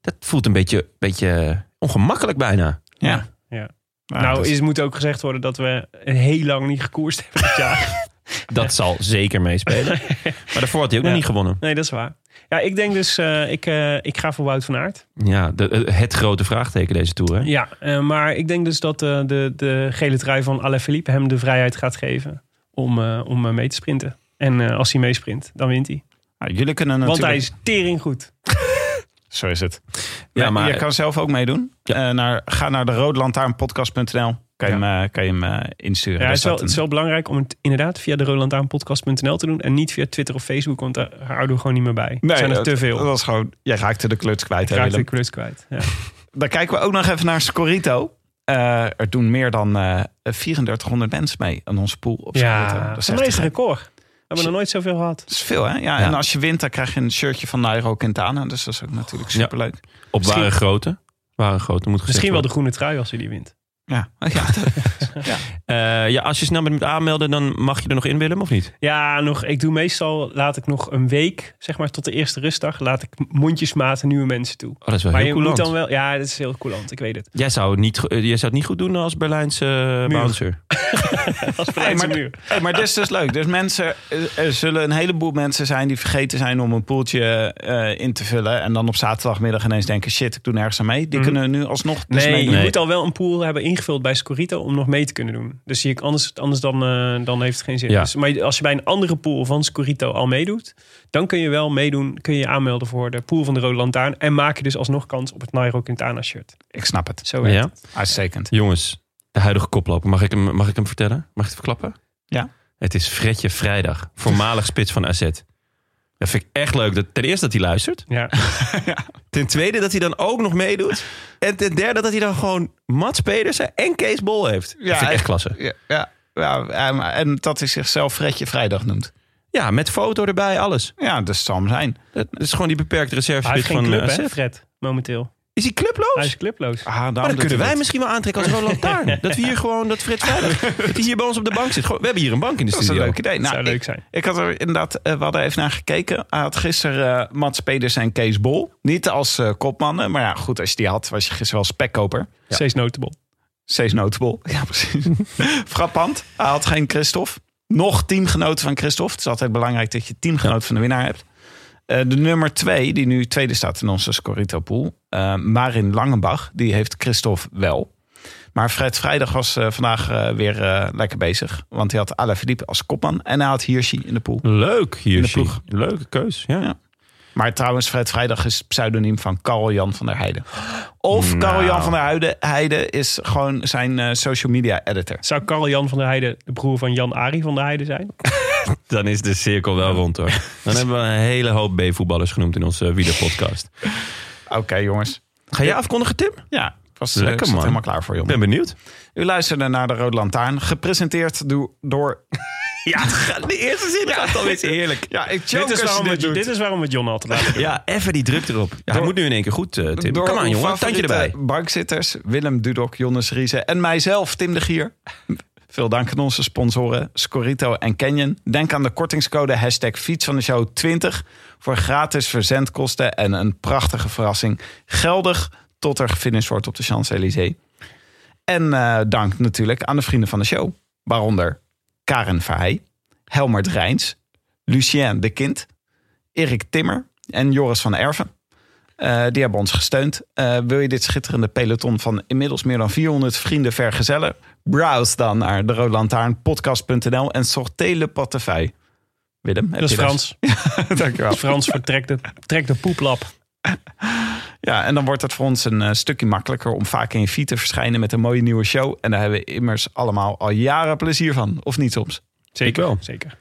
[SPEAKER 1] Dat voelt een beetje, beetje ongemakkelijk bijna.
[SPEAKER 5] Ja.
[SPEAKER 2] Ja.
[SPEAKER 5] Maar
[SPEAKER 2] nou,
[SPEAKER 5] dat
[SPEAKER 2] is, moet ook gezegd worden dat we heel lang niet gekoerst hebben dit jaar.
[SPEAKER 1] Dat zal zeker meespelen. Maar daarvoor had hij ook
[SPEAKER 2] Ja.
[SPEAKER 1] nog niet gewonnen.
[SPEAKER 2] Nee, dat is waar. Ja, ik denk dus, eh, ik, eh, ik ga voor Wout van Aert.
[SPEAKER 1] Ja, de- eh, het grote vraagteken deze Tour. Hè?
[SPEAKER 2] Ja, eh, maar ik denk dus dat eh, de, de gele trui van Alain Philippe hem de vrijheid gaat geven om, eh, om eh, mee te sprinten. En eh, als hij meesprint, dan wint hij.
[SPEAKER 5] Nou, jullie kunnen
[SPEAKER 2] Want
[SPEAKER 5] natuurlijk...
[SPEAKER 2] hij is tering goed.
[SPEAKER 5] Zo is het.
[SPEAKER 1] Ja,
[SPEAKER 5] Ja,
[SPEAKER 1] maar-
[SPEAKER 5] maar je kan zelf ook meedoen. Eh, naar, ga naar de roodlantaarnpodcast.nl. Kan je hem, eh, kan je hem eh, insturen.
[SPEAKER 2] Ja,
[SPEAKER 5] Daar
[SPEAKER 2] het, is wel,
[SPEAKER 5] staat
[SPEAKER 2] het is
[SPEAKER 5] een-
[SPEAKER 2] wel belangrijk om het inderdaad via de rolandaanpodcast.nl te doen. En niet via Twitter of Facebook, want daar houden we gewoon niet meer bij. Er zijn er
[SPEAKER 5] dat-
[SPEAKER 2] te veel.
[SPEAKER 5] Dat was gewoon, jij raakte de kluts kwijt. hè,
[SPEAKER 2] Ik raak de
[SPEAKER 5] Willem?
[SPEAKER 2] klus kwijt. Ja.
[SPEAKER 5] Dan kijken we ook nog even naar Scorito. Eh, er doen meer dan eh 3400 mensen mee aan onze pool op Scorito.
[SPEAKER 2] Ja,
[SPEAKER 5] dat, is
[SPEAKER 2] voor
[SPEAKER 5] echt
[SPEAKER 2] mij is
[SPEAKER 5] te
[SPEAKER 2] een
[SPEAKER 5] gek.
[SPEAKER 2] record. We hebben nog nooit zoveel gehad.
[SPEAKER 5] Dat is veel, hè? Ja, En als je wint, dan krijg je een shirtje van Nairo Quintana. Dus dat is ook natuurlijk
[SPEAKER 1] Ja.
[SPEAKER 5] superleuk.
[SPEAKER 1] Op
[SPEAKER 2] Misschien-
[SPEAKER 1] ware grootte. Ware grootte moet gezegd
[SPEAKER 2] Misschien wel
[SPEAKER 1] worden.
[SPEAKER 2] de groene trui als hij die wint.
[SPEAKER 5] Ja, ja,
[SPEAKER 1] Eh, ja, als je snel moet aanmelden, dan mag je er nog in, Willem, of niet?
[SPEAKER 2] Ja, nog, ik doe meestal, laat ik nog een week, zeg maar tot de eerste rustdag, laat ik mondjesmaat nieuwe mensen toe.
[SPEAKER 1] Oh, dat is wel
[SPEAKER 2] Maar
[SPEAKER 1] heel
[SPEAKER 2] je moet
[SPEAKER 1] coulant.
[SPEAKER 2] dan wel, ja, dat is heel coulant, ik weet het.
[SPEAKER 1] Jij zou, het niet, go- eh, jij zou het niet goed doen als Berlijnse eh,
[SPEAKER 2] Muur.
[SPEAKER 1] bouncer.
[SPEAKER 2] Als
[SPEAKER 5] Hey,
[SPEAKER 2] Berlijnse
[SPEAKER 5] maar,
[SPEAKER 2] muur.
[SPEAKER 5] hey, maar dit is dus leuk. Dus mensen, eh, er zullen een heleboel mensen zijn die vergeten zijn om een poeltje eh, in te vullen. En dan op zaterdagmiddag ineens denken, shit, ik doe nergens aan mee. Die kunnen nu alsnog dus
[SPEAKER 2] Nee,
[SPEAKER 5] meedoen.
[SPEAKER 2] je moet al wel een pool hebben ingevuld bij Scorito om nog mee te kunnen doen. Dus zie ik anders, anders dan, eh, dan heeft het geen zin.
[SPEAKER 1] Ja.
[SPEAKER 2] Dus, maar als je bij een andere pool van Scorito al meedoet, dan kun je wel meedoen, kun je je aanmelden voor de pool van de Rode Lantaarn en maak je dus alsnog kans op het Nairo Quintana shirt.
[SPEAKER 5] Ik snap het.
[SPEAKER 2] Zo werkt
[SPEAKER 1] Ja?
[SPEAKER 2] het.
[SPEAKER 5] Uitstekend.
[SPEAKER 1] Jongens, de huidige koploper. Mag ik hem, mag ik hem vertellen? Mag ik het verklappen?
[SPEAKER 5] Ja.
[SPEAKER 1] Het is Fredje Vrijdag, voormalig spits van AZ. Dat vind ik echt leuk. Dat, ten eerste dat hij luistert.
[SPEAKER 2] Ja.
[SPEAKER 1] Ten tweede dat hij dan ook nog meedoet. En ten derde dat hij dan gewoon Mats Pedersen en Kees Bol heeft. Ja, dat vind ik echt klasse.
[SPEAKER 5] Ja, ja, ja, en- en dat hij zichzelf Fredje Vrijdag noemt.
[SPEAKER 1] Ja, met foto erbij, alles.
[SPEAKER 5] Ja, dat zal hem zijn.
[SPEAKER 1] Dat is gewoon die beperkte
[SPEAKER 2] Hij heeft
[SPEAKER 1] reservespits
[SPEAKER 2] geen
[SPEAKER 1] van
[SPEAKER 2] club,
[SPEAKER 1] eh,
[SPEAKER 2] hè,
[SPEAKER 1] AZ.
[SPEAKER 2] Fred, momenteel.
[SPEAKER 1] Is hij clubloos?
[SPEAKER 2] Hij is clubloos.
[SPEAKER 5] Ah, daarom
[SPEAKER 1] Maar
[SPEAKER 5] doet
[SPEAKER 1] dan kunnen
[SPEAKER 5] hij
[SPEAKER 1] wij
[SPEAKER 5] dat.
[SPEAKER 1] misschien wel aantrekken als Roland Lantaarn. Dat we hier gewoon, dat Frits Vrijdag, dat hij hier bij ons op de bank zit. Gewoon, we hebben hier een bank in de
[SPEAKER 5] Dat is
[SPEAKER 1] studio.
[SPEAKER 5] een leuk idee.
[SPEAKER 2] Dat zou
[SPEAKER 5] nou, ik-
[SPEAKER 2] leuk zijn.
[SPEAKER 5] Ik had er inderdaad, eh, we hadden even naar gekeken. Hij had gisteren eh Mats Pedersen en Kees Bol. Niet als eh, kopmannen, maar ja, goed, als je die had, was je gisteren wel spekkoper.
[SPEAKER 2] Steeds notable.
[SPEAKER 5] Steeds notable. Ja, precies. Frappant. Hij had geen Christophe. Nog teamgenoten van Christophe. Het is altijd belangrijk dat je teamgenoot van de winnaar hebt. Eh, de nummer twee, die nu tweede staat in onze Scorito pool. eh, Marin Langenbach, die heeft Christophe wel. Maar Fred Vrijdag was eh, vandaag eh, weer eh, lekker bezig. Want hij had Alaphilippe als kopman. En hij had Hirschi in de pool.
[SPEAKER 1] Leuk hier,
[SPEAKER 5] de ploeg.
[SPEAKER 1] Leuke keus, ja.
[SPEAKER 5] Ja. Maar trouwens, Fred Vrijdag is pseudoniem van Karel-Jan van der Heijden. Of Karel-Jan van der Heijden, Heijden is gewoon zijn eh, social media editor.
[SPEAKER 2] Zou Karel Jan van der Heijden de broer van Jan Ari van der Heijden zijn?
[SPEAKER 1] Dan is de cirkel wel rond hoor. Dan hebben we een hele hoop B-voetballers genoemd in onze wielerpodcast.
[SPEAKER 5] Oké, jongens.
[SPEAKER 1] Ga jij afkondigen, Tim?
[SPEAKER 5] Ja, ik was eh,
[SPEAKER 1] Lekker,
[SPEAKER 5] ik zat
[SPEAKER 1] man.
[SPEAKER 5] helemaal klaar voor
[SPEAKER 1] Ik
[SPEAKER 5] jongen.
[SPEAKER 1] ben benieuwd.
[SPEAKER 5] U luisterde naar de Rode Lantaarn, gepresenteerd do- door...
[SPEAKER 1] Ja, de eerste zin gaat alweer heerlijk.
[SPEAKER 5] Ja, ik
[SPEAKER 2] Dit is, waarom we, dit is waarom we John altijd laten.
[SPEAKER 1] Ja, even die druk erop. Ja, hij moet nu in één keer goed, eh, Tim. Kom aan,
[SPEAKER 5] uw
[SPEAKER 1] jongen. Tandje
[SPEAKER 5] favoriete
[SPEAKER 1] erbij.
[SPEAKER 5] Bankzitters, Willem Dudok, Jonas Riese en mijzelf, Tim de Gier. Veel dank aan onze sponsoren Scorito en Canyon. Denk aan de kortingscode hashtag fiets van de show 20 voor gratis verzendkosten en een prachtige verrassing. Geldig tot er gefinished wordt op de Champs-Élysées. En eh, dank natuurlijk aan de vrienden van de show. Waaronder Karen Verheij, Helmer Drijns, Lucien de Kind, Erik Timmer en Joris van Erven. Eh, die hebben ons gesteund. Eh, wil je dit schitterende peloton van inmiddels meer dan 400 vrienden vergezellen? Browse dan naar de roodlantaarnpodcast.nl en sorteer le portefeuille. Willem, heb
[SPEAKER 2] Dat is
[SPEAKER 5] je
[SPEAKER 2] Frans.
[SPEAKER 5] dat? Dankjewel.
[SPEAKER 2] Frans vertrekt de, trekt de poeplap.
[SPEAKER 5] Ja, en dan wordt het voor ons een eh, stukje makkelijker om vaak in je feed te verschijnen met een mooie nieuwe show. En daar hebben we immers allemaal al jaren plezier van, of niet soms?
[SPEAKER 2] Zeker.
[SPEAKER 1] wel.
[SPEAKER 2] Zeker.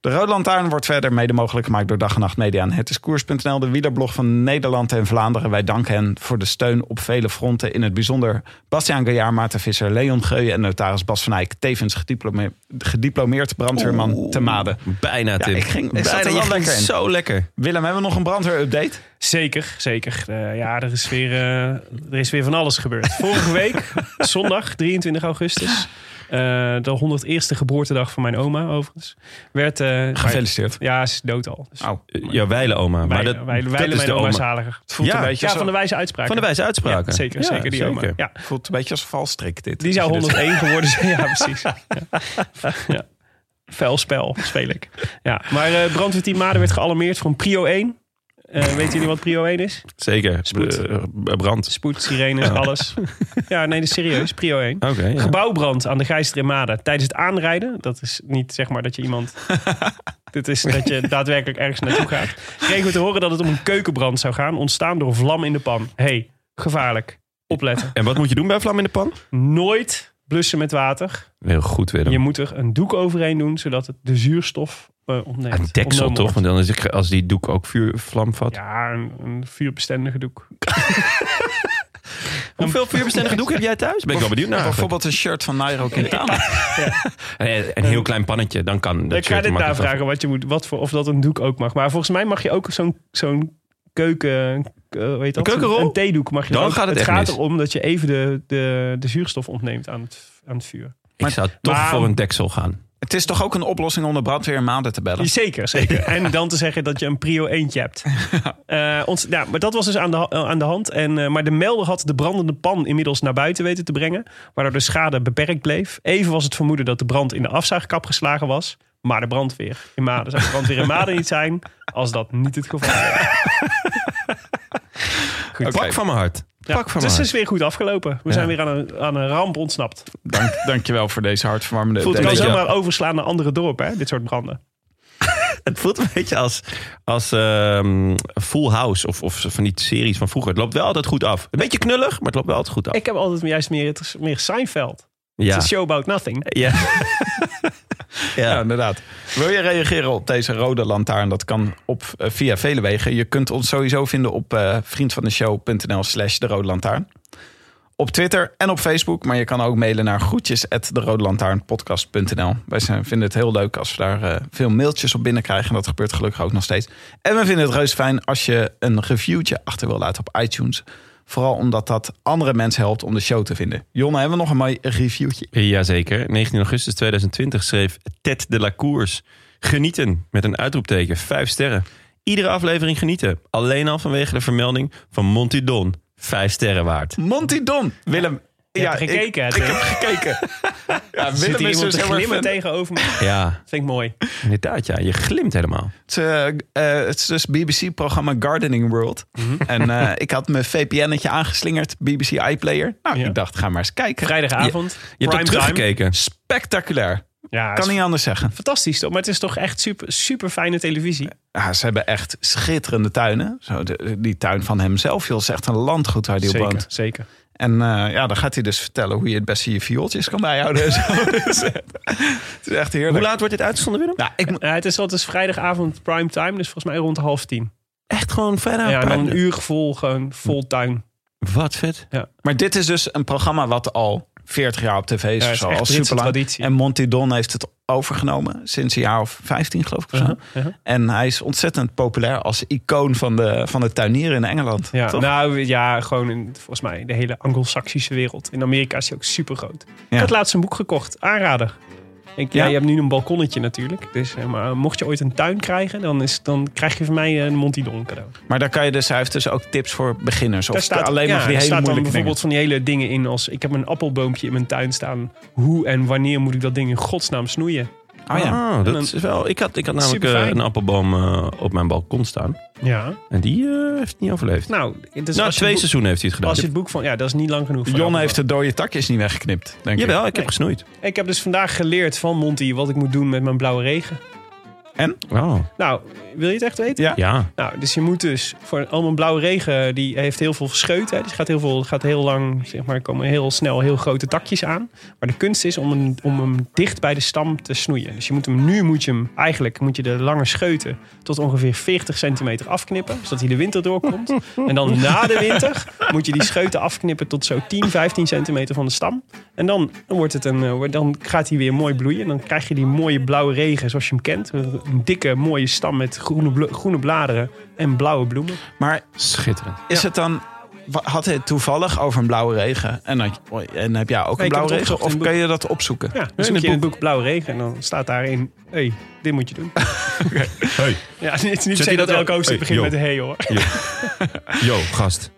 [SPEAKER 5] De Rode Lantaarn wordt verder mede mogelijk gemaakt door Dag en Nacht Media en Het is Koers.nl, de wielerblog van Nederland en Vlaanderen. Wij danken hen voor de steun op vele fronten. In het bijzonder Bastiaan Gaillard, Maarten Visser, Leon Geuyen en notaris Bas van Eyck. Tevens gediplome- gediplomeerd brandweerman
[SPEAKER 1] Oh.
[SPEAKER 5] te Maden.
[SPEAKER 1] Bijna, Tim.
[SPEAKER 5] ik ging- ik zat
[SPEAKER 1] Bijna,
[SPEAKER 5] er wel
[SPEAKER 1] je ging
[SPEAKER 5] lekker in.
[SPEAKER 1] zo lekker.
[SPEAKER 5] Willem, hebben we nog een brandweerupdate?
[SPEAKER 2] Zeker, zeker. Eh, ja, er is, weer, eh, er is weer van alles gebeurd. Vorige week, zondag 23 augustus, eh, de 101ste geboortedag van mijn oma overigens, werd... eh,
[SPEAKER 5] Gefeliciteerd.
[SPEAKER 2] Ja, ze is dood al. Dus
[SPEAKER 5] Oh,
[SPEAKER 1] Eh, Ja, wijlen oma. Maar
[SPEAKER 2] wijlen-
[SPEAKER 1] dat,
[SPEAKER 2] wijlen- wijlen
[SPEAKER 1] dat is
[SPEAKER 2] mijn
[SPEAKER 1] de
[SPEAKER 2] oma
[SPEAKER 1] oma.
[SPEAKER 2] is zaliger.
[SPEAKER 5] het voelt
[SPEAKER 1] Ja,
[SPEAKER 5] een beetje
[SPEAKER 2] Ja,
[SPEAKER 5] zo-
[SPEAKER 2] van de wijze uitspraak.
[SPEAKER 1] Van de wijze uitspraken.
[SPEAKER 2] Ja, zeker,
[SPEAKER 1] Ja,
[SPEAKER 2] zeker die oma.
[SPEAKER 1] zeker.
[SPEAKER 2] Ja.
[SPEAKER 5] voelt een beetje als een valstrik dit.
[SPEAKER 2] Die zou
[SPEAKER 5] Als je dit-
[SPEAKER 2] 101 geworden zijn. Ja, precies. Ja. Ja. Vuil spel speel ik. Ja. Maar eh brandweerteam Maden werd gealarmeerd voor een Prio 1. Eh, weten jullie wat Prio 1 is?
[SPEAKER 1] Zeker.
[SPEAKER 2] Spoed.
[SPEAKER 1] Eh, Brand.
[SPEAKER 2] Spoed, sirenes, alles. Ja, nee, dat is serieus. Prio 1.
[SPEAKER 1] Oké, Oh. ja.
[SPEAKER 2] Gebouwbrand aan de Geister in Maden tijdens het aanrijden. Dat is niet zeg maar dat je iemand... Dit is dat je daadwerkelijk ergens naartoe gaat. Kregen we te horen dat het om een keukenbrand zou gaan. Ontstaan door vlam in de pan. hey, gevaarlijk. Opletten.
[SPEAKER 1] En wat moet je doen bij vlam in de pan?
[SPEAKER 2] Nooit blussen met water.
[SPEAKER 1] Heel goed, Willem.
[SPEAKER 2] Je moet er een doek overheen doen, zodat het de zuurstof eh ontneemt.
[SPEAKER 1] Een deksel
[SPEAKER 2] Ontnomen
[SPEAKER 1] toch?
[SPEAKER 2] wordt.
[SPEAKER 1] Want dan is het, als die doek ook vuur, vlam vat.
[SPEAKER 2] Ja, een, een vuurbestendige doek.
[SPEAKER 1] Hoeveel vuurbestendige doek heb jij thuis? Ben ik wel benieuwd naar. eigenlijk.
[SPEAKER 5] Bijvoorbeeld een shirt van Nairo Quintana.
[SPEAKER 1] Eh, Een heel klein pannetje, dan kan dat
[SPEAKER 2] Ik ga
[SPEAKER 1] shirt
[SPEAKER 2] dit
[SPEAKER 1] makkelijk
[SPEAKER 2] navragen wat je moet, wat voor, of dat een doek ook mag. Maar volgens mij mag je ook zo'n zo'n keuken... eh, weet dat?
[SPEAKER 1] Een keukenrol?
[SPEAKER 2] Een theedoek mag je
[SPEAKER 1] Dan
[SPEAKER 2] ook.
[SPEAKER 1] gaat het echt
[SPEAKER 2] gaat
[SPEAKER 1] mis.
[SPEAKER 2] erom dat je even de, de, de zuurstof ontneemt aan het, aan het vuur.
[SPEAKER 1] Ik zou toch
[SPEAKER 2] maar-
[SPEAKER 1] voor een deksel gaan.
[SPEAKER 5] Het is toch ook een oplossing om de brandweer in maanden te bellen?
[SPEAKER 2] Zeker, zeker. En dan te zeggen dat je een prio eentje hebt. Eh, ons, ja, maar dat was dus aan de, ha- eh, aan de hand. En, eh, maar de melder had de brandende pan inmiddels naar buiten weten te brengen. Waardoor de schade beperkt bleef. Even was het vermoeden dat de brand in de afzuigkap geslagen was. Maar de brandweer in Maden zou de brandweer in Maden niet zijn. Als dat niet het geval was.
[SPEAKER 1] Pak van mijn hart. pak van
[SPEAKER 2] dus het
[SPEAKER 1] maken.
[SPEAKER 2] is weer goed afgelopen. We zijn weer aan een, aan een ramp ontsnapt.
[SPEAKER 5] Dank, dankjewel voor deze hartverwarmende...
[SPEAKER 2] Voelt
[SPEAKER 5] deze-
[SPEAKER 2] het wel
[SPEAKER 1] beetje-
[SPEAKER 2] zomaar overslaan naar andere dorpen, hè? dit soort branden.
[SPEAKER 1] Het voelt een beetje als, als ehm, Full House of, of van die series van vroeger. Het loopt wel altijd goed af. Een beetje knullig, maar het loopt wel altijd goed af.
[SPEAKER 2] Ik heb altijd juist meer, meer Seinfeld.
[SPEAKER 1] ja.
[SPEAKER 2] It's a show about nothing.
[SPEAKER 1] Ja. ja.
[SPEAKER 5] Ja, inderdaad. Wil je reageren op deze rode lantaarn? Dat kan op, eh, via vele wegen. Je kunt ons sowieso vinden op eh vriendvandeshow.nl slash de rode lantaarn. Op Twitter en op Facebook. Maar je kan ook mailen naar groetjes at derodelantaarnpodcast.nl. Wij zijn, vinden het heel leuk als we daar eh, veel mailtjes op binnenkrijgen. En dat gebeurt gelukkig ook nog steeds. En we vinden het reuze fijn als je een reviewtje achter wil laten op iTunes. Vooral omdat dat andere mensen helpt om de show te vinden. Jonne, hebben we nog een mooi reviewtje?
[SPEAKER 1] Jazeker. 19 augustus 2020 schreef Ted de la Cours. Genieten met een uitroepteken. Vijf sterren. Iedere aflevering genieten. Alleen al vanwege de vermelding van Monty Don. Vijf sterren waard.
[SPEAKER 5] Monty Don. Willem.
[SPEAKER 2] Je hebt gekeken,
[SPEAKER 5] Ik,
[SPEAKER 2] hè,
[SPEAKER 5] ik
[SPEAKER 2] Tim?
[SPEAKER 5] heb gekeken. ja,
[SPEAKER 2] Zit
[SPEAKER 5] Willem
[SPEAKER 2] hier
[SPEAKER 5] is
[SPEAKER 2] iemand
[SPEAKER 5] dus
[SPEAKER 2] te
[SPEAKER 5] heel erg
[SPEAKER 2] glimmen
[SPEAKER 5] fan.
[SPEAKER 2] tegenover me?
[SPEAKER 1] Ja,
[SPEAKER 2] Vind ik mooi.
[SPEAKER 1] inderdaad. Ja. Je glimt helemaal.
[SPEAKER 5] Het, eh, eh, het is dus BBC-programma Gardening World.
[SPEAKER 2] Mhm.
[SPEAKER 5] En eh, ik had mijn VPN-etje aangeslingerd, BBC iPlayer. Nou,
[SPEAKER 2] Ja.
[SPEAKER 5] ik dacht, ga maar eens kijken.
[SPEAKER 2] Vrijdagavond.
[SPEAKER 1] Je hebt ook
[SPEAKER 2] prime time.
[SPEAKER 1] teruggekeken.
[SPEAKER 5] Spectaculair.
[SPEAKER 2] Ja,
[SPEAKER 5] Kan
[SPEAKER 2] is
[SPEAKER 5] niet anders zeggen.
[SPEAKER 2] fantastisch toch? Maar het is toch echt super, super fijne televisie.
[SPEAKER 5] Ja, ze hebben echt schitterende tuinen. Zo de- die tuin van hemzelf, joh, is echt een landgoed waar die op
[SPEAKER 2] Zeker,
[SPEAKER 5] woont.
[SPEAKER 2] zeker.
[SPEAKER 5] En eh, ja, dan gaat hij dus vertellen hoe je het beste je viooltjes kan bijhouden. en zo. Dus, eh, het is echt heerlijk.
[SPEAKER 1] Hoe laat wordt dit uitgezonden, Willem?
[SPEAKER 5] Nou, ik, mo-
[SPEAKER 2] Ja, het is altijd vrijdagavond prime time, dus volgens mij rond half tien.
[SPEAKER 1] Echt gewoon vrijdag.
[SPEAKER 2] Ja, en dan een uur vol, gewoon vol tuin.
[SPEAKER 1] Wat vet.
[SPEAKER 5] Maar dit is dus een programma wat al 40 jaar op tv is.
[SPEAKER 2] Ja, het
[SPEAKER 5] of
[SPEAKER 2] is
[SPEAKER 5] zo,
[SPEAKER 2] echt
[SPEAKER 5] al
[SPEAKER 2] Britse
[SPEAKER 5] superlang.
[SPEAKER 2] traditie.
[SPEAKER 5] En Monty Don heeft het overgenomen sinds een jaar of 15, geloof ik. Of zo. En hij is ontzettend populair als icoon van de, van de tuinier in Engeland.
[SPEAKER 2] Ja,
[SPEAKER 5] toch?
[SPEAKER 2] nou ja, gewoon in, volgens mij de hele Anglo-Saxische wereld. In Amerika is hij ook super groot. Ik
[SPEAKER 5] Ja.
[SPEAKER 2] had laatst een boek gekocht, aanrader. Ik, ja,
[SPEAKER 5] Ja?
[SPEAKER 2] je hebt nu een balkonnetje natuurlijk. Dus, eh, maar mocht je ooit een tuin krijgen, dan, is, dan krijg je van mij een Monty Don cadeau.
[SPEAKER 5] Maar daar kan je dus, hij heeft dus ook tips voor beginners. Of
[SPEAKER 2] Daar staat,
[SPEAKER 5] alleen
[SPEAKER 2] ja,
[SPEAKER 5] maar van die
[SPEAKER 2] er
[SPEAKER 5] hele
[SPEAKER 2] staat dan
[SPEAKER 5] moeilijke
[SPEAKER 2] bijvoorbeeld van die hele dingen in als... ik heb een appelboompje in mijn tuin staan. Hoe en wanneer moet ik dat ding in godsnaam snoeien?
[SPEAKER 5] dingen. Oh ja.
[SPEAKER 1] Ah, dat
[SPEAKER 2] dan-
[SPEAKER 1] is wel. Ik had, ik had namelijk
[SPEAKER 2] Superfijn.
[SPEAKER 1] eh, een appelboom eh, op mijn balkon staan.
[SPEAKER 2] Ja.
[SPEAKER 1] En die eh, heeft het niet overleefd.
[SPEAKER 2] Nou, dus
[SPEAKER 1] nou,
[SPEAKER 2] als je
[SPEAKER 1] twee
[SPEAKER 2] het boek-
[SPEAKER 1] seizoenen heeft hij het gedaan.
[SPEAKER 2] Als je het boek van... Ja, dat is niet lang genoeg. voor een
[SPEAKER 5] Jon heeft
[SPEAKER 2] appelboom.
[SPEAKER 5] de dode takjes niet weggeknipt, denk
[SPEAKER 1] Jawel, ik heb
[SPEAKER 2] Nee.
[SPEAKER 1] gesnoeid.
[SPEAKER 2] Ik heb dus vandaag geleerd van Monty wat ik moet doen met mijn blauwe regen.
[SPEAKER 1] Oh,
[SPEAKER 2] Nou, wil je het echt weten?
[SPEAKER 5] Ja.
[SPEAKER 1] ja.
[SPEAKER 2] Nou, dus je moet dus voor al mijn blauwe regen, die heeft heel veel scheut. Hè. Dus gaat heel, veel, gaat heel lang, zeg maar, komen heel snel heel grote takjes aan. Maar de kunst is om hem, om hem dicht bij de stam te snoeien. Dus je moet hem, nu moet je hem, eigenlijk moet je de lange scheuten tot ongeveer 40 centimeter afknippen. Zodat hij de winter doorkomt. En dan na de winter moet je die scheuten afknippen tot zo 10, 15 centimeter van de stam. En dan, wordt het een, eh, wordt- dan gaat hij weer mooi bloeien. En dan krijg je die mooie blauwe regen zoals je hem kent. Een dikke mooie stam met groene, blo- groene bladeren en blauwe bloemen.
[SPEAKER 5] ik. Maar
[SPEAKER 1] Schitterend.
[SPEAKER 5] is het dan... wa- Had hij het toevallig over een blauwe regen? En, dan, en heb jij ook
[SPEAKER 2] Nee,
[SPEAKER 5] een
[SPEAKER 2] ik heb
[SPEAKER 5] blauwe
[SPEAKER 2] het
[SPEAKER 5] regen?
[SPEAKER 2] opgezocht in
[SPEAKER 5] Of
[SPEAKER 2] het
[SPEAKER 5] kun je dat opzoeken?
[SPEAKER 2] Ja,
[SPEAKER 5] Dan
[SPEAKER 2] dus in
[SPEAKER 5] zoek
[SPEAKER 2] het
[SPEAKER 5] je-
[SPEAKER 2] boek, boek Blauwe Regen. En dan staat daarin, hé, hey, dit moet je doen.
[SPEAKER 1] Hey,
[SPEAKER 2] Ja, het is niet
[SPEAKER 1] Zet
[SPEAKER 2] per
[SPEAKER 1] je
[SPEAKER 2] se dat
[SPEAKER 1] dat
[SPEAKER 2] elke
[SPEAKER 1] ook- Hey,
[SPEAKER 2] hoofdstuk begint
[SPEAKER 1] joh.
[SPEAKER 2] met hey hoor.
[SPEAKER 1] yo, gast.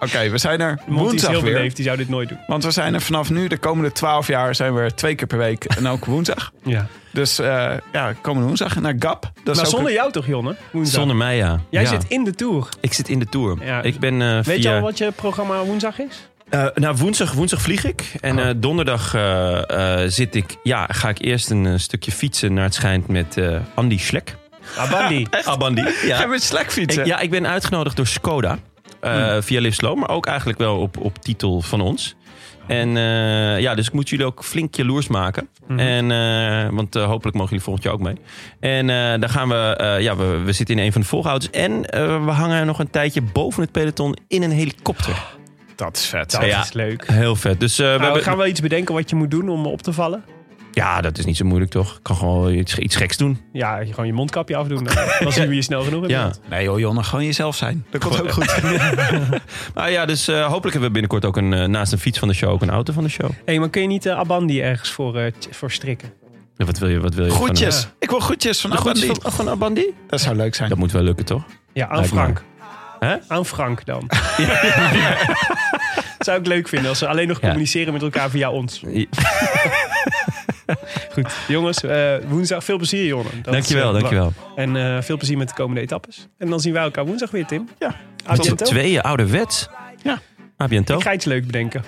[SPEAKER 5] Oké, we zijn er
[SPEAKER 2] Monty is
[SPEAKER 5] woensdag
[SPEAKER 2] heel
[SPEAKER 5] weer.
[SPEAKER 2] beleefd, die zou dit nooit doen.
[SPEAKER 5] Want we zijn er vanaf nu, de komende 12 jaar, zijn we er twee keer per week. En ook woensdag.
[SPEAKER 2] Ja.
[SPEAKER 5] Dus eh, ja, komende woensdag naar GAP. Dat is
[SPEAKER 2] Maar
[SPEAKER 5] ook
[SPEAKER 2] zonder
[SPEAKER 5] een-
[SPEAKER 2] jou toch, Jonne? Woensdag.
[SPEAKER 1] Zonder mij, ja.
[SPEAKER 2] Jij
[SPEAKER 1] Ja.
[SPEAKER 2] zit in de tour.
[SPEAKER 1] Ik zit in de tour.
[SPEAKER 2] Ja.
[SPEAKER 1] Ik ben eh,
[SPEAKER 2] Weet
[SPEAKER 1] via...
[SPEAKER 2] je al wat je programma woensdag is?
[SPEAKER 1] Eh, nou, woensdag, woensdag vlieg ik. En
[SPEAKER 2] Oh.
[SPEAKER 1] eh, donderdag eh, eh, zit ik, ja, ga ik eerst een eh, stukje fietsen naar het schijnt met eh, Andy Schlek.
[SPEAKER 2] Abandi.
[SPEAKER 1] Abandi.
[SPEAKER 5] Ga
[SPEAKER 1] Ja.
[SPEAKER 5] je met Slack fietsen?
[SPEAKER 1] Ik- ja, ik ben uitgenodigd door Skoda. eh, Via Livslo, maar ook eigenlijk wel op, op titel van ons. En eh, ja, dus ik moet jullie ook flink jaloers maken. en, eh, want eh, hopelijk mogen jullie volgend jaar ook mee. En eh daar gaan we, eh, ja, we, we zitten in een van de volgauto's. En eh, we hangen nog een tijdje boven het peloton in een helikopter.
[SPEAKER 5] Dat is vet.
[SPEAKER 2] Dat
[SPEAKER 1] Ja.
[SPEAKER 2] is leuk.
[SPEAKER 1] Heel vet. Dus eh, we
[SPEAKER 2] Nou, we
[SPEAKER 1] hebben-
[SPEAKER 2] gaan wel iets bedenken wat je moet doen om op te vallen.
[SPEAKER 1] Ja, dat is niet zo moeilijk toch? Ik kan gewoon iets, iets geks doen.
[SPEAKER 2] Ja, je gewoon je mondkapje afdoen. Dan, dan zien we je snel genoeg.
[SPEAKER 1] Ja.
[SPEAKER 2] hebt.
[SPEAKER 5] Nee joh, Jonne, gewoon jezelf zijn. Dat komt ook goed.
[SPEAKER 1] Nou ja, dus eh, hopelijk hebben we binnenkort ook een, eh, naast een fiets van de show ook een auto van de show.
[SPEAKER 2] hey, maar kun je niet eh, Abandi ergens voor, eh, t- voor strikken?
[SPEAKER 1] Ja, Wat wil je? Wat wil je
[SPEAKER 5] Groetjes.
[SPEAKER 2] Ja.
[SPEAKER 5] Ik wil eh, groetjes van
[SPEAKER 1] Van,
[SPEAKER 5] Abandi.
[SPEAKER 1] groetjes van, van Abandi?
[SPEAKER 5] Dat zou leuk zijn.
[SPEAKER 1] Dat moet wel lukken toch?
[SPEAKER 2] Ja, aan
[SPEAKER 1] Lijkt me.
[SPEAKER 2] Frank.
[SPEAKER 1] Hè?
[SPEAKER 2] Aan Frank dan. Zou ik leuk vinden als ze alleen nog
[SPEAKER 1] Ja.
[SPEAKER 2] communiceren met elkaar via ons.
[SPEAKER 1] Ja.
[SPEAKER 2] Goed, jongens, eh, woensdag veel plezier, Jonne. Dat
[SPEAKER 1] Dankjewel,
[SPEAKER 2] is, eh,
[SPEAKER 1] dankjewel.
[SPEAKER 2] En eh, veel plezier met de komende etappes. En dan zien wij elkaar woensdag weer, Tim.
[SPEAKER 5] Ja.
[SPEAKER 1] Tot de
[SPEAKER 2] Argento.
[SPEAKER 1] tweeën ouderwets.
[SPEAKER 5] Ja.
[SPEAKER 1] Maar biento.
[SPEAKER 2] Ik ga iets leuks bedenken.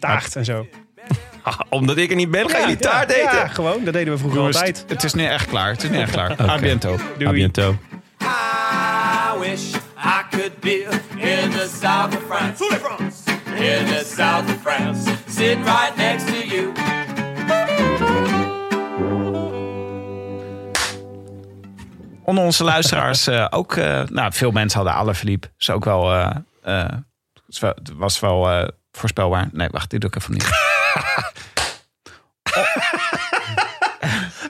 [SPEAKER 2] Taart en zo.
[SPEAKER 1] Ah, Omdat ik er niet ben, ga je die taart
[SPEAKER 2] ja,
[SPEAKER 1] eten.
[SPEAKER 2] Ja, gewoon. Dat deden we vroeger
[SPEAKER 5] Jongens,
[SPEAKER 2] altijd.
[SPEAKER 5] Het is nu echt klaar. Het is nu echt klaar. A biento.
[SPEAKER 2] Doei.
[SPEAKER 1] A biento.
[SPEAKER 9] I wish I could be in the south of France. In the south of France. Sitting right next to you.
[SPEAKER 5] Onder onze luisteraars eh, ook... eh, nou, veel mensen hadden Alaphilippe. Is ook wel... eh, eh, is wel- Het was wel eh, voorspelbaar. Nee, wacht. Dit doe ik even niet.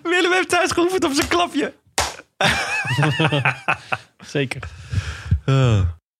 [SPEAKER 1] Willem heeft thuis geoefend op zijn klapje.
[SPEAKER 2] Zeker.